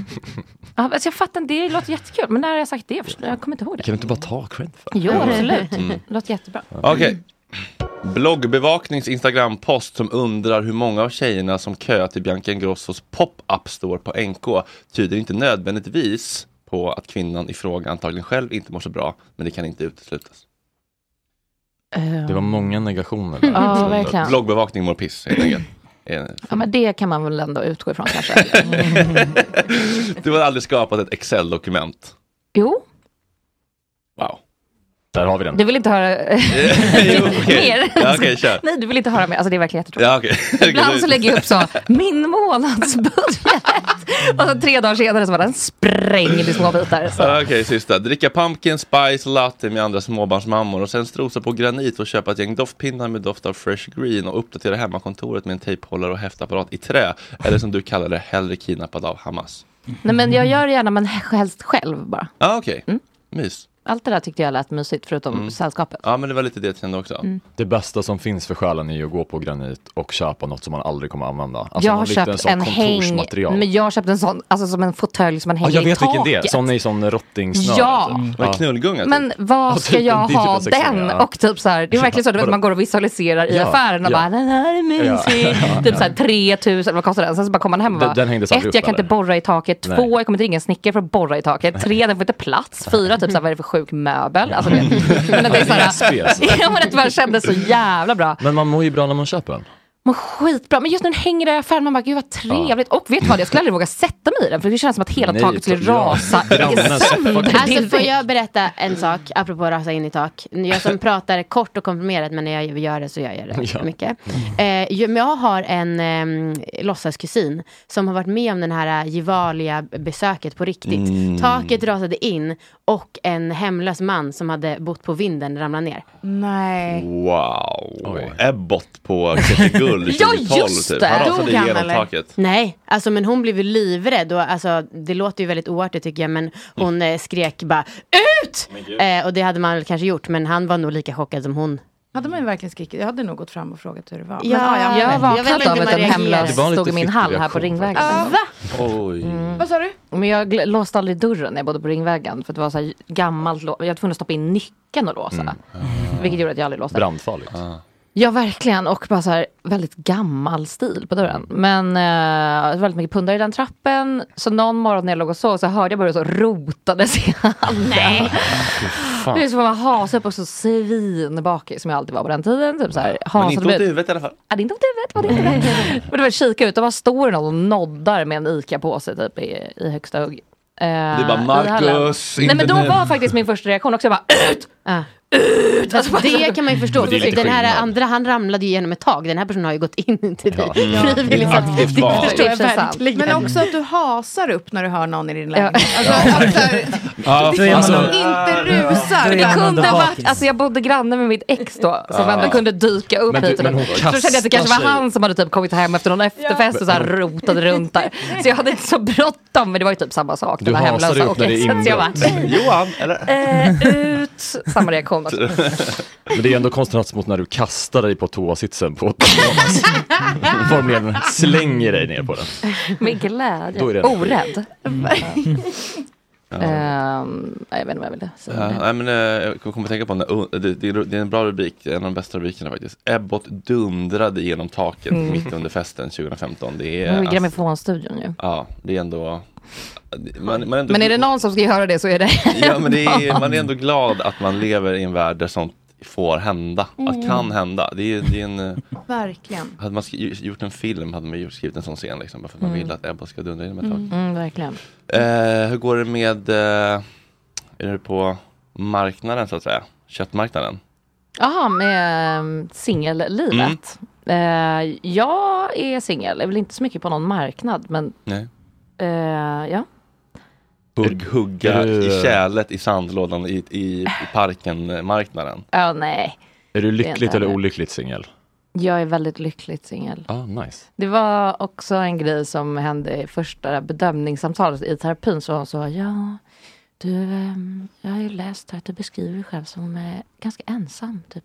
alltså jag fattar, inte, det låter jättekul. Men när har jag sagt det? Jag förstår- Jag kommer inte ihåg det. Kan du inte bara ta cred för Jo, absolut. Mm. Det låter jättebra. Okej. Bloggbevaknings Instagram-post som undrar hur många av tjejerna som köar till Bianca Ingrossos pop-up store på NK tyder inte nödvändigtvis på att kvinnan i fråga antagligen själv inte mår så bra, men det kan inte uteslutas. Eh, Det var många negationer. Mm. Mm. Ja, verkligen. Bloggbevakning mår piss helt enkelt. Eh, Ja, men det kan man väl ändå utgå ifrån kanske. Du har aldrig skapat ett Excel-dokument. Jo, Wow. Där har vi du vill inte höra jo, okej. mer. Ja, okej, kör. Nej, du vill inte höra mer. Alltså det är verkligen jättetråkigt. Ja, okej. Ibland så lägger jag upp så, min månadsbudget. Och så tre dagar senare så var den sprängd i små bitar. Så. Ah, Okej, sista. Dricka pumpkin spice latte med andra småbarnsmammor och sen strosa på granit och köpa ett gäng doftpinnar med doft av fresh green och uppdatera hemmakontoret med en tejphållare och häftapparat i trä. Eller som du kallar det, hellre kidnappad av Hamas. Nej, men jag gör det gärna, men helst själv bara. Ja, ah, okej. Mm. Mys. Allt det där tyckte jag lät mysigt, förutom sällskapet. Ja, men det var lite det jag kände också. Mm. Det bästa som finns för själen är att gå på granit och köpa något som man aldrig kommer använda. Alltså jag man har riktar köpt sån en, häng, kontorsmaterial. men jag har köpt en sån, alltså som en fåtölj som man Ja, hänger jag vet i vilken taket. det är, sån i sån alltså. rottingsnöre. Ja. Mm. Vad är knullgunga? Men vad typ. Ja, ska typ en jag ha digital sexuell, den? ja. Och typ så här, det är verkligen så du vet, Vadå? man går och visualiserar i Ja, affären och ja. bara den här är mysig. Ja, ja, typ ja. så här 3000, vad kostar den? Sen så bara kommer man hem och Den- bara, den hängdes aldrig ett, upp, jag kan eller? inte borra i taket. Nej. Två, jag kommer inte ringa en snickare för att borra i taket. Tre, den får inte plats. Fyra, typ så här, vad är det för sjuk möbel? Alltså, du vet. men att det är så Raspig, alltså. här, ja, men att det bara kändes så jävla bra. Men man mår ju bra när man köper den. Man skitbra, men just när den hänger där i affären, man bara gud vad trevligt. Och vet du vad, jag skulle aldrig våga sätta mig i den för det känns som att hela Nej, typ, taket skulle ja. rasa Grannen sönder. Alltså får jag berätta en sak apropå att rasa in i tak. Jag som pratar kort och komprimerat men när jag gör det så gör jag det Ja. mycket. Eh, jo, men jag har en ehm, låtsaskusin som har varit med om den här eh, Gevalia besöket på riktigt. Mm. Taket rasade in och en hemlös man som hade bott på vinden ramlade ner. Nej. Wow. Ebbot på Kettegull 2012. typ. Han rasade igenom taket. Nej, alltså, men hon blev ju livrädd. Och, alltså, det låter ju väldigt oartigt tycker jag, men hon Mm. eh, skrek bara ut! Eh, och det hade man väl kanske gjort, men han var nog lika chockad som hon. Hade man ju verkligen skrikit. Jag hade nog gått fram och frågat hur det var. Ja, jag men- vaknade Jag vet inte av hur att man en reagerar. hemlös Det var en stod lite i min hall här på fickreaktion Ringvägen. faktiskt. Oj. Vad sa du? Men jag gl- låste aldrig dörren när jag bodde på Ringvägen för att det var så här gammalt lå- Jag var tvungen att stoppa in nyckeln och låsa. Vilket gjorde att jag aldrig låste. Brandfarligt. Ja, verkligen. Och bara så här väldigt gammal stil på dörren. Men eh, det var väldigt mycket pundare i den trappen. Så någon morgon när jag låg och sov så hörde jag bara hur det så rotades i handen. Det är som att vara hasig och så svinbakig som jag alltid var på den tiden. Typ så här, Men hasad inte åt och blöt. huvudet i alla fall. Ja, det är inte åt huvudet. Var det inte det? Men det var kika ut och bara står någon och noddar med en ICA-påse typ i, i högsta hugg. Du Eh, bara, i hallen. "Marcus, Nej inte men då nu." var faktiskt min första reaktion också, jag bara ut! Ut! Alltså, bara- Det kan man ju förstå. Men det är för lite Den här skillnad. andra, han ramlade ju genom ett tag. Den här personen har ju gått in till dig Ja. frivilligt. Det är aktivt Det val. förstår jag Det är sant. verkligen. Men också att du hasar upp när du hör någon i din lägenhet. Alltså, att så här, Ja, Det är alltså, man- inte rusar. Det Det kunde ha varit, varit... alltså jag bodde granne med mitt ex då som Ja. ändå kunde dyka upp Ah. Men du- hit och men hon dit. Så kände jag att det kanske kastar sig. var han som hade typ kommit hem efter någon efterfest och så här Men- rotade runt där. Så jag hade inte så bråttom men det var ju typ samma sak. Du den här hasade hemlösa upp när det är och exet. Så jag bara, Johan, eller? eh, ut! Samma reaktion också. Men det är ändå konstigt mot när du kastar dig på toasitsen på Formligen slänger dig ner på den. Med Då är glädje. det energi. Orädd. Ja. Ehm, nej, jag vet inte vad jag ville säga. Ja, nej, men, eh, jag kommer att tänka på den där, un- det, det, är ro- det är en bra rubrik, en av de bästa rubrikerna faktiskt. Ebbot dundrade genom taket Mm. mitt under festen 2015. Det Nu är, är ass- grammofonstudion ju. ja, det är ändå... Man, man ändå Men är det någon som ska höra det så är det ja, men det är, man är ändå glad att man lever i en värld där sånt får hända, att Mm. kan hända. Det är, det är en, eh, Verkligen. hade man skri- gjort en film hade man ju skrivit en sån scen liksom, bara för att man Mm. vill att Ebbot ska dundra genom ett tak. Mm, mm, verkligen. Eh, hur går det med, eh, är det på marknaden så att säga? Köttmarknaden? Jaha, med ehm, Mm. singellivet. Eh, jag är singel, är väl inte så mycket på någon marknad men Nej. eh, ja. Hugg, hugga är du- i tjälet i sandlådan i, i, i parken, eh, marknaden. Ja, nej, Är du Det är lyckligt inte eller det. olyckligt singel? jag är väldigt lyckligt singel. Ah, nice. Det var också en grej som hände i första bedömningssamtalet i terapin. Så hon sa, ja, du, ehm, jag har ju läst här att du beskriver dig själv som eh, ganska ensam. Typ.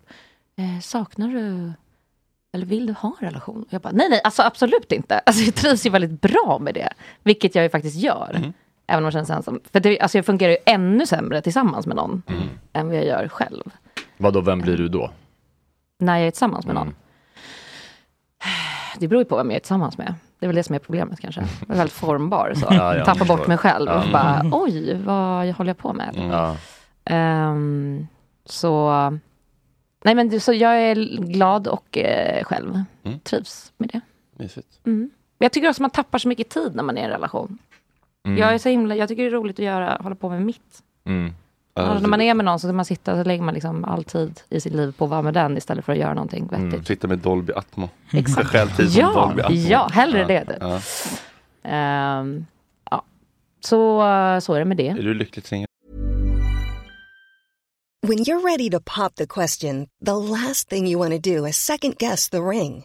Eh, saknar du, eller vill du ha en relation? Och jag bara, nej, nej, alltså absolut inte. Alltså, jag trivs ju väldigt bra med det, vilket jag ju faktiskt gör. Även om jag känner mig ensam. För det, alltså, jag fungerar ju Mm. ännu sämre tillsammans med någon än vad jag gör själv. Vadå, vem blir du då? när jag är tillsammans med någon. Mm. Det beror ju på vem jag är tillsammans med. Det är väl det som är problemet kanske. Jag är väldigt formbar så. Ja, ja, jag Tappar bort förstår. mig själv Ja. Mm. och bara, oj, vad jag håller jag på med? Ehm, så, nej men det- så jag är glad och eh, själv. Mm. Trivs med det. Mysigt. Mm. Men Jag tycker också man tappar så mycket tid när man är i en relation. Mm. Jag, är så himla, jag tycker det är roligt att göra, hålla på med mitt. Mm. Alltså, när man är med någon så kan man sitta och så lägger man liksom all tid i sitt liv på att vara med den istället för att göra någonting vettigt. Mm, sitta med Dolby Atmo. Exakt. Stjäl tid från Ja, Dolby Atmo. ja, hellre det, det. Ja. Ehm, ja. Så, eh, så är det med det. Är du lyckligt singel? When you're ready to pop the question, the last thing you want to do is second guess the ring.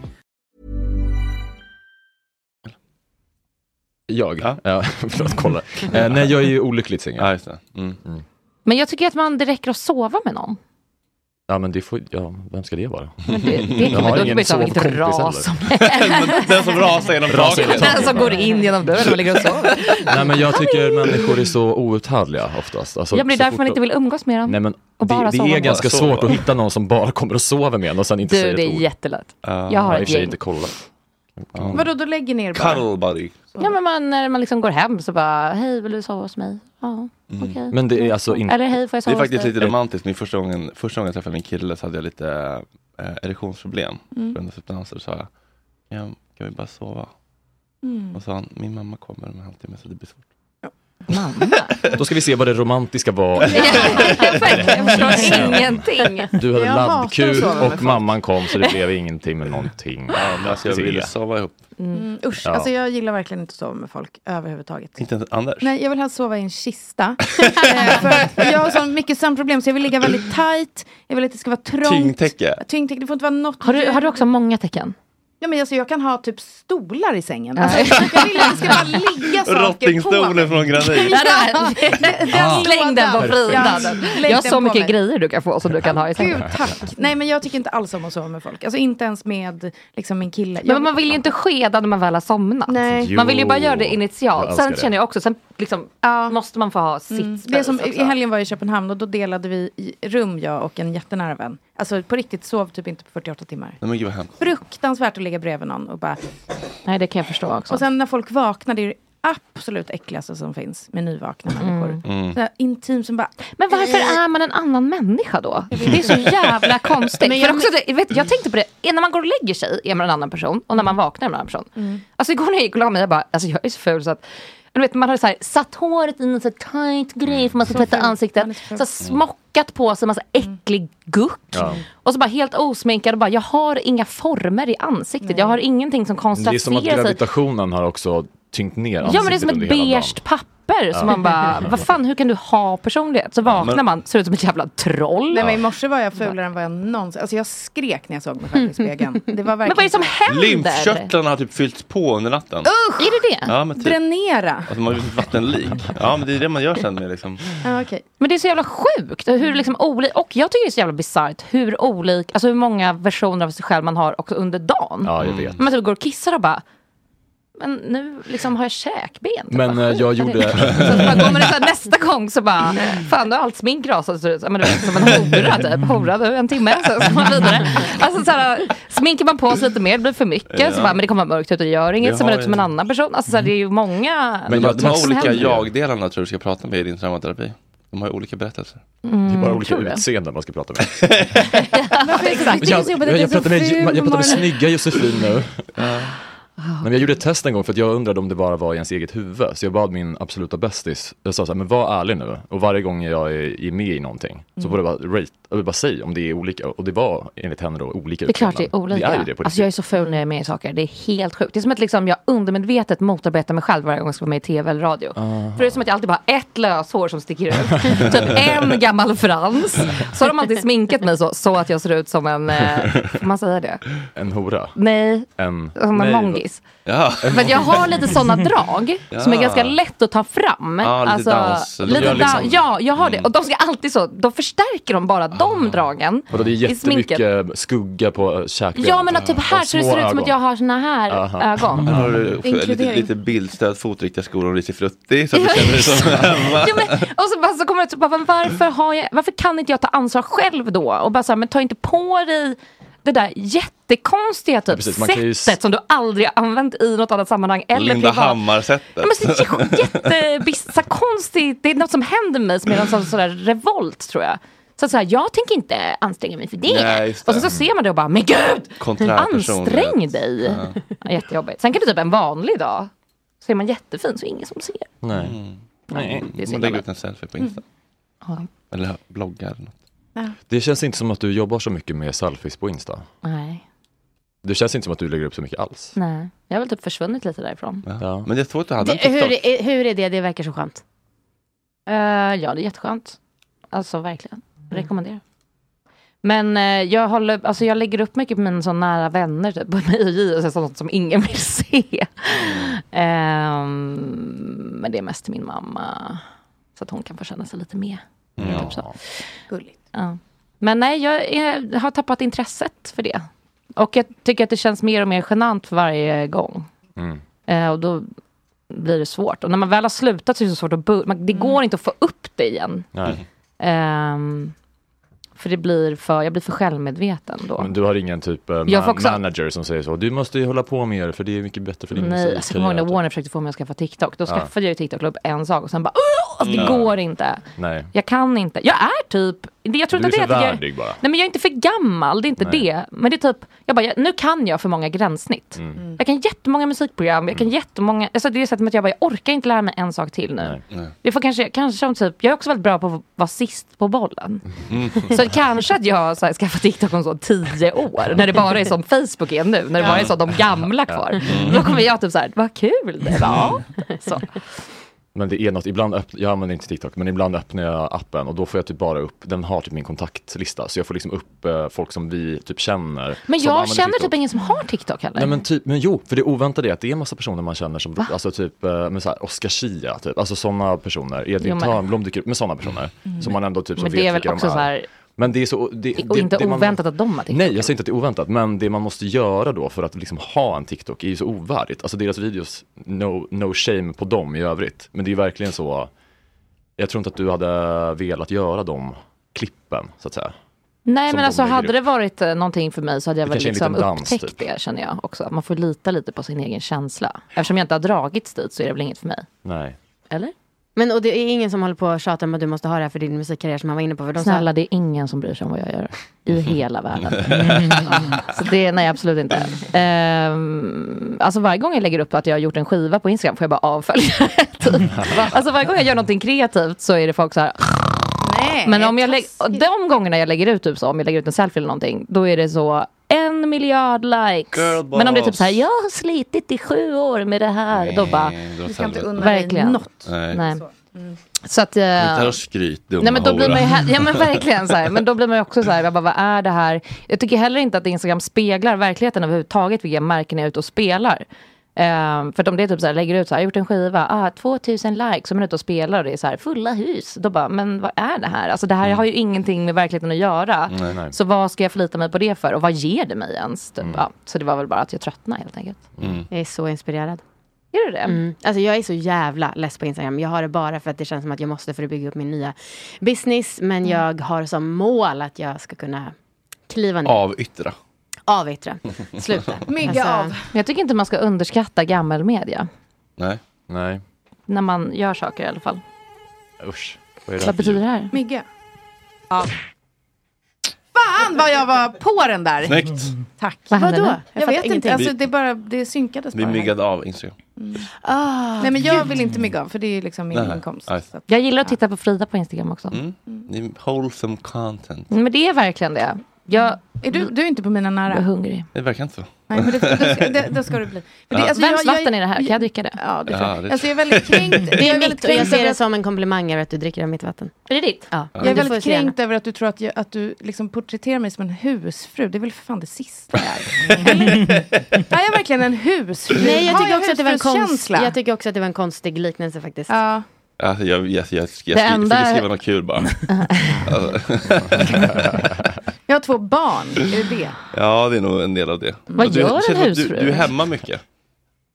Jag? Ja. förlåt, kolla. Eh, nej, jag är ju olyckligt singel. Ja, just det. Mm. Men jag tycker att man, det räcker att sova med någon. Ja, men det får, ja, vem ska det vara? Men det- det- jag har men då ingen behöver man inte sovkompis ras heller. Den som rasar genom Rasar genom taket. Den som går in genom dörren och ligger och sover. Nej, men jag tycker människor är så outhärdliga oftast. Alltså, ja, men det är så därför fort man de- inte vill umgås med dem. Nej, men Och bara det, sova det är med. ganska Bara sova. svårt att hitta någon som bara kommer att sova med en och sen inte Du, säger det ett är ord. jättelätt. Uh, Jag har i och ett för sig gäng. inte kollat. Vadå, då lägger ni er bara? Cuddle buddy. Ja, men man, när man liksom går hem så bara, hej, vill du sova hos mig? Ja, okej. Men det är alltså Eller Mm. hej, får Det jag sova är faktiskt hos dig? lite romantiskt. Min första, gången, första gången jag träffade min kille så hade jag lite eh, erektionsproblem. Mm. På grund av substanser. Så sa jag, "Ja, kan vi bara sova? Mm. Och så sa han, min mamma kommer om en halvtimme så det blir svårt. Då ska vi se vad det romantiska var. Jag förstår ingenting. Du hade Jag hatar att laddkul sova med och folk. mamman kom så det blev ingenting med någonting. Ja, men alltså, jag ville sova ihop. Mm, usch, Ja. alltså jag gillar verkligen inte att sova med folk överhuvudtaget. Inte ens Anders? Nej, jag vill helst sova i en kista. Eh, för att jag har så mycket sömnproblem så jag vill ligga väldigt tight. Jag vill att det ska vara trångt. Tyngdtäcke. Tyngdtäcke, det får inte vara något Har du, har du också många tecken? Ja, men alltså, jag kan ha typ stolar i sängen. Alltså, jag vill att det ska bara ligga saker på. Rottingstolen från Granit. Ah. Släng den på Frida. Perfekt. den. Släng Jag har den så på mycket mig. grejer du kan få som du kan ha i Gud, sängen. tack. Nej, men jag tycker inte alls om att sova med folk. Alltså inte ens med liksom, min kille. Jag Men man vill ju inte skeda när man väl har somnat. Nej. Man vill ju bara göra det Jag initialt. älskar Sen det. känner jag också, sen liksom, måste man få ha sitt Mm. Det är space som, också. I helgen var jag i Köpenhamn och då delade vi i rum, jag och en jättenära vän. Alltså på riktigt, sov typ inte på 48 timmar. Nej men gud vad hemskt. Fruktansvärt att ligga bredvid någon och bara... Nej, det kan jag förstå också. Och sen när folk vaknar, det är det absolut äckligaste som finns med nyvakna människor. Mm. Så här intim som bara... Eh. Men varför är man en annan människa då? Det är så jävla konstigt. Men jag, jag- För också, det, vet, jag tänkte på det, när man går och lägger sig är man en annan person och när man vaknar är man en annan person. Mm. Alltså igår när jag gick och la mig, jag bara, alltså jag är så ful så att du vet, man hade så här, satt håret i en så här tight grej för man ska tvätta ansiktet. Mm. Så Mm. här, smockat på sig massa äcklig guck. Ja. Och så bara helt osminkad och bara, jag har inga former i ansiktet. Jag har ingenting som Det är som att kontrasterar sig. gravitationen har också tyngt ner Ja men det är som ett under hela dagen. beige papper. Ja. som man bara, vad fan hur kan du ha personlighet? Så vaknar men- man, ser ut som ett jävla troll. Nej, men i morse var jag fulare än vad jag någonsin... Alltså jag skrek när jag såg mig själv i spegeln. Det var verkligen... Men vad är det som Lymfkörtlarna har typ fyllts på under natten. Usch! Är det Ja, men typ. Dränera. Alltså man har blivit vattenlik. Ja men det är det man gör sen med liksom. Ja, okej. Men det är så jävla sjukt. Hur liksom oli- och jag tycker det är så jävla bisarrt hur olik, alltså hur många versioner av sig själv man har också under dagen. Ja, jag vet. Man typ går och kissar och bara, men nu liksom har jag käkben. Men eh, jag gjorde... Alltså, Så bara kommer det så här, nästa gång så bara, fan du har allt smink rasat ut. Ja, Men det var som en hora typ. Hora du en timme, sen ska man vidare. Alltså så här, sminkar man på sig lite mer, det blir för mycket. Så Ja. bara, men det kommer vara mörkt ut och det gör inget. Det Ser man har ut som en ju- annan person. Alltså så här, det är ju många. Men jag, de saker har som olika händer. jag-delarna tror jag du ska prata med i din traumaterapi. De har ju olika berättelser. Mm, Det är bara olika tror du? utseenden man ska prata med. Jag- jag, jag, jag, pratar med, jag pratar med snygga Josefin nu. Ah. Nej, men jag gjorde ett test en gång för att jag undrade om det bara var i ens eget huvud. Så jag bad min absoluta bästis, jag sa så här, men var ärlig nu. Och varje gång jag är, är med i någonting så Mm. får du bara rate, eller bara säg om det är olika. Och det var enligt henne då olika Det är klart det är utseenden. olika. Det är ju det på alltså jag är riktigt. så ful när jag är med i saker. Det är helt sjukt. Det är som att liksom jag undermedvetet motarbetar mig själv varje gång jag ska vara med i tv eller radio. Ah. För det är som att jag alltid bara har ett löshår som sticker ut. typ en gammal frans. Så har de alltid sminkat mig så, så att jag ser ut som en, eh, får man säga det? En hora. Nej, En... som en Nej, vad- långis. Ja. För att jag har lite sådana drag som är Ja. ganska lätt att ta fram. Alltså, Ja, lite dans, eller lite gör dan- liksom- Ja, jag har det. Mm. Och de ska alltid så, då förstärker de bara de dragen Ah. Vadå, det är i sminket. jättemycket skugga på eh, käkbenet. Ja men att typ här Och så det små ser ut som ögon. att jag har såna här Aha. ögon. Här har du för- lite, Inkludering. lite bildstöd, fotriktiga skor och risig frutti. Så att du känner dig som hemma. Och så, bara, så kommer det typ, bara, men varför, har jag, varför kan inte jag ta ansvar själv då? Och bara så här, men ta inte på dig det där jättekonstiga typ, Ja, precis, man kan ju s- sättet som du aldrig har använt i något annat sammanhang. Linda Eller Mm. privat. Ja, Hammar-sättet. men så jä- jättebis- så här konstigt, det är något som händer med mig som är någon sån, sån där revolt tror jag. Så att så här, jag tänker inte anstränga mig för det. Nej, just det. Och sen så ser man det och bara, men gud! Konträr Ansträng personlighet. dig! Ja. Ja, jättejobbigt. Sen kan det typ en vanlig dag, så är man jättefin så är det ingen som ser. Nej. Nej, det är Mm. Man synd om lägger det. ut en selfie på Insta. Ja. Eller bloggar eller något. Det känns inte som att du jobbar så mycket med selfies på Insta. Nej. Det känns inte som att du lägger upp så mycket alls. Nej, jag har väl typ försvunnit lite därifrån. Ja. Men jag tror att du Det, hur, är- hur är det? Det verkar så skönt. Eh, ja, det är jätteskönt. Alltså verkligen. Rekommenderar. Men eh, jag, håller, alltså, jag lägger upp mycket på mina så nära vänner, typ, på mig och så, sånt som ingen vill se. Ehm, men det är mest till min mamma, så att hon kan få känna sig lite med. Ja. Typ så. Ja. Men nej, jag är, har tappat intresset för det. Och jag tycker att det känns mer och mer genant för varje gång. Mm. Eh, och då blir det svårt. Och när man väl har slutat så är det så svårt att börja. Man- Det går inte att få upp det igen. Nej. Ehm, för det blir för, jag blir för självmedveten då. Men du har ingen typ eh, Jag får ma- också- manager som säger så, du måste ju hålla på mer för det är mycket bättre för din Nej, alltså, jag kommer ihåg när musikkarriär." Warner försökte få mig att skaffa TikTok. Då Ja. skaffade jag ju TikTok, la upp en sak och sen bara, "Åh, alltså, det Ja. går inte. Nej. Jag kan inte. Jag är typ, det- jag tror Du inte är det så att jag- värdig bara. Nej men jag är inte för gammal, det är inte Nej. det. Men det är typ, jag bara, jag, nu kan jag för många gränssnitt. Mm. Jag kan jättemånga musikprogram, jag kan jättemånga, alltså det är så att jag bara, jag orkar inte lära mig en sak till nu. Det får kanske, kanske om typ, jag är också väldigt bra på att vara sist på bollen. Mm. Så kanske att jag så här, skaffar TikTok om så tio år, när det bara är som Facebook är nu, när det bara är så de gamla kvar. Mm. Då kommer jag typ så här, vad kul det var. Så. Men det är något, ibland öpp- jag använder inte TikTok, men ibland öppnar jag appen och då får jag typ bara upp, den har typ min kontaktlista, så jag får liksom upp eh, folk som vi typ känner. Men som jag använder känner TikTok. typ ingen som har TikTok heller. Nej men typ, men jo, för det oväntade är att det är en massa personer man känner som, alltså typ, eh, men så här, Oscar Schia typ, alltså sådana personer, Jo, Edvin men- Törnblom dyker upp, men sådana personer Mm. som man ändå typ som Men vet det är väl vilka de också är. så här- men det är så, det, Och det, inte det man- oväntat att de har TikTok. Nej, jag säger inte att det är oväntat, men det man måste göra då för att liksom ha en TikTok är ju så ovärdigt. Alltså deras videos, no, no shame på dem i övrigt. Men det är ju verkligen så, jag tror inte att du hade velat göra de klippen, så att säga. Nej som men de alltså lägger hade upp. det varit eh, någonting för mig så hade jag Det väl kanske är en liksom liten dans, upptäckt typ. det känner jag också. Man får lita lite på sin egen känsla. Eftersom jag inte har dragits dit så är det väl inget för mig. Nej. Eller? Men och det är ingen som håller på och tjatar om att du måste ha det här för din musikkarriär som han var inne på. För de Snälla sa, det är ingen som bryr sig om vad jag gör. I hela Mm. världen. Mm. så det, nej absolut inte. Ehm, alltså varje gång jag lägger upp att jag har gjort en skiva på Instagram får jag bara avfölja. typ. alltså varje gång jag gör någonting kreativt så är det folk så här. men om jag lägger, och de gångerna jag lägger ut typ så, om jag lägger ut en selfie eller någonting, då är det så en miljard likes. Girl Men om det är typ boss. så här, jag har slitit i sju år med det här. då Nej, bara, dra åt Du ska inte helvete. unna dig verkligen. något. Nej. Nej. Så att, eh, Kom inte här och skryt, dumma Nej men då blir man ju, hora. he- ja men verkligen så här, men då blir man ju också så här, jag bara, vad är det här? Jag tycker heller inte att Instagram speglar verkligheten överhuvudtaget, vilka märken jag är ute och spelar. Ehm, för att om det är typ så här, lägger ut så här, jag har gjort en skiva, ah, 2000 likes, som man är ute och spelar och det är så här, fulla hus. Då bara, men vad är det här? Alltså det här Mm. har ju ingenting med verkligheten att göra. Nej, nej. Så vad ska jag förlita mig på det Mm. Mm. för? Och vad ger det mig ens? Typ. Ja, så det var väl bara att jag tröttnade helt enkelt. Jag är så inspirerad. Är du det? Mm. Alltså jag är så jävla less på Instagram. Jag har det bara för att det känns som att jag måste för att bygga upp min nya business. Mm. Men jag har som mål att jag ska kunna kliva ner. Avyttra. Avyttra. Sluta. Alltså, Men jag tycker inte man ska underskatta gammal media. Nej. Nej. När man gör saker i alla fall. Usch. Vad betyder det här? Mygga. Ja. Fan vad jag var på den där. Snyggt. Mm. Tack. Vad hände Vadå? nu? Jag, Jag fattar vet ingenting. inte. Alltså, Vi- det, bara, det synkades Vi bara. här. myggade av Instagram. Nej men jag vill inte mygga av för det är liksom min Nej. inkomst. Nej. Så att- Ah, Jag gillar att titta på Frida på Instagram också. Mm. Det är Wholesome content. Men det är verkligen det. Jag är du, du är inte på mina nära. Jag är hungrig. Det verkar inte så. Nej, men det, då, ska, det, då ska du bli. För Ja. det, alltså, Vems jag- jag- vatten är det här? Kan jag dricka det? Ja, det tror jag. Ja, det Alltså, jag är väldigt kränkt. Jag Det är är mitt väldigt och jag kränkt ser över det att- som en komplimang över att du dricker av mitt vatten. Är det ditt? Ja. Jag är Du får väldigt så gärna. kränkt över att du tror att, jag, att du liksom porträtterar mig som en husfru. Det är väl för fan det sista jag är. Eller? är jag verkligen en husfru? Nej, jag Har tycker, också att det var en konst, husfrukänsla? jag tycker också att det var en konstig liknelse faktiskt. Ja. Alltså, jag, jag, jag, jag, skri- Det enda- försöker skriva något kul bara. Alltså. Jag har två barn, är det det? ja, det är nog en del av det. Vad du, gör det en känns som att husfru? Du, du är hemma mycket.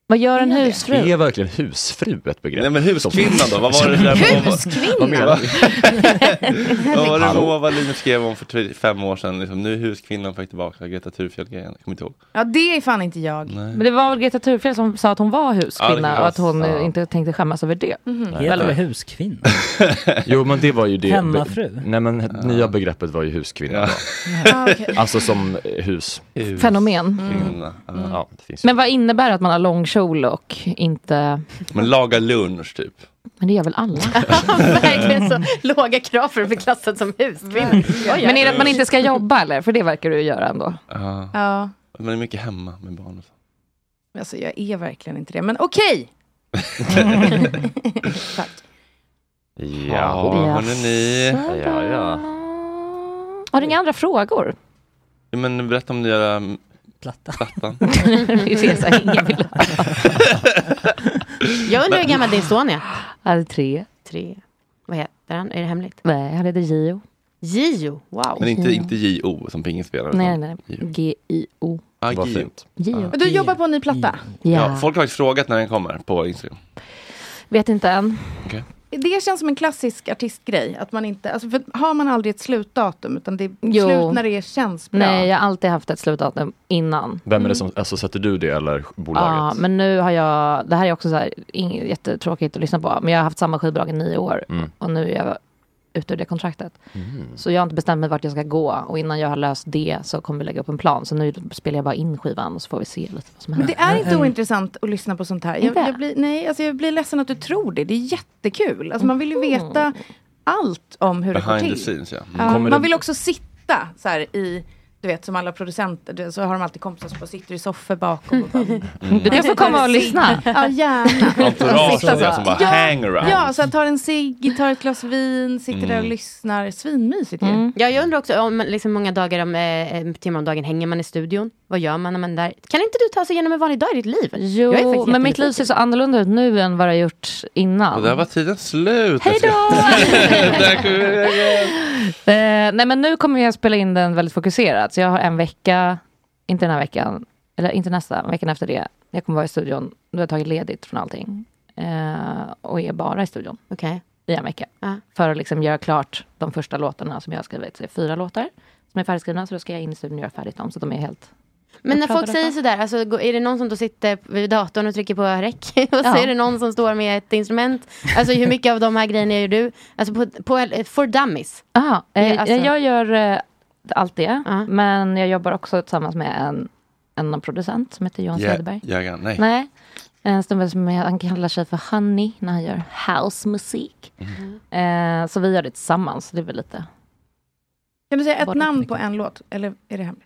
Vad gör en husfru? Är verkligen husfru ett begrepp? Nej men huskvinnan då? Vad var det där? Huskvinnan? Vad menar du? Vad var det Hallå? Moa Wallin skrev om för tre- fem år sedan? Liksom, nu är huskvinnan på väg tillbaka, Greta Thurfjell-grejen. Jag kommer inte ihåg. Ja, det är fan inte jag. Nej. Men det var väl Greta Thurfjell som sa att hon var Ja, det kan huskvinna vara. och att hon eh, Ja. inte tänkte skämmas över det. Mhm. Heter Eller? det huskvinna? Jo men det var ju det. Hemmafru. Be- Nej men he- nya begreppet var ju huskvinna då. Ja, okej. Alltså som eh, hus. Fenomen. Mm. Kvinna. Ja, det finns ju. Men vad innebär det att man har lång kjol och inte... Men laga lunch typ. Men det gör väl alla? Verkligen så låga krav för att bli klassad som huskvinna. Oj, Men är det att man inte ska jobba eller? För det verkar du ju göra ändå. Ja. Ja, Man är mycket hemma med barn och så. alltså jag är verkligen inte det. Men okej! Tack. Ja, hörni ni. Ja, ja. Har du inga andra frågor? Ja, Men berätta om nya um, plattan. det är det som ingen vill ha. Jag undrar hur gammal din son är. Han är tre. Tre. Vad heter han? Är det hemligt? Nej, han heter Gio. Gio? Wow. Men inte, inte J.O. som pingisspelare. Nej, utan nej, nej. J.O. G-I-O. Ah, Vad J.O. fint. Gio. Men du jobbar på en ny platta? Ja, folk har faktiskt frågat när den kommer på Instagram. Vet inte än. Okej. Det känns som en klassisk artistgrej. Att man inte, alltså för har man aldrig ett slutdatum, utan det är Jo. slut när det känns bra. Nej, jag har alltid haft ett slutdatum innan. Vem är det som, alltså sätter du det eller bolaget? Mm. Ja, men nu har jag, det här är också så här, ing, jättetråkigt att lyssna på, men jag har haft samma skivbolag i nio år Mm. och nu är jag ute ur det kontraktet. Så jag har inte bestämt mig vart jag ska gå och innan jag har löst det så kommer vi lägga upp en plan. Så nu spelar jag bara in skivan och så får vi se lite vad som Men händer. Mm. det är inte ointressant att lyssna på sånt här. Jag, Inte? jag, blir, nej, alltså jag blir ledsen att du tror det. Det är jättekul. Alltså man vill Mm. ju veta allt om hur det går Behind the till. scenes ja. Mm. Ja, man vill också sitta så här i, du vet som alla producenter, du- så har de alltid kompisar som bara sitter i soffor bakom. Och bara, Mm. Du kan få komma och lyssna. Ja, gärna. Entourage Sitta och det som bara hang around. Ja, så jag tar en cigg, tar ett glas vin, sitter där och Mm. lyssnar. Svinmysigt Mm. ju. Mm. Ja, jag undrar också om liksom många dagar om, eh, en timme om dagen hänger man i studion. Vad gör man när man är där? Kan inte du ta sig igenom en vanlig dag i ditt liv? Jo, Jag är faktiskt men mitt liv ser så annorlunda ut nu än vad det har gjort innan. Och där var tiden slut. Alltså, Hej Mm. Eh, nej men nu kommer jag spela in den väldigt fokuserat. Så jag har en vecka, inte den här veckan, eller inte nästa, veckan efter det. Jag kommer vara i studion, då har jag tagit ledigt från allting. Eh, och är bara i studion okay. i en vecka. För att liksom göra klart de första låtarna som jag har skrivit. Så det är fyra låtar som är färdigskrivna. Så då ska jag in i studion och göra färdigt dem. Så de är helt... Men när uppradade folk säger sådär, alltså, gå- är det någon som då sitter vid datorn och trycker på räck? och så Ja. är det någon som står med ett instrument? Alltså hur mycket av de här grejerna gör du? Alltså på, på eh, for dummies? Aha, Det eh, är alltså- Jag gör eh, allt det. Men jag jobbar också tillsammans med en, en producent som heter Johan Ja, Söderberg. Jägaren, nej. En snubbe som är- han kallar sig för Honey när han gör housemusik. Mm. Eh, så vi gör det tillsammans. Det är väl lite... Kan du säga ett Bara namn på en låt? Eller är det hemligt?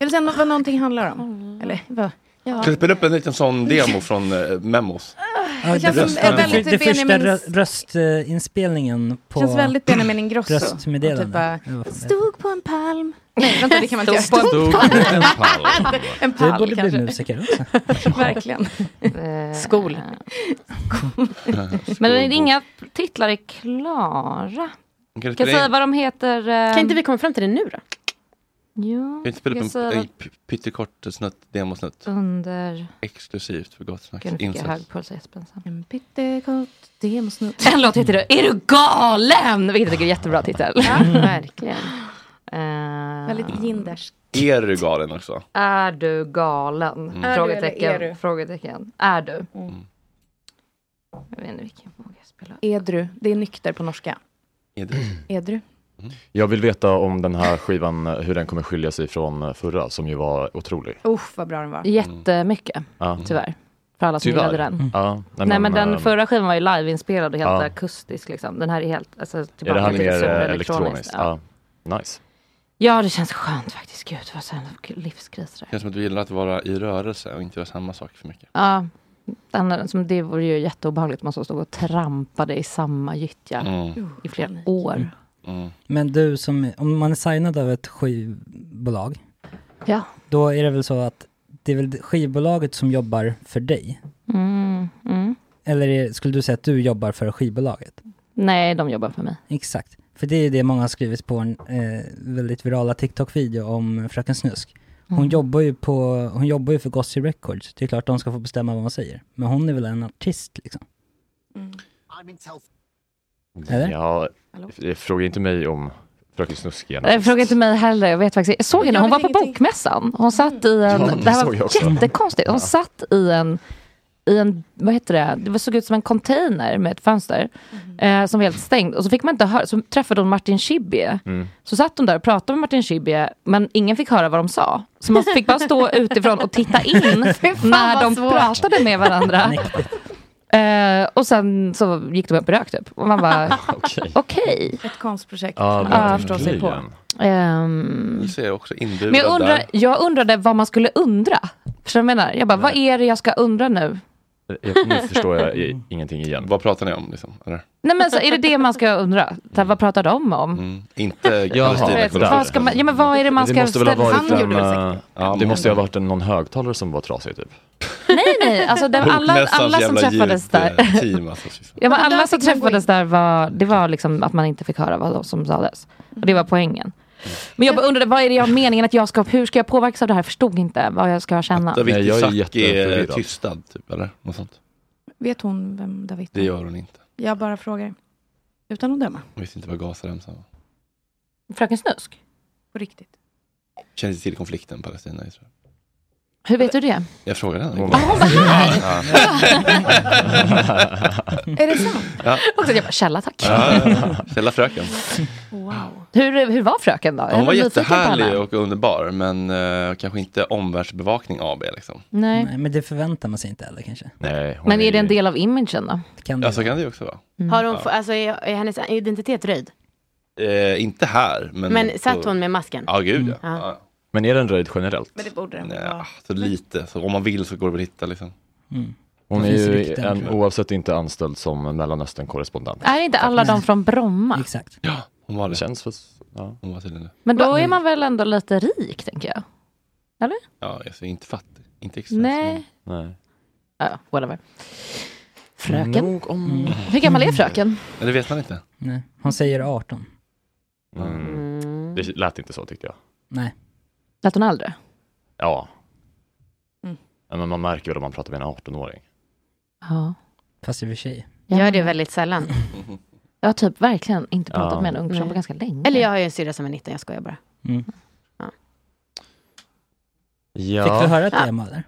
Kan du säga nå- vad någonting handlar om? Eller vad? Ja. Ska vi spela upp en liten sån demo från eh, Memos? Ja, Ah, det, känns som första- en väldigt det första Benjamins- rö- röstinspelningen på Känns väldigt Benjamin Ingrosso. Typ röstmeddelande. bara, stod på en palm. Nej, vänta det kan man inte göra. Stod på en palm. En Du palm borde kanske. bli musiker också. Verkligen. Skol. eh. Men är det inga titlar är Kan klara. du Kan spela jag säga in? vad de heter? ehm? Kan inte vi komma fram till det nu då? Ja, Kan vi inte spela jag upp en, säger en att p- pyttekort snutt, demosnutt? under... Exklusivt för Gott Snacks Gud, nu fick jag insats. hög puls av Jesper ensam. En pyttekort demosnutt. En låt heter det Är du galen? Vilket jag tycker är en jättebra titel. Mm. Ja, verkligen. Väldigt jindersk. Är du galen också? Är du galen? Mm. Är du Frågetecken. eller är du? Mm. Frågetecken. Är du? Jag vet inte vilken våg jag spelar. Edru. Det är nykter på norska. Edru. Jag vill veta om den här skivan, eh, hur den kommer skilja sig från eh, förra, som ju var otrolig. Uff, vad bra den Mm. var. Jättemycket, Ja. tyvärr. För alla som Tyvärr. gillade den. Ja, Nej, men den eh, förra skivan var ju liveinspelad och helt Ja. akustisk. Liksom. Den här är helt... Alltså, Är det tillbaka här till mer eh, elektroniskt? superelektroniskt. Ja. Ja. Nice. ja, det känns skönt faktiskt. Gud, vad så här livskris det där. Känns som att du gillar att vara i rörelse och inte göra samma sak för mycket. Ja, den, som det vore ju jätteobehagligt. Man så stod och trampade i samma gyttja Mm. i flera år. Men du som, om man är signad av ett skivbolag, Ja. då är det väl så att det är väl skivbolaget som jobbar för dig? Mm, mm. Eller är, skulle du säga att du jobbar för skivbolaget? Nej, de jobbar för mig. Exakt. För det är det många har skrivit på en eh, väldigt virala TikTok-video om Fröken Snusk. Hon, Mm. jobbar ju på, hon jobbar ju för Gossip Records. Det är klart de ska få bestämma vad hon säger. Men hon är väl en artist liksom? Eller? Ja, eh, fråga inte mig om Fröken Snusk igen. Nej, Eh, Fråga inte mig heller. Jag vet faktiskt Jag såg henne. Hon var på bokmässan. Hon satt i en... Ja, det det här var såg jag också. jättekonstigt. Hon satt i en... I en, vad heter det? Det var- såg ut som en container med ett fönster Mhm. eh, som var helt stängd. Och så fick man inte höra, så träffade hon Martin Schibbye. Mm. Så satt hon där och pratade med Martin Schibbye, men ingen fick höra vad de sa. Så man fick bara stå utifrån och titta in Fy fan, när vad de svårt. pratade med varandra. Eh, och sen så gick de upp och rök typ. Och man bara, okej. Ett konstprojekt Ja, som man kan förstå verkligen. sig på. Ehm, Nu ser jag också inburad Men jag, undrar, där. jag undrade vad man skulle undra. Förstår du vad jag menar? Jag bara, vad är det jag ska undra nu? Jag, nu förstår jag i- ingenting igen. Vad pratar ni om? Liksom? Eller? Nej men så, är det det man ska undra? Så här, vad pratar de om? Inte Palestina Vad, ska man, ja, men vad är det man Mm. det måste ska väl ha varit en, eh, det men- måste ju ha varit en, någon högtalare som var trasig typ. Nej, nej. Alltså, det, alla, alla som träffades där. alltså. Ja, men alla som träffades där var, det var liksom att man inte fick höra vad som sades. Och det var poängen. Men jag bara undrade, vad är det jag meningen att jag ska, hur ska jag påverkas av det här? Jag förstod inte vad jag ska känna. David Nej, jag är Isaak är jätteförvirrad. tystad, typ, eller? Något sånt. Vet hon vem David Det gör hon inte. Jag bara frågar. Utan att döma. Hon visste inte vad Gazaremsan var. Fröken Snusk? På riktigt. Känner inte till konflikten Palestina-Israel. Hur vet du det? Jag frågade henne. Ja, hon var här! Ja. Är det sant? Ja. Och så jag bara, källa tack. Ja, ja, ja. Källa fröken. Wow. Hur, hur var fröken då? Jag Hon var nyfiken på henne. jättehärlig och underbar, men eh, kanske inte omvärldsbevakning AB. Liksom. Nej. Men det förväntar man sig inte heller kanske? Nej, Men är det en del av imagen då? Mm. Kan ja, så kan det ju också vara. Har hon, Ja. få- alltså, är, är hennes identitet röjd? Eh, inte här, men... Men, satt hon med masken? Ja, gud ja. Mm. Ja. ja. Men är den röjd generellt? Men det borde den väl vara. Så lite, så om man vill så går det väl att hitta liksom. Hon Mm. Det är finns ju rykten. en, oavsett inte anställd som Mellanöstern-korrespondent. Är inte alla de från Bromma? Exakt. Ja, hon var det. Känns för, ja. Hon var tydligen det. Men då är man väl ändå lite rik, tänker jag? Eller? Ja, alltså inte fattig. Inte extra. Nej. Nej. Ja, ja, whatever. Fröken. Nog om- Mm. Hur gammal är fröken? Men det vet man inte. Nej, hon säger 18. Mm. Det lät inte så tyckte jag. Nej. Lät hon äldre? Ja. Mm. Ja, Men man märker väl om man pratar med en 18-åring. Ja. Fast i och för sig. Jag gör det väldigt sällan. Jag har typ verkligen inte pratat Ja. med en ung person Nej. på ganska länge. Eller jag har ju en syrra som är 19, jag skojar bara. Mm. Ja. Fick du höra ett tema eller?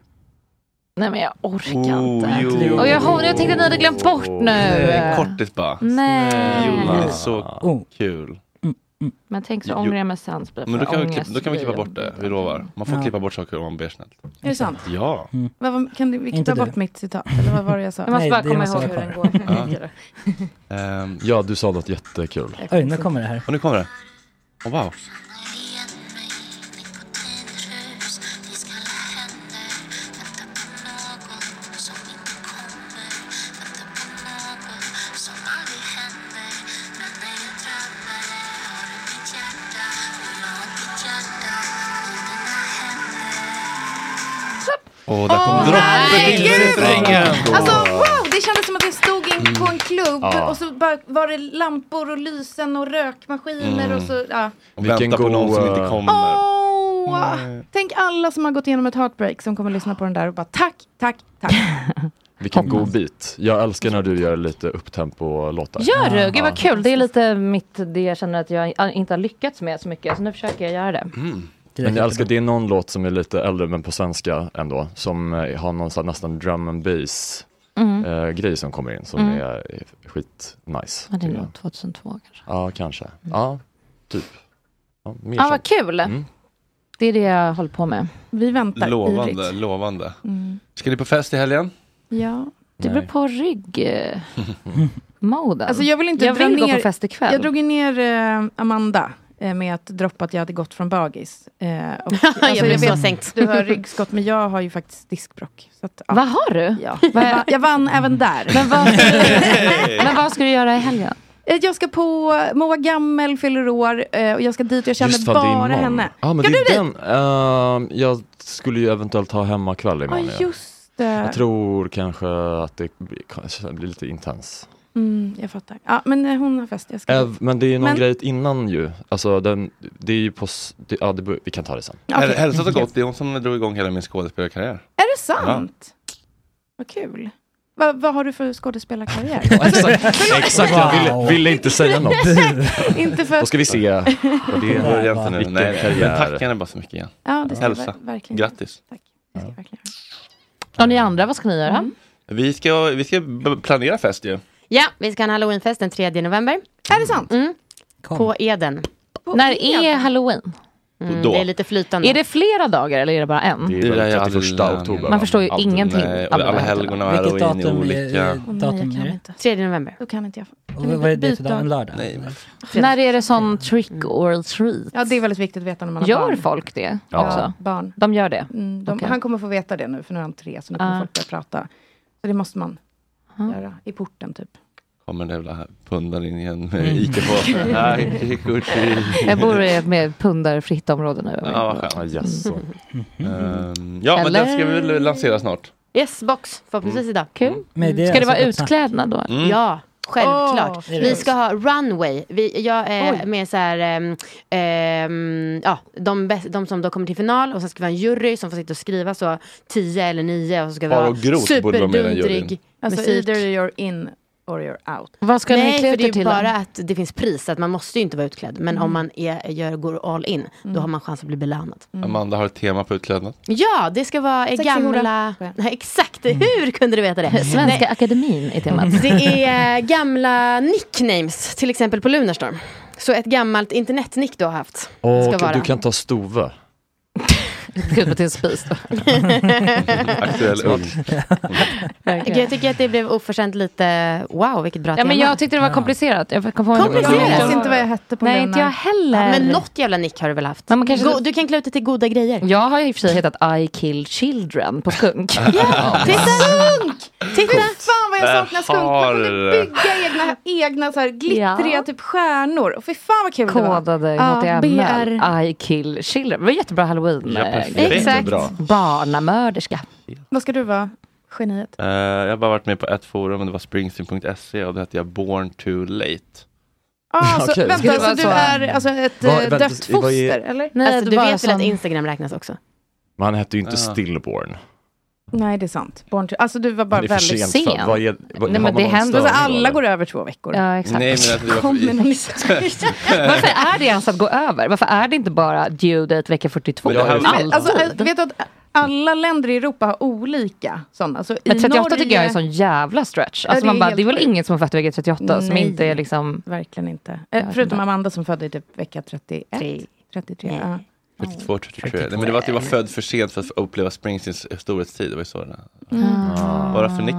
Nej men jag orkar inte. Oh, jo. Och jag, har- jag tänkte att ni hade glömt bort nu. Nej, kortis bara. Nej. Jo, det är så kul. Men tänk så ångrar jag mig sen så blir Men då det för kan, vi, klipp- ångest. då kan vi klippa bort det, vi lovar. Man får Ja. klippa bort saker om man ber snällt. Är det sant? Ja. Mm. Vad var- kan du, vi kan Inte ta du. bort mitt citat, eller vad var det jag sa? Jag måste Nej, bara det komma måste ihåg vara hur kvar. den går. Ja. Ja, du sa något jättekul. Oj, nu kommer det här. Och Ehm. nu kommer det. Oh, wow. Åh, där kom Åh, droppen till nej, gud! refrängen. Alltså wow, det kändes som att jag stod in på en klubb Mm. Ja. och så bara var det lampor och lysen och rökmaskiner Mm. och så, ja. eh, Och vänta på någon som inte kommer. Åh, Åh, Mm. tänk alla som har gått igenom ett heartbreak som kommer lyssna på den där och bara tack, tack, tack. Vilken god bit. Jag älskar när du gör lite upptempo-låtar. Gör du? Gud Ja. vad kul. Det är lite mitt, det jag känner att jag inte har lyckats med så mycket. Så nu försöker jag göra det. Mm. Men jag älskar, det är någon låt som är lite äldre men på svenska ändå, som eh, har någon sån här nästan drum and bass Mm. eh, grej som kommer in som Mm. är eh, skitnice. Ja, det är tycker jag. nog 2002 kanske. Ja, kanske. Ja, typ. Ja, mer Ja, sånt. vad kul. Mm. Det är det jag håller på med. Vi väntar Lovande, lovande. Mm. Ska ni på fest i helgen? Ja. Det beror på ryggmoden. Alltså jag vill inte jag dra vill ner, gå på fest ikväll. Jag drog ju ner eh, Amanda eh, med att droppa att jag hade gått från bagis. Eh, och, Jag blev så sänkt. Du har ryggskott, men jag har ju faktiskt diskbråck. Så att, ja. Vad har du? Ja. Vad- Jag, jag vann även där. Men vad, men vad ska du göra i helgen? Eh, Jag ska på Moa Gammel fyller år eh, och jag ska dit och jag Just känner fan, det är bara imorgon. henne. Ja, men Ska det du är dit? den. Ehm, jag skulle ju eventuellt ha hemmakväll Ja, imorgon. ja. just det. Jag tror kanske att det blir, kanske blir lite intens. Mm, jag fattar. Ja, men eh, hon har fest. Jag ska Ev, men det är ju någon Men- grej innan ju. Alltså, den, det är ju på... s- Det, ja, det, bör- vi kan ta det sen. Okej. Okay. Hälsat och gott, det är hon som drog igång hela min skådespelarkarriär. Är det sant? Vad kul. Va, vad har du för skådespelarkarriär? Alltså, förlåt. Exakt, jag Wow. ville, ville inte säga något. Inte för- Då ska vi se vad det Det börjar inte är. nu. Vilken Nej, nej, karriär. men tack henne bara så mycket igen. Ja, det ska vi Hälsa. ver- verkligen. Grattis. Och ni andra, vad ska ni Mm. göra? Vi ska, vi ska b- planera fest ju. Ja, vi ska ha en halloweenfest den 3 november. Är det sant? Mm. På Eden. När är halloween? Mm, det är lite flytande. Är det flera dagar eller är det bara en? Det är väl 31 oktober. Man förstår ju ingenting av det alla här. helgon Eh, och Vilket halloween är datum är- olika. är- datum är det? 3 november. Då kan inte jag. Och vad är det för dag? En lördag? Nej, men. När är det sån Mm. trick or treat? Ja, det är väldigt viktigt att veta när man har Gör barn. folk det Ja. också? Barn. De gör det? Mm, de, Okej. Han kommer få veta det nu, för nu är han tre, så nu kommer Ah. folk börja prata. Så det måste man göra i porten, typ. Kommer det väl pundar in igen med Mm. Ica-påsen. Nej, trick or treat. Jag bor i ett pundarfritt område nu. Ja, vad skönt. Mm. Ehm, ja, men den ska vi väl lansera snart. Yes, box. Förhoppningsvis Mm. idag. Kul. Men det är Ska alltså öppna. då? Mm. Ja. Självklart. Åh, vi ska ha runway. Vi, jag Oj. är med så här, ehm, ehm, ja, de, bäst- de som då kommer till final och sen ska vi ha en jury som får sitta och skriva så 10 eller 9 och så ska vi Faro ha Groth borde vara med i den juryn. superdundrig Alltså, musik. either you're in or you're out. Nej, för det är ju bara att det finns pris, att man måste ju inte vara utklädd. Men Mm. om man är, gör, går all in, då har man chans att bli belönad. Mm. Amanda har ett tema på utklädnad. Ja, det ska vara eh, Sex i gamla... Nej, Exakt, hur kunde du veta det? Mm. Svenska Mm. Nej, akademin är temat. det är eh, gamla nicknames, till exempel på Lunarstorm. Så ett gammalt internetnick du har haft ska Och vara. du kan ta Stove. Gud, till en spis. Aktuell ugn. Jag tycker att det blev oförtjänt lite, wow vilket bra Ja, men jag tyckte det var komplicerat. Jag kom på Komplicerat? Jag minns inte vad jag hette på Nej, den. inte jag heller. Ja, men något jävla nick har du väl haft? man kanske- Go, du kan klä ut det till goda grejer. Jag har i och för sig hetat I kill children på skunk. Ja, titta! Skunk! Titta! fan vad Äh, jag saknar skunk. Man kunde Där har- bygga egna, egna så här glittriga typ stjärnor. Och fy fan vad kul det var. Kodade Ja, HTML. BR. I kill children. Det var jättebra halloween. Ja, perfekt. grej. Exakt. Bra. Barnamörderska. Vad ska du vara? Geniet. Eh, jag har bara varit med på ett forum och det var springsteen.se och då hette jag Born Too Late. Ah, så, Okej. Vänta, Skulle så vara du så. är alltså ett Vad- eh, vänta, dött vad är- foster, eller? Nej, alltså, du vet väl som- att Instagram räknas också? Men han hette ju inte Ja. Stillborn. Nej, det är sant. Barn till... Alltså du var bara Det är för väldigt sent, för sen. att- vad är- vad- Nej, har men man det någon händer. störning Alltså, då, alla eller? går över två veckor. Ja, exakt. Nej, men att det var- Kommer någon Varför är det ens att gå över? Varför är det inte bara due date vecka 42? Men det här- Alltid. Alltså, eh, vet du att alla länder i Europa har olika sådana? Så men i 38 Norge... tycker jag är en sån jävla stretch. Alltså det är man bara, helt det är väl sjukt. ingen som har fött vecka 38 som Nej. inte är liksom... Verkligen inte. Jag Eh, vet Förutom inte. Amanda som födde i typ vecka 31. 33. Ja. 32, 33. Nej, men det var att jag var född för sent för att få uppleva Springsteens storhetstid. Det var ju så den Mm. Ah. Bara för nix.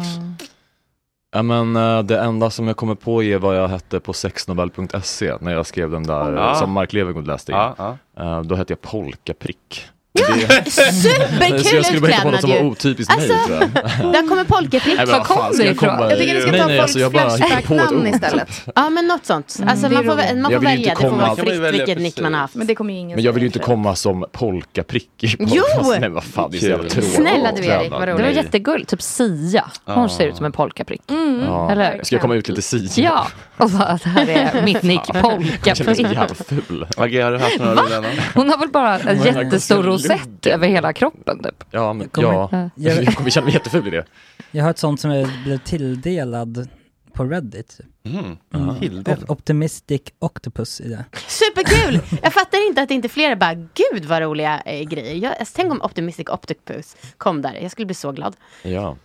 Ja, men, eh, det enda som jag kommer på är vad jag hette på sexnobel.se när jag skrev den där Ja. eh, som Mark Levengood läste in. Ja, Eh, Då hette jag Polkaprick. Det- Superkul Så Jag skulle bara hitta på något som var utklädnad ju. otypiskt mig Alltså, tror jag. Där kommer polkaflickan. Nej, men vad fan ska jag komma- Jag tycker ni ska Nej, ta nej, alltså, jag bara folks hittar på ett flashback-namn ord. istället. Ja, men något sånt. Alltså, det är man får, vä- roligt. man Jag får vill ju inte välja, det får komma- vara Man kan väl fritt välja vilket nick man har haft. Men det kommer ju ingen Men jag vill ju inte komma som polkaprick i Jo! podcasten. Nej, vad fan, det är så jävla tråkigt. Det var jättegulligt. Typ Sia. Ah. Hon Ja. ser ut som en polkaprick. Ja. Eller? Ska jag komma ut lite Sia? Ja, och bara, det här är mitt nick, Jag känner mig så jävla polkaprick. ful. Okej, har du haft några Va? rullar? Hon har väl bara en Hon är jättestor ganska rosett över hela kroppen typ. Ja, men, kommer- ja. Ja. Jag kommer känna mig jätteful i det. Jag har ett sånt som jag blev tilldelad på Reddit. Mm. Op- Optimistic Octopus i det. Superkul! Jag fattar inte att inte fler bara, gud vad roliga eh, grejer. Jag, alltså, tänk om Optimistic Octopus kom där. Jag skulle bli så glad. Ja.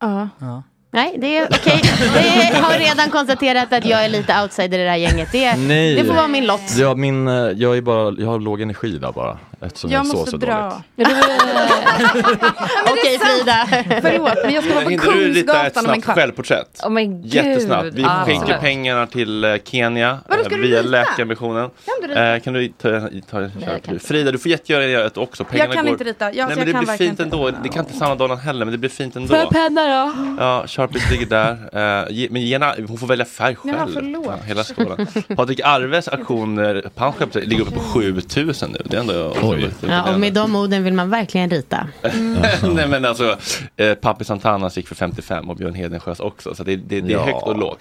Ja. Ja. Nej, det är okej. Det har redan konstaterat att jag är lite outsider i det här gänget. Det, Nej. det får vara min lott. Ja, min, eh, jag, är bara, jag har låg energi där bara. Eftersom jag, Jag sov måste så dra. dåligt. Okej Frida. Förlåt, men jag ska vara på Hinner du rita ett Kungsgatan om en snabbt kvart. självporträtt? Oh, men gud. Jättesnabbt. Vi Ah. skänker Absolut. pengarna till eh, Kenya Vadå, eh, ska du via rita? Läkarmissionen. Kan du rita? Eh, kan du ta, ta, jag kan inte. Frida, du får jättegärna göra ett också. Pengarna kan går... inte rita. Ja, Nej, men så jag det kan blir verkligen fint ändå. Det kan inte samma dollarn heller, men det blir fint ändå. Får jag penna då? Ja, Sharpies ligger där. Eh, ge, men gena, hon får välja färg Nej, själv. men förlåt. Ja, hela skolan. Patrik Arves auktioner, pension, ligger uppe på 7000 nu. Det är ändå... Oj. Ja, och med de orden vill man verkligen rita. Mm. Nej men alltså, eh, Papi Santanas gick för 55 och Björn Hedensjös också. Så det, det, det är Ja. högt och lågt.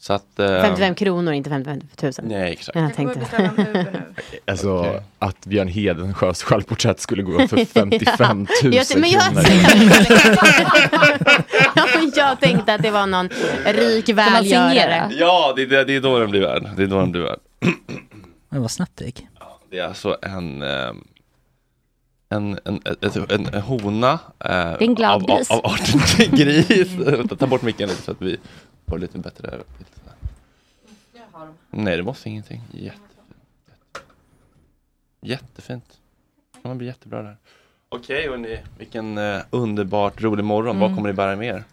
Så att... eh, 55 kronor, inte 55 000. Nej, exakt. Jag tänkte. Alltså att Björn Hedensjös självporträtt skulle gå för 55 000 Ja, jag- men jag- Ja, men jag tänkte att det var någon rik välgörare. Ja, det, det, det är då den blir värd. Det är då den blir värd. Men vad snabbt det gick. Det är alltså en... ehm, en, en, en, en, en hona eh, är en glad av, av, gris. av arten gris. Ta bort micken lite så att vi får lite bättre bild. Nej, det måste ingenting. Jättefint. Jättefint. Ja, Man blir jättebra där. Okej, hörni. Vilken eh, underbart rolig morgon. Vad kommer ni bära med er?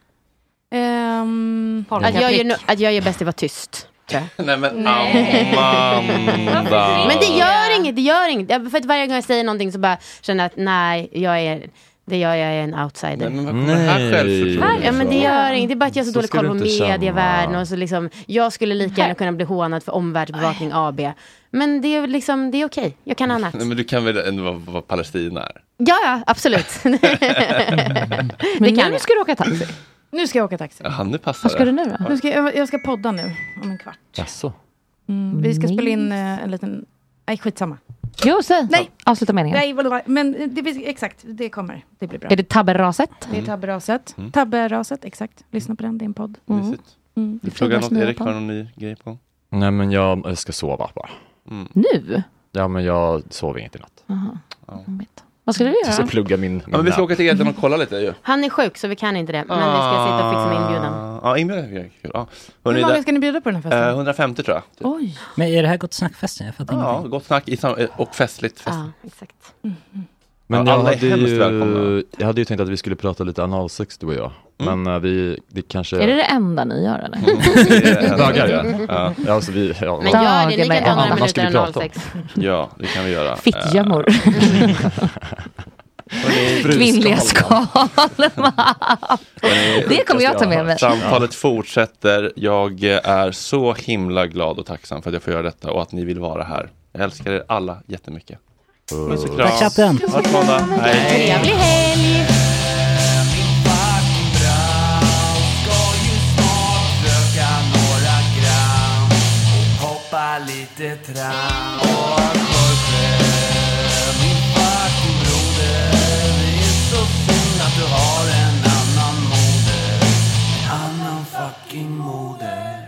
Ehm, Att jag, gör, att jag gör bäst i att vara tyst. tror jag. Nej, men Nej. Amanda. Men det gör inget, det gör inget. Jag- För att varje gång jag säger någonting så bara känner jag att nej, jag är, det gör jag är en Nej, outsider. men Mm. vad kommer det här Nej. självförtroendet Ja men det gör inget, det är bara att jag har så, Så dålig ska koll du på inte känna. medievärlden och så liksom, jag skulle lika gärna kunna bli hånad för omvärldsbevakning AB. Men det är liksom, det är okej, jag kan annat. Nej, men du kan väl ändå vara, vara Palestina? Här. Ja, ja, absolut. det kan jag. Ska du åka taxi? Nu ska jag åka taxi. Ja, nu passar Vad ska du nu det. då? Nu ska jag, jag ska podda nu om en kvart. Jaså? Mm, vi ska Nice. spela in eh, en liten... Nej, skitsamma. Jo, säg. Nej. Avsluta meningen. Nej, vad det var. men det, blir- exakt, det kommer. Det blir bra. Är det tabberaset? Det är Tabberaset. Mm. Tabberaset, exakt. Lyssna på den, det är en podd. Mysigt. Mm. Du frågar något, Erik, har du någon ny grej på? Nej men jag, jag ska sova bara. Mm. Nu? Ja men jag sover inget i natt. Jaha. Vad ska du Jag ska göra? plugga min, min Ja, men vi ska napp. åka till Edlen och kolla lite ju. Han är sjuk så vi kan inte det, men vi ska sitta och fixa med inbjudan. Ah, Ja, inbjudan är kul. Ja. Hur många ska ni bjuda på den här festen? Eh, 150 tror jag. Oj. Men är det här Gott Snack-festen? Jag fattar Ja, ingenting. gott snack i sam- eh, och festligt. Fest. exakt. Men Ja, jag alla är hade, hemskt välkomna. Mm. ju, jag hade ju tänkt att vi skulle prata lite analsex du och jag. Men eh, vi, det kanske... Mm. Är det det enda ni gör eller? Bögar ja. ja. alltså, vi, ja. Men gör det, ni kan ta några Annars ska vi minuter prata om. analsex. Ja, det kan vi göra. Eh, Fittgömmor. Kvinnliga skal. Det kommer jag ta med mig. Samtalet fortsätter. Jag eh, är så himla glad och tacksam för att jag får göra detta och att ni vill vara här. Jag älskar er alla jättemycket. Puss och kram. Tack, chatten. Hörs på måndag. Hej. Trevlig helg! Röka några gram och hoppa lite tram. Och Jorge, min fucking broder. Det är så synd att du har en annan moder. En annan fucking moder.